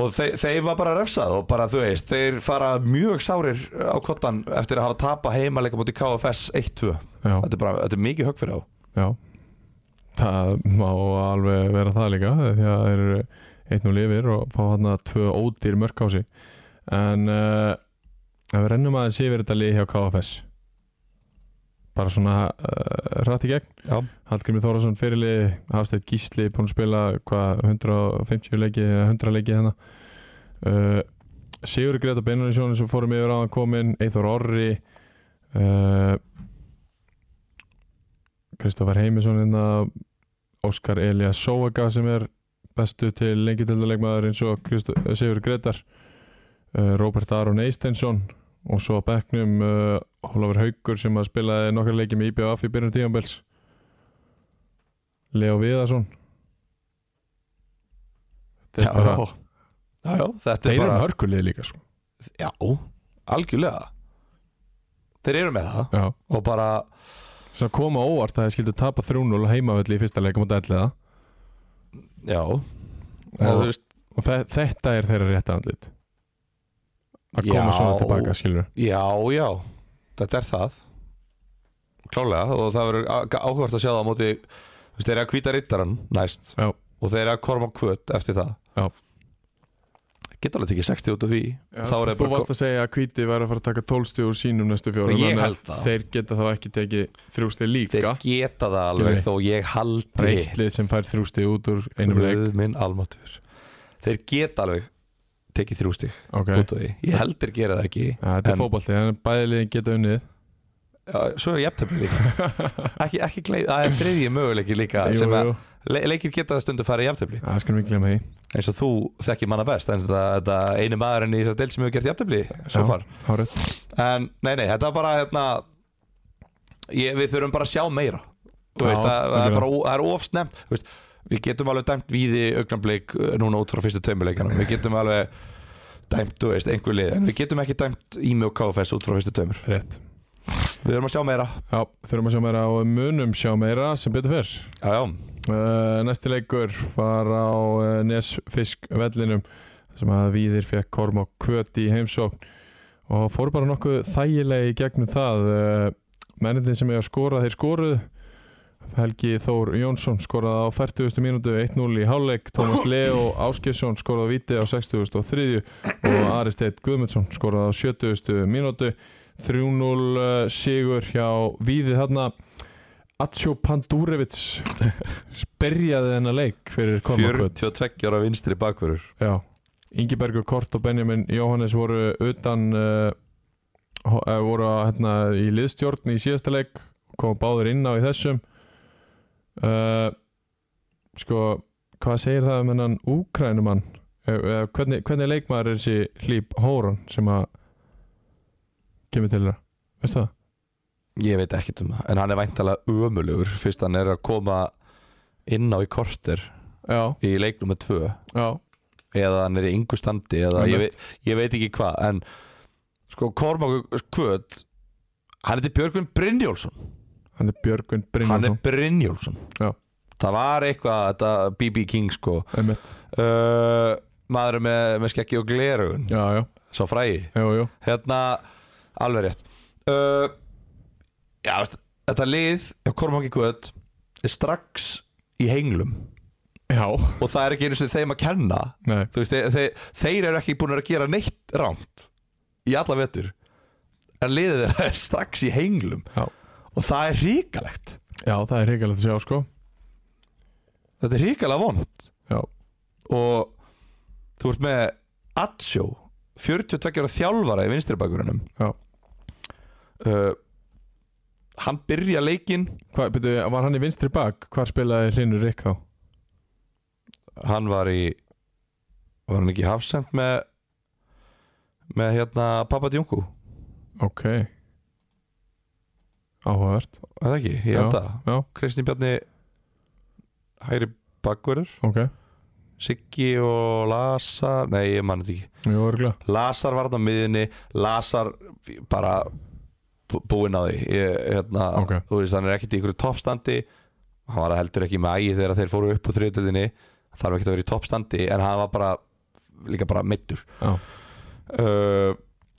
Speaker 2: og þeir, þeir var bara refsað og bara þú veist þeir fara mjög sárir á kottan eftir að hafa tapa heimaleika múti KFS 1-2
Speaker 1: já.
Speaker 2: þetta, er bara- þetta er mikið högg fyrir þá
Speaker 1: Já Það má alveg vera það líka því að það eru einn og lifir og fá hann að tvö ódýr mörk á sig en uh, ef við rennum aðeins yfir þetta lið hjá KFS bara svona uh, rætt í gegn
Speaker 2: Já.
Speaker 1: Hallgrimur Þórasson fyrirlið Hafstætt Gísli búin að spila hvað 150 leiki eða 100 leiki hérna uh, Sigur Greta Benuninsson sem fórum yfir á hann komin Eithor Orri uh, Kristoffer Heimisson hérna, Óskar Elias Sóaga sem er bestu til lengjutölduleikmaður eins og Kristo- Sigur Gretar uh, Robert Aron Eistensson og svo á bekknum uh, Ólafur Haugur sem að spilaði nokkar leiki með IBF í byrjun tímanbels Leo Viðarsson Þetta er bara,
Speaker 2: já, já, já, þetta
Speaker 1: þeir
Speaker 2: er
Speaker 1: eru
Speaker 2: bara
Speaker 1: með hörkulið líka sko.
Speaker 2: já, algjörlega þeir eru með það
Speaker 1: Já,
Speaker 2: og bara,
Speaker 1: sem koma óvart að þeir skildu tapa 3-0 á heimavelli í fyrsta leikum og dæliða
Speaker 2: já og,
Speaker 1: Og-
Speaker 2: þú veist,
Speaker 1: og þe þetta er þeirra rétt andlit að koma
Speaker 2: Já.
Speaker 1: svona tilbaka skilur
Speaker 2: já, já þetta er það klálega og það verður á- áhugavert að sjá það á móti, þú veist, þeir eru að hvíta rittaran næst
Speaker 1: Já.
Speaker 2: og þeir eru að korma kvöt eftir það
Speaker 1: Já.
Speaker 2: geta alveg tekið 60 út af því
Speaker 1: Já,
Speaker 2: Þá er það
Speaker 1: þú
Speaker 2: bara-
Speaker 1: varst að segja að Kvíti væri að fara að taka 12 stíð úr sínum næstu fjórum
Speaker 2: Ég
Speaker 1: þannig að
Speaker 2: held það.
Speaker 1: Þeir geta þá ekki tekið þrjú stíð
Speaker 2: Þeir
Speaker 1: líka
Speaker 2: geta það
Speaker 1: Skilurðu?
Speaker 2: alveg þó ég haldi
Speaker 1: Breytlið sem fær þrjú stíð út úr einum leik
Speaker 2: Guð minn almáttur Þeir geta alveg tekið þrjú stig
Speaker 1: okay.
Speaker 2: út af því Ég heldur gera það ekki
Speaker 1: ja, Þetta
Speaker 2: En-
Speaker 1: er fótbolti, þannig að bæði liðin geta unnið
Speaker 2: Já, Svo er jafntefni líka Ekki, ekki gleif, það er þriðji möguleiki líka
Speaker 1: Jú,
Speaker 2: sem að
Speaker 1: jú,
Speaker 2: le leikir geta stundu að fara í jafntefni
Speaker 1: það skulum við glemma því
Speaker 2: eins og þú þekkir manna best en þetta, þetta einu maðurinn í þessar del sem hefur gert jafntefni svo
Speaker 1: Já,
Speaker 2: far
Speaker 1: hárrétt.
Speaker 2: En nei, nei, þetta er bara hérna ég, Við þurfum bara að sjá meira Þú
Speaker 1: Já,
Speaker 2: veist, það, það er
Speaker 1: algjörlega.
Speaker 2: bara ó- það er ofsnemt veist, Við getum alveg dæmt víði augnablik uh, núna út frá fyrstu tveimileikana Við getum alveg dæmt, þú veist, einhver lið En við getum ekki dæmt Ími og KFS út frá fyrstu tveimur
Speaker 1: Rétt
Speaker 2: Við þurfum að sjá meira
Speaker 1: Já, þurfum að sjá meira og munum sjá meira sem betur fyrr
Speaker 2: Já, já,
Speaker 1: uh, Næsti leikur var á uh, Nesfisk vellinum sem að Víðir fekk korm á kvöt í heimsókn og fór bara nokkuð þægilega í gegnum það uh, menninni sem ég að skora þeir skoruðu Helgi Þór Jónsson skoraði á 40. mínútu 1-0 í hálfleik Tómas Leo Áskjesson skoraði á viti á 60. og 3. og Ari Steit Guðmundsson skoraði á 70. mínútu 3-0 eh, sigur hjá Víði þarna Atsjó Pandurevits sperjaði þennan leik fyrir komakvöld
Speaker 2: 42 ára vinstri bakverður
Speaker 1: Já, Ingibergur Kort og Benjamin Jóhannes voru utan uh, voru hérna, í liðstjórn í síðasta leik koma báður inn á í þessum uh, sko hvað segir það um hennan Úkrænumann eða eh, hvernig, hvernig leikmaður er þessi hlýp Hóron sem að kemur til þeirra veistu það?
Speaker 2: Ég veit ekkert um það En hann er væntalega ömulugur Fyrst hann er að koma inn á í korter
Speaker 1: Já,
Speaker 2: Í leiknum með tvö
Speaker 1: já,
Speaker 2: Eða hann er í yngu standi Eða ég,
Speaker 1: Einmitt.
Speaker 2: veit, ég veit ekki hvað En sko Kormáku Kvöt Hann heitir Björgvin Brynjólfsson
Speaker 1: hann er Björgun
Speaker 2: Hann er
Speaker 1: Brynjónsson
Speaker 2: Brynjólfsson
Speaker 1: Já.
Speaker 2: Það var eitthvað Þetta BB King sko
Speaker 1: einmitt,
Speaker 2: uh, Maður með, með skekki og glerugun
Speaker 1: já, já,
Speaker 2: Sá frægi
Speaker 1: jú, jú
Speaker 2: hérna, alveg rétt uh, já, veist, þetta lið hjá Kormáki Guðt er strax í henglum
Speaker 1: Já,
Speaker 2: og það er ekki einu sem þeim að kenna
Speaker 1: nei,
Speaker 2: Þú veist, þeir, þeir, þeir eru ekki búin að gera neitt rámt í alla vetur en liðið þeirra er strax í henglum
Speaker 1: Já.
Speaker 2: og það er ríkalegt
Speaker 1: já, það er hrikalegt að sjá sko
Speaker 2: þetta er ríkalega vond
Speaker 1: Já,
Speaker 2: og þú ert með Atsjó 42 ára þjálfara í vinstri bakurinnum
Speaker 1: Já.
Speaker 2: uh, hann byrja leikinn
Speaker 1: Hva, byrju, var hann í vinstri bak? Hvar spilaði Hlinur Rik þá?
Speaker 2: hann var í var hann ekki hafsend með með hérna Papa Djungu
Speaker 1: Ok Áhugavert
Speaker 2: er það ekki, ég held það
Speaker 1: Já,
Speaker 2: Kristján Bjarni hægri bakverður
Speaker 1: ok
Speaker 2: Siggi og Lasar nei ég mann þetta ekki,
Speaker 1: Mjög örgla
Speaker 2: Lasar var þarna á miðinni Lasar bara bú- búinn á því ég, hérna,
Speaker 1: Ok.
Speaker 2: þú veist hann er ekkert í ykkur toppstandi hann var heldur ekki með ægi þegar þeir fóru upp úr þriðutöldinni þarf ekkert að vera í toppstandi en hann var bara líka bara meittur
Speaker 1: Já,
Speaker 2: uh,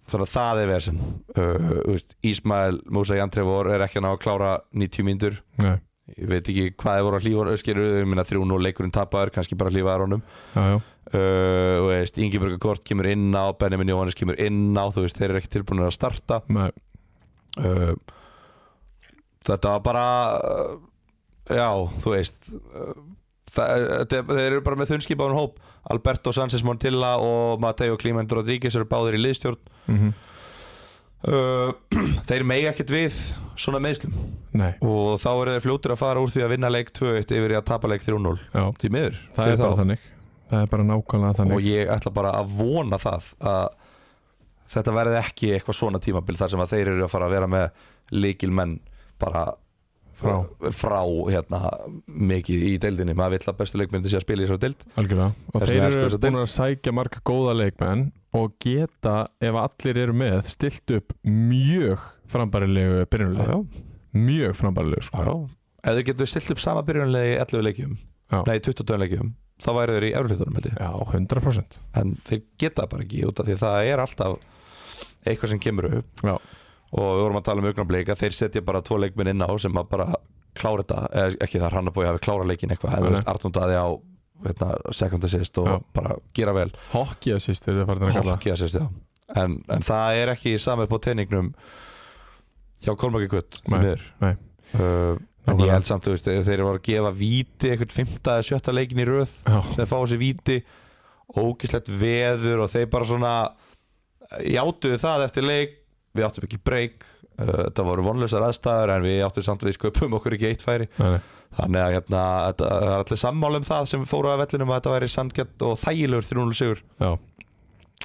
Speaker 2: þannig að það er vesen uh, þú veist, Ísmael Musa Jantrevor er ekki að ná að klára 90 mínútur
Speaker 1: nei,
Speaker 2: ég veit ekki hvað þeir voru að hlífa öskeru, ég minna 3-0 leikurinn tapaður kannski bara hlífaður honum
Speaker 1: já, já
Speaker 2: uh, þú veist, Ingeborg Kort kemur inn á Benjamin Jóhannes kemur inn á þú veist, þeir eru ekki tilbúin að starta
Speaker 1: Nei,
Speaker 2: uh, þetta var bara uh, já, þú veist uh, það, þeir, þeir eru bara með þunnskipaðan hóp Alberto Sanchez Montilla og Mateo Clement Rodríguez eru báðir í liðstjórn
Speaker 1: mhm
Speaker 2: Uh, þeir megi ekkert við svona meðslum
Speaker 1: Nei,
Speaker 2: og þá eru þeir fljótur að fara úr því að vinna leik 2-1 yfir í að tapa leik 3-0
Speaker 1: já
Speaker 2: því miður
Speaker 1: Það er bara
Speaker 2: fyrir þá.
Speaker 1: þannig Það er bara nákvæmlega
Speaker 2: og
Speaker 1: þannig
Speaker 2: ég ætla bara að vona það að þetta verði ekki eitthvað svona tímabil þar sem að þeir eru að fara að vera með líkil menn bara
Speaker 1: Frá,
Speaker 2: frá hérna mikið í deildinni maður vill að bestu leikmyndi sé að spila í þessari deild
Speaker 1: algjörlega Og
Speaker 2: Þess
Speaker 1: þeir
Speaker 2: vegna er sko
Speaker 1: eru
Speaker 2: þessi
Speaker 1: búin að sækja marga góða leikmenn Og geta, ef allir eru með, stilt upp mjög frambærilegu byrjunuleg
Speaker 2: já,
Speaker 1: Mjög frambærilegu sko
Speaker 2: já ef þeir getur stilt upp sama byrjunlegi í 11 leikjum
Speaker 1: Já.
Speaker 2: nei 22 leikjum þá væri þeir í eflutunum held ég
Speaker 1: Já, 100%
Speaker 2: en þeir geta bara ekki út af því að það er alltaf eitthvað sem kemur upp
Speaker 1: Já.
Speaker 2: og við vorum að tala um augnablik að þeir setja bara tvo leikminn inn á sem að bara klára þetta, eða ekki það Rannabói hafi klára leikin eitthvað, en
Speaker 1: Nei,
Speaker 2: þú
Speaker 1: nei.
Speaker 2: veist Arnum Daði á veitna, second assist og
Speaker 1: Já.
Speaker 2: bara gera vel
Speaker 1: Hockey assist er það farin að kalla
Speaker 2: hockey assist, já en, en það er ekki sami på teiningnum hjá Kolmaki Gutt
Speaker 1: Nei, nei.
Speaker 2: Uh, en ég
Speaker 1: Nákvæmlega.
Speaker 2: held samt, þú veist, ef þeir voru að gefa víti eitthvað fymta eða sjötta leikin í röð
Speaker 1: Já,
Speaker 2: sem þeir fá þessi víti ógislegt veður og þeir bara svona eh, játuðu það eftir leik við áttum ekki breyk uh, það voru vonlausar aðstæður en við áttum samt við sköpum okkur ekki eitt færi
Speaker 1: nei, nei
Speaker 2: þannig að hérna, þetta það er allir sammála um það sem fóru að vellinum að þetta væri sandgjart og þægilegur 3-0 sigur
Speaker 1: Já
Speaker 2: og,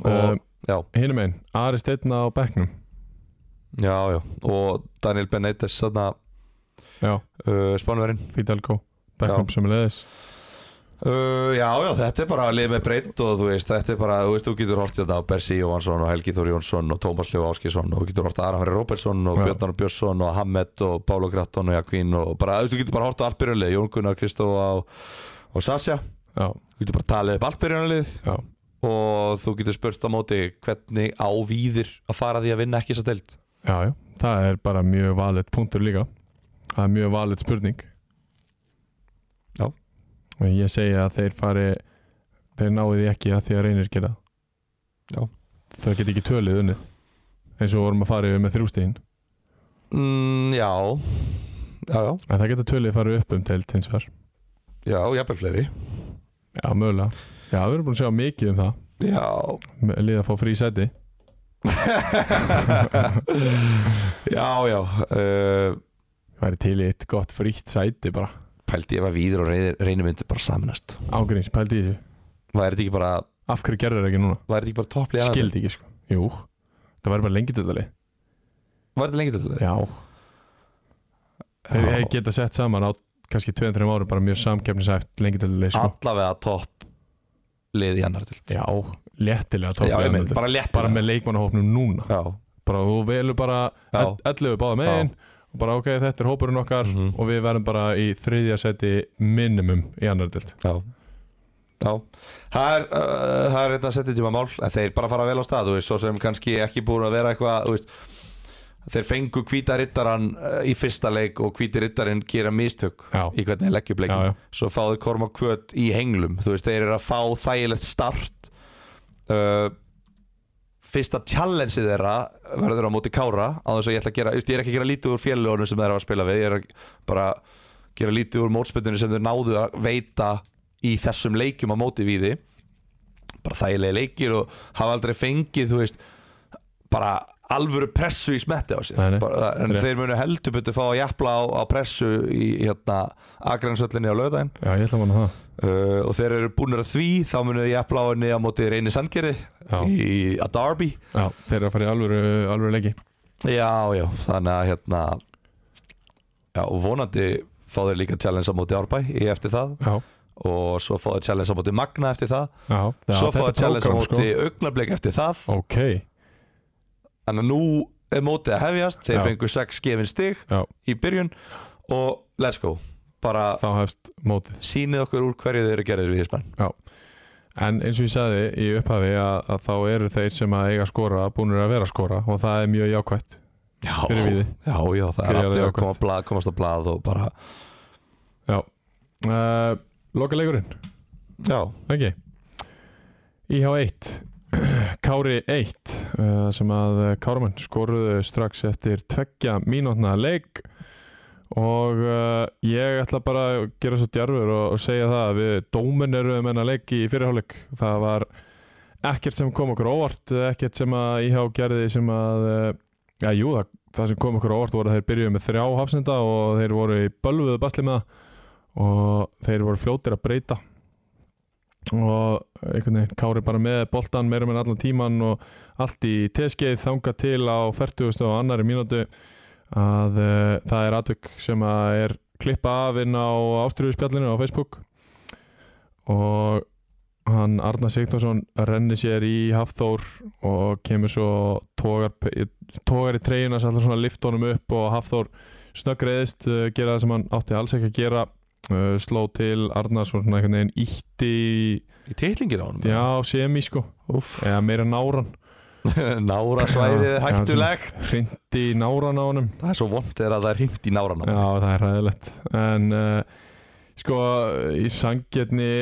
Speaker 1: Um,
Speaker 2: já,
Speaker 1: Hinum einn, Ari Steitna á bekknum
Speaker 2: já, já, og Daniel Benítez þarna,
Speaker 1: Já,
Speaker 2: uh, spánverinn
Speaker 1: Fidalgo bekknum sem er leðis
Speaker 2: Uh, já, já, þetta er bara að lið með breytt og þú veist, þetta er bara, þú veist, þú getur hort hérna á Bessi Jóhansson og Helgi Þór Jónsson og Tómas Ljó Áskisson og þú getur hort að Arafari Róbertsson og
Speaker 1: Já.
Speaker 2: Björnar Björnsson og Hammett og Pálo Gratton og Jakvín og bara, þú veist, þú getur bara hort á allt byrjunlið, Jón Gunnar, Kristófa og, og Sasja,
Speaker 1: Já,
Speaker 2: þú getur bara talið upp allt byrjunlið
Speaker 1: já,
Speaker 2: og þú getur spurt á móti hvernig á víðir að fara því að vinna ekki þess að deild
Speaker 1: já, já, það er bara mjög valið punktur líka það er mjög valið spurning
Speaker 2: Já.
Speaker 1: og ég segi að þeir fari þeir náðu því ekki að því að reynir gera
Speaker 2: Já.
Speaker 1: þau get ekki tölið unnið eins og vorum að fara yfir með þrjústíðin
Speaker 2: mm, Já Já, já,
Speaker 1: en það geta tölið farið upp um teilt hins vegar
Speaker 2: já, jafnvel fleiri
Speaker 1: já, mögulega, já, við erum búin að sjá mikið um það
Speaker 2: Já
Speaker 1: með liða að fá frí sæti
Speaker 2: Já, já uh,
Speaker 1: væri til í eitt gott frítt sæti bara
Speaker 2: Pældi ef að víður og reynir, reynir myndi bara samanast
Speaker 1: ágríns, pældi í þessu
Speaker 2: Væri þetta ekki bara,
Speaker 1: af hverju gerður það ekki núna,
Speaker 2: væri þetta ekki bara topplið
Speaker 1: skildi ekki sko jú, það væri bara lengi döðali
Speaker 2: Væri þetta lengi til þetta?
Speaker 1: já, Þeir hefði geta sett saman á kannski 2-3 árum bara mjög samkefnisæft lengi til leið sko.
Speaker 2: Allavega topp lið í annar til
Speaker 1: Já, léttilega
Speaker 2: Já,
Speaker 1: topp
Speaker 2: ég
Speaker 1: liðanna
Speaker 2: meina,
Speaker 1: deild.
Speaker 2: bara létt
Speaker 1: bara með leikmannahópnum núna
Speaker 2: Já,
Speaker 1: bara þú velur bara
Speaker 2: Já.
Speaker 1: 11 báða megin og bara ok, þetta er hópurinn okkar
Speaker 2: Mhm.
Speaker 1: og við verðum bara í þriðja seti minimum í annar dild
Speaker 2: já Já, það er, uh, það er þetta að setja tíma mál en þeir bara fara vel á stað, þú veist, svo sem kannski ekki búin að vera eitthvað, þú veist þeir fengu hvíta rittaran uh, í fyrsta leik og hvíti rittarin gera mistök
Speaker 1: Já.
Speaker 2: í hvernig þeir leggja upp leikin
Speaker 1: Já, já.
Speaker 2: svo fá þeir korma kvöt í henglum þú veist, þeir eru að fá þægilegt start uh, fyrsta challenge þeirra verður á móti kára á þess að ég ætla að gera, þú veist, ég er ekki að gera lítið úr félagónum sem þeir eru að spila við, ég er að bara gera lítið úr mótspilinu sem þeir náðu að veita í þessum leikjum á móti við því bara þægilegi leikir og hafa aldrei fengið, þú veist bara alvöru pressu í smetti á sig
Speaker 1: Nei, nei,
Speaker 2: bara, en
Speaker 1: rétt.
Speaker 2: þeir munu heldur betur fá að jafla á, á pressu í hérna agrænsöllinni á lögdæn
Speaker 1: Já, ég ætla að manna það
Speaker 2: uh, og þeir eru búinir að því þá munu ég jafla á henni á móti reyni sandgerði
Speaker 1: Já.
Speaker 2: í að Darby
Speaker 1: Já, þeir eru að fara í alvöru, alvöru leiki
Speaker 2: já, já, þannig að hérna já, og vonandi fá þeir líka challenge á móti Árbæ í eftir það
Speaker 1: Já,
Speaker 2: og svo fá þeir challenge á móti Magna eftir það
Speaker 1: já, já
Speaker 2: svo fá
Speaker 1: þetta
Speaker 2: þeir challenge á
Speaker 1: prógram,
Speaker 2: móti sko. Augnablik eftir það
Speaker 1: Ok,
Speaker 2: þannig að nú er mótið að hefjast þeir
Speaker 1: Já.
Speaker 2: fengu 6 gefin stig
Speaker 1: já,
Speaker 2: í byrjun og let's go bara
Speaker 1: þá hefst mótið
Speaker 2: sýnið okkur úr hverju þeir eru gerðir við Ísmann
Speaker 1: En eins og ég sagði í upphafi að, að þá eru þeir sem að eiga að skora búinir að vera að skora og það er mjög jákvætt
Speaker 2: já,
Speaker 1: fyrir við
Speaker 2: já, já, það er
Speaker 1: Gríðarlega
Speaker 2: allir að
Speaker 1: jákvætt.
Speaker 2: koma blað, komast á blað og bara
Speaker 1: Já uh, Loka leikurinn,
Speaker 2: já,
Speaker 1: ekki IH 1 Kári 1 uh, sem að Káramann skoruðu strax eftir tveggja mínútna leik og uh, ég ætla bara að gera svo djarfur og, og segja það að við dómin eruðum enn að leik í fyrirháleik það var ekkert sem kom okkur á óvart ekkert sem að IH gerði sem að uh, já, jú, það, það sem kom okkur á óvart voru að þeir byrjuðu með þrjá hafsenda og þeir voru í bölvuðu basli með það og þeir voru fljótir að breyta og einhvern veginn Kári bara með boltan meira með allan tíman og allt í teskeið þanga til á 40 og annari mínútu að uh, það er atvik sem að er klippa af inn á ástriðuspjallinu á Facebook og hann Arna Sigthorsson renni sér í Hafþór og kemur svo tógar, tógar í treyjuna sem allar svona lift honum upp og Hafþór snöggreðist, uh, gera það sem hann átti alls ekki að gera uh, sló til Arna svona einhvern veginn ítti í-
Speaker 2: í titlingir á honum
Speaker 1: Já, semi sko
Speaker 2: Úff.
Speaker 1: Eða meira náran
Speaker 2: nára svæðið
Speaker 1: Já,
Speaker 2: er hættulegt
Speaker 1: Hrindi náran á honum
Speaker 2: það er svo vond þegar það er hringt í náran á honum.
Speaker 1: Já, það er ræðilegt En uh, sko, í sangjarni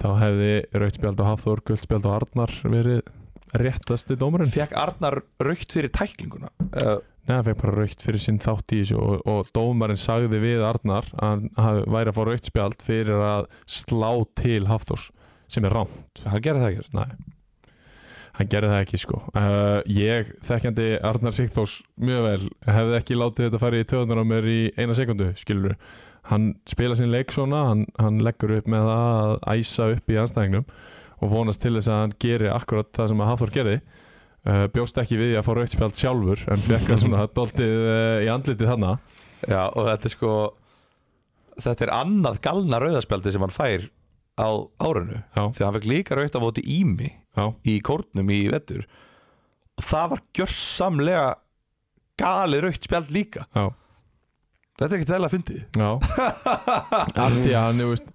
Speaker 1: þá hefði rautspjald og Hafþór, guldspjald og Arnar verið réttasti dómurinn
Speaker 2: fekk Arnar raukt fyrir tæklinguna uh,
Speaker 1: Nei, það fekk bara raukt fyrir sinn þátt í þessu og, og dómarinn sagði við Arnar að hann væri að fá rautspjald fyrir að slá til Hafþórs sem er rám
Speaker 2: hann gerði það ekkert
Speaker 1: Nei, hann gerði það ekki sko uh, Ég, þekkjandi Arnar Sigþós mjög vel hefði ekki látið þetta fara í töðunar á mér í eina sekundu, skilur Hann spila sinn leik svona, hann, hann leggur upp með það að æsa upp í anstæðingnum og vonast til þess að hann geri akkurat það sem að Hafþór gerði uh, Bjóst ekki við því að fá rautspjald sjálfur en fekk það svona dóltið uh, í andlitið þarna
Speaker 2: já, og þetta er sko þetta er annað galna rauðaspjaldi sem hann fær á árinu
Speaker 1: Já,
Speaker 2: því að hann fekk líka raukt á móti ími
Speaker 1: já,
Speaker 2: í kórnum í vettur og það var gjörsamlega galið raukt spjald líka
Speaker 1: já,
Speaker 2: þetta er ekki tæla að fyndi
Speaker 1: já Af því að hann, þú veist,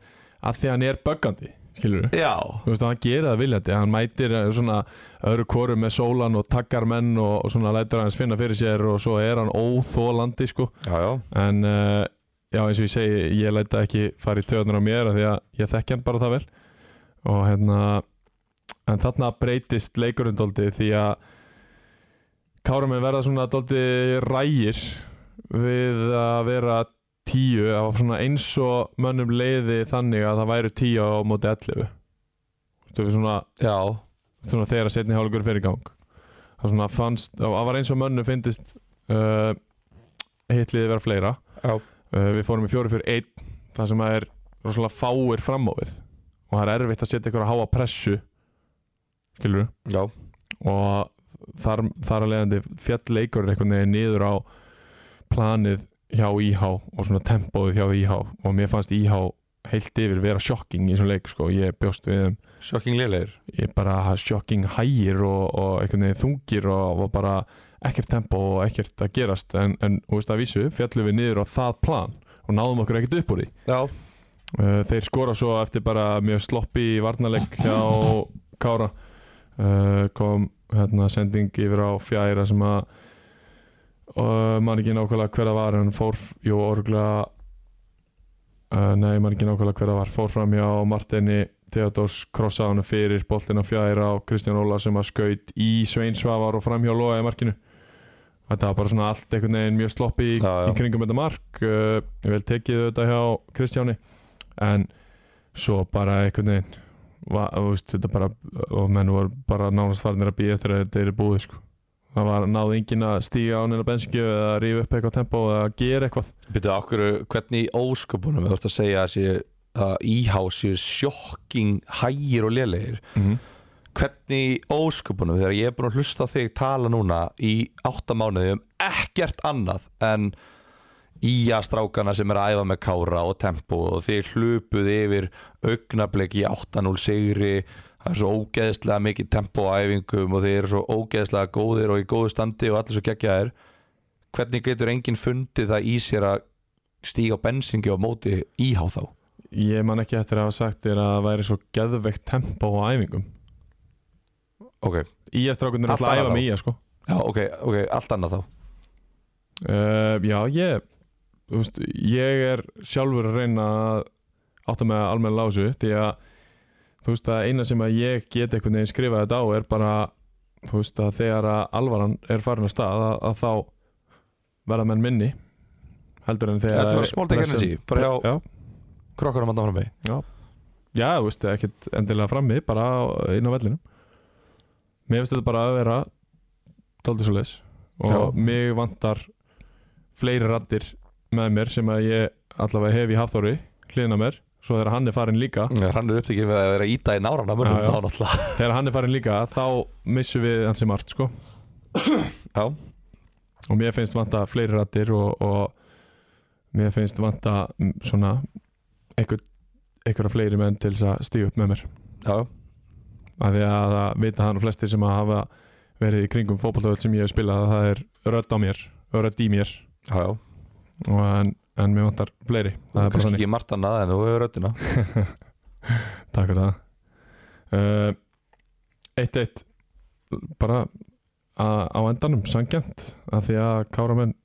Speaker 1: af því að hann er böggandi skilur við
Speaker 2: Já,
Speaker 1: Þú veist að hann gera það viljandi, hann mætir eh, svona öðru koru með sólan og taggar menn og, og svona lætur hans finna fyrir sér og svo er hann óþólandi sko
Speaker 2: já, já
Speaker 1: en uh, já eins og ég segi ég leita ekki fara í töðunar á mér af því að ég þekki hann bara það vel og hérna en þarna breytist leikurinn dóldi því að kárum er verða svona dóldi rægir við að vera tíu af svona eins og mönnum leiði þannig að það væru tíu á móti 11 þú veist svona
Speaker 2: Já,
Speaker 1: svona þegar að setni hálfleikur fyrir gang það svona fannst, það var eins og mönnum finnist uh, hitliði vera fleira
Speaker 2: Já.
Speaker 1: uh, við fórum í fjóri fyrir einn það sem að er rosalega fáir fram á við og það er erfitt að setja ykkur að háa pressu skilur
Speaker 2: já,
Speaker 1: og þar, þar að leiðandi fjall leikurinn einhvern veginn niður á planið hjá IH og svona tempóið hjá IH og mér fannst IH heilt yfir vera sjokking í þessum leik sko, ég bjóst við þeim
Speaker 2: sjokking lélegir
Speaker 1: ég bara sjokking hægir og, og einhvern veginn þungir og, og bara ekkert tempo og ekkert að gerast en, en þú veist að vísu fjallum við niður á það plan og náðum okkur ekkert upp úr því
Speaker 2: Já,
Speaker 1: uh, þeir skora svo eftir bara mjög sloppi varnarleik hjá Kára uh, kom hérna sending yfir á fjæra sem að uh, mann ekki nákvæmlega hver að var en fór jú orgla uh, nei mann ekki nákvæmlega hver að var fór fram hjá Martini Theodors krossaði hann fyrir boltin á fjæra og Kristján Óla sem að skaut í Sveinsvavar og fram hjá Lóa í markinu þetta var bara svona allt einhvern veginn mjög sloppi í,
Speaker 2: Já, já.
Speaker 1: í kringum þetta mark uh, vel tekið þetta hjá Kristjáni en svo bara einhvern veginn va, þú veist, þetta bara, og menn voru bara nánast farinir að býja eftir að þetta eru búið sko. það var náði engin að stíga á neina bensingjöf eða rífa upp eitthvað tempo eða gera eitthvað
Speaker 2: byrju okkur, hvernig í ósköpunum þú ert að segja að sé að íhá séu sjokking hægir og lélegir
Speaker 1: mm -hmm.
Speaker 2: hvernig í ósköpunum þegar ég er búin að hlusta á þig tala núna í áttamánuði um ekkert annað en íja strákana sem er að æfa með kára og tempo og þeir hlupuð yfir augnablik í 8-0 sigri það er svo ógeðslega mikið tempo á æfingum og þeir eru svo ógeðslega góðir og í góðu standi og allir svo geggjaðir hvernig getur enginn fundið það í sér að stíga á bensingi og móti íhá þá
Speaker 1: ég man ekki eftir að hafa sagt þér að það væri svo geðveikt tempo á æfingum
Speaker 2: ok,
Speaker 1: Íastrákunir er
Speaker 2: Allt
Speaker 1: alltaf að
Speaker 2: annað
Speaker 1: æfa
Speaker 2: þá.
Speaker 1: með Ía sko.
Speaker 2: já, ok, ok, allt annað þá
Speaker 1: uh, já ég þú veist, ég er sjálfur að reyna að átta með almenn lásu því að þú veist að eina sem að ég get einhvern veginn skrifað þetta á er bara þú veist að þegar að alvaran er farin að stað að, að þá verða menn minni heldur en þegar
Speaker 2: Þetta var
Speaker 1: að-
Speaker 2: small take
Speaker 1: pressan-
Speaker 2: energy, bara hjá-
Speaker 1: já,
Speaker 2: krokkarum að náfram með
Speaker 1: já, þú veist ekkert endilega frammi bara inn á vellinum mér finnst þetta bara að vera tóldi svo leis og
Speaker 2: Já.
Speaker 1: mig vantar fleiri raddir með mér sem að ég allavega hef í hafþóri hliðina á mér, svo þegar hann er farin líka
Speaker 2: Já, hann er upptekið með að vera íta í náran
Speaker 1: Já,
Speaker 2: að
Speaker 1: já.
Speaker 2: mönnum þá náttúrulega
Speaker 1: þegar hann er farin líka þá missum við hans í margt sko
Speaker 2: Já,
Speaker 1: og mér finnst vanta fleiri rættir og, og mér finnst vanta mm, svona einhver, einhverja fleiri menn til þess að stíga upp með mér
Speaker 2: já,
Speaker 1: af því að það vita hann og flestir sem að hafa verið í kringum fótballtöðul sem ég hef spilað að það er rödd á mér, rödd í mér
Speaker 2: já, já.
Speaker 1: og en, en mér vantar fleiri það er bara
Speaker 2: kannski
Speaker 1: þannig,
Speaker 2: ekki margt annað en þú hefur röddina
Speaker 1: takk fyrir það uh, 1-1 bara að, á endanum sangjant af því að káramenn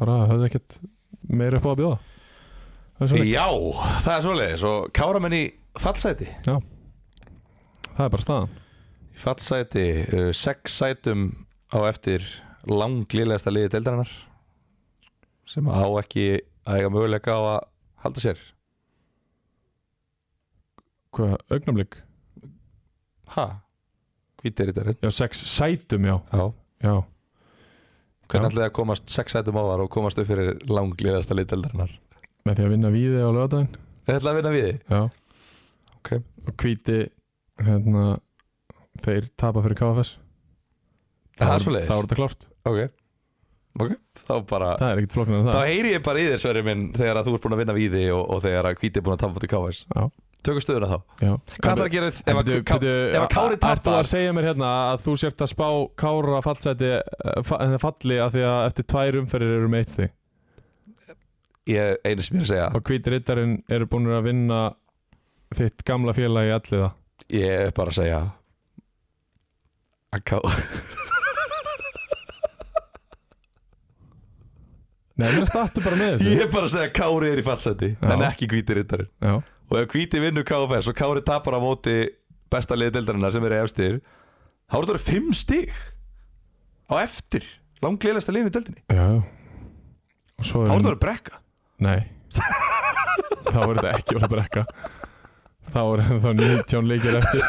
Speaker 1: bara höfðu ekkert meira upp á að bjóða það er, svona,
Speaker 2: Já, það er svoleiðis og káramenn í fallsæti
Speaker 1: það er bara staðan
Speaker 2: Í fallsæti, uh, sex sætum á eftir langlilegasta liði deildarinnar sem á ekki að eiga möguleika á að halda sér
Speaker 1: hvað, augnablik?
Speaker 2: Ha? Hvítið er þetta
Speaker 1: Já, sex sætum, já,
Speaker 2: Já
Speaker 1: já. Já.
Speaker 2: Hvernig ætlaði að komast sex sætum á þar og komast upp fyrir langlilegasta liði deildarinnar
Speaker 1: með því að vinna víði á lögadaginn
Speaker 2: Þetta ætlaði að vinna við þið
Speaker 1: Já
Speaker 2: Ok.
Speaker 1: Og hvíti hérna, Þeir tapa fyrir KFS
Speaker 2: Það
Speaker 1: Þá-
Speaker 2: er svoleiðis
Speaker 1: Þá er þetta klárt
Speaker 2: Ok, ok, þá bara
Speaker 1: Það er ekkert floknað en
Speaker 2: Þá
Speaker 1: það
Speaker 2: heyri ég bara í þér sverri minn þegar að þú ert búin að vinna við þig og, og þegar að hvíti er búin að tapa til KS
Speaker 1: Já.
Speaker 2: Tökum stöðuna þá
Speaker 1: Já.
Speaker 2: Hvað þarf að gera ef að,
Speaker 1: Bíddu,
Speaker 2: ká,
Speaker 1: bíddu,
Speaker 2: ef að Kári
Speaker 1: a- Ertu að
Speaker 2: tapar
Speaker 1: segja mér hérna að þú sért að spá Kára fallseti eh, fa- eh, falli af því að eftir tvær umferðir eru um meitt þig
Speaker 2: Ég einu sem ég er að segja
Speaker 1: og hvíti rittarinn eru búin að vinna þitt gamla félagi allir það?
Speaker 2: Ég er bara að segja að ká
Speaker 1: Nei, mér startu bara með þessu
Speaker 2: Ég er bara að segja að Kári er í fallseti
Speaker 1: Já.
Speaker 2: en ekki hvíti rittarinn
Speaker 1: Já,
Speaker 2: og ef hvíti vinnur KFS og Kári tapar á móti besta liði deildarinnar sem er í efstir þá eru þetta fimm stig á eftir langleilasta liðin í deildinni
Speaker 1: já Og svo
Speaker 2: þá eru
Speaker 1: er
Speaker 2: þetta brekka
Speaker 1: Nei Þá er þetta ekki orða brekka Þá er ennþá 19 leikir eftir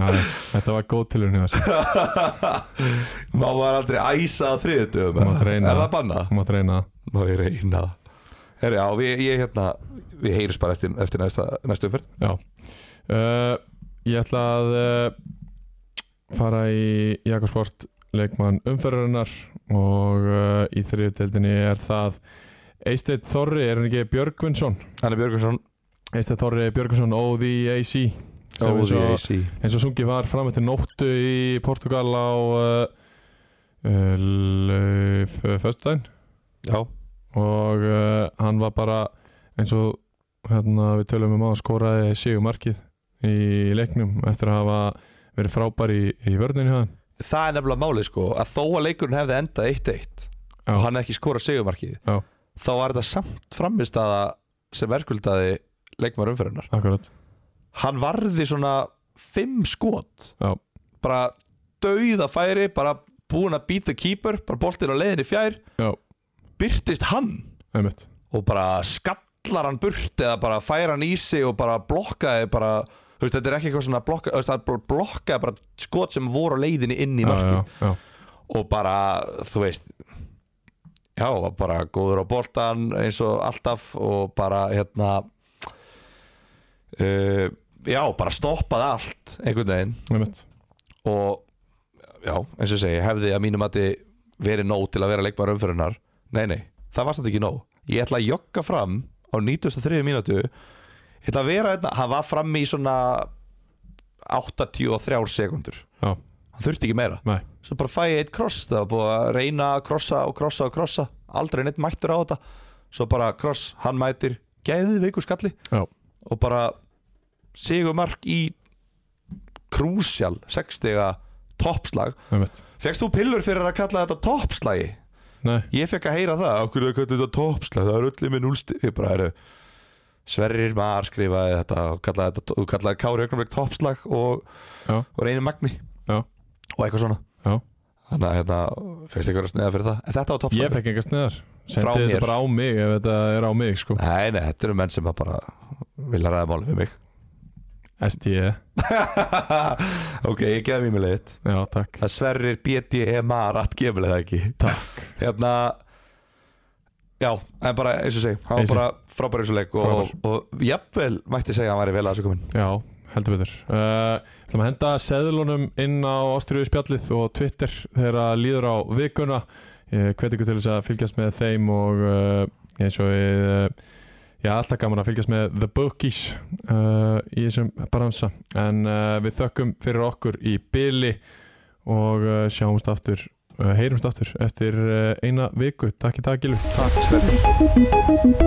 Speaker 1: Æ, Þetta var góð hérna, tilurinn í þessu
Speaker 2: Má var aldrei æsa að þriðutum
Speaker 1: Þú mátt
Speaker 2: Er
Speaker 1: reyna
Speaker 2: það
Speaker 1: það.
Speaker 2: bannað?
Speaker 1: Þú mátt reyna það
Speaker 2: Má ég reyna það Herri, já, við, ég hérna, við heyris bara eftir, eftir næsta, næstu umferð
Speaker 1: Já uh, Ég ætla að uh, fara í Jakobsport leikmann umferðarinnar og uh, í þriðu deildinni er það Eisteit Þorri, er hann ekki Björgvinsson?
Speaker 2: Hanna Björgursson,
Speaker 1: Eisteit Þorri Björgvinsson, ODAC sem er svo-
Speaker 2: OVAC
Speaker 1: eins og sungið var fram eftir nóttu í Portugal á eh, uh, föstudaginn
Speaker 2: Já,
Speaker 1: og uh, hann var bara eins og hérna, við tölum um að skoraði sigur markið í leiknum eftir að hafa verið frábær í, í vörðinu hann
Speaker 2: það er nefnilega málið sko að þó að leikurinn hefði endað 1-1
Speaker 1: Já.
Speaker 2: og hann hefði ekki skorað segumarkið
Speaker 1: Já.
Speaker 2: þá var þetta samt frammistaða sem verðskuldaði leikmar umferðunar
Speaker 1: akkurat
Speaker 2: hann varði svona 5 skot
Speaker 1: Já.
Speaker 2: bara dauða færi bara búin að býta kýpur bara boltinn á leiðinni fjær
Speaker 1: Já.
Speaker 2: byrtist hann
Speaker 1: einmitt
Speaker 2: og bara skallar hann burt eða bara fær hann í sig og bara blokkaði bara þú veist, þetta er ekki eitthvað svona blokka, þú veist, hann bara blokkaði bara skot sem voru á leiðinni inn í
Speaker 1: já,
Speaker 2: markið
Speaker 1: já, já.
Speaker 2: og bara, þú veist já, var bara góður á boltan eins og alltaf og bara, hérna uh, já, bara stoppaði allt einhvern veginn
Speaker 1: einmitt
Speaker 2: og já, eins og ég segi, hefði að mínum að verið nóg til að vera leikmaður umfyrunar nei, nei, það var samt ekki nóg ég ætla að jogga fram á 93 mínútu ég ætla að vera þetta hann var fram í svona 83 sekundur
Speaker 1: Já.
Speaker 2: hann þurfti ekki meira
Speaker 1: nei,
Speaker 2: svo bara fæ ég eitt kross það var búið að reyna að krossa og krossa og krossa aldrei neitt mættur á þetta svo bara kross, hann mætir gæðið veiku skalli
Speaker 1: Já.
Speaker 2: og bara sigur mark í krúsjál, sextega toppslag,
Speaker 1: einmitt
Speaker 2: fegst þú pillur fyrir að kalla þetta toppslagi?
Speaker 1: nei,
Speaker 2: Ég fekk að heyra það, okkur er að kalla þetta toppslag það er öllum með núlstig, ég bara eru Sverrir Mar skrifaði þetta og kallaði, þetta, og kallaði Kári Ögnumveg toppslag og,
Speaker 1: Já.
Speaker 2: og reynir Magni
Speaker 1: Já.
Speaker 2: og eitthvað svona
Speaker 1: Já.
Speaker 2: Þannig að hérna, fegst eitthvað sniða fyrir það En þetta var
Speaker 1: ég
Speaker 2: toppslag
Speaker 1: fekk enga sniðar
Speaker 2: Frá
Speaker 1: sendi
Speaker 2: mér.
Speaker 1: þetta bara á mig ef þetta er á mig sko
Speaker 2: Nei, nei, þetta eru menn sem að bara vilja ræða málum við mig
Speaker 1: STE,
Speaker 2: Ok, ég gef mér með leitt
Speaker 1: já takk
Speaker 2: Það sverrir E BDE Marat gefur það ekki Takk Hérna Já, en bara eins og segi Hann var
Speaker 1: Eins og-
Speaker 2: bara frábær í þessu leik og, og jafnvel mætti segja að hann væri vel að þessu komin
Speaker 1: Já, heldur betur uh, ætlum að henda seðlunum inn á Ástriðu spjallið og Twitter þegar líður á vikuna ég hveti ykkur til þess að fylgjast með þeim og uh, eins og við uh, já, alltaf gaman að fylgjast með The Bookies uh, í þessum bransa en uh, við þökkum fyrir okkur í byli og uh, sjáumst aftur uh, heyrumst aftur eftir uh, eina viku Takk í dag, Gilvi
Speaker 2: Takk Sverrir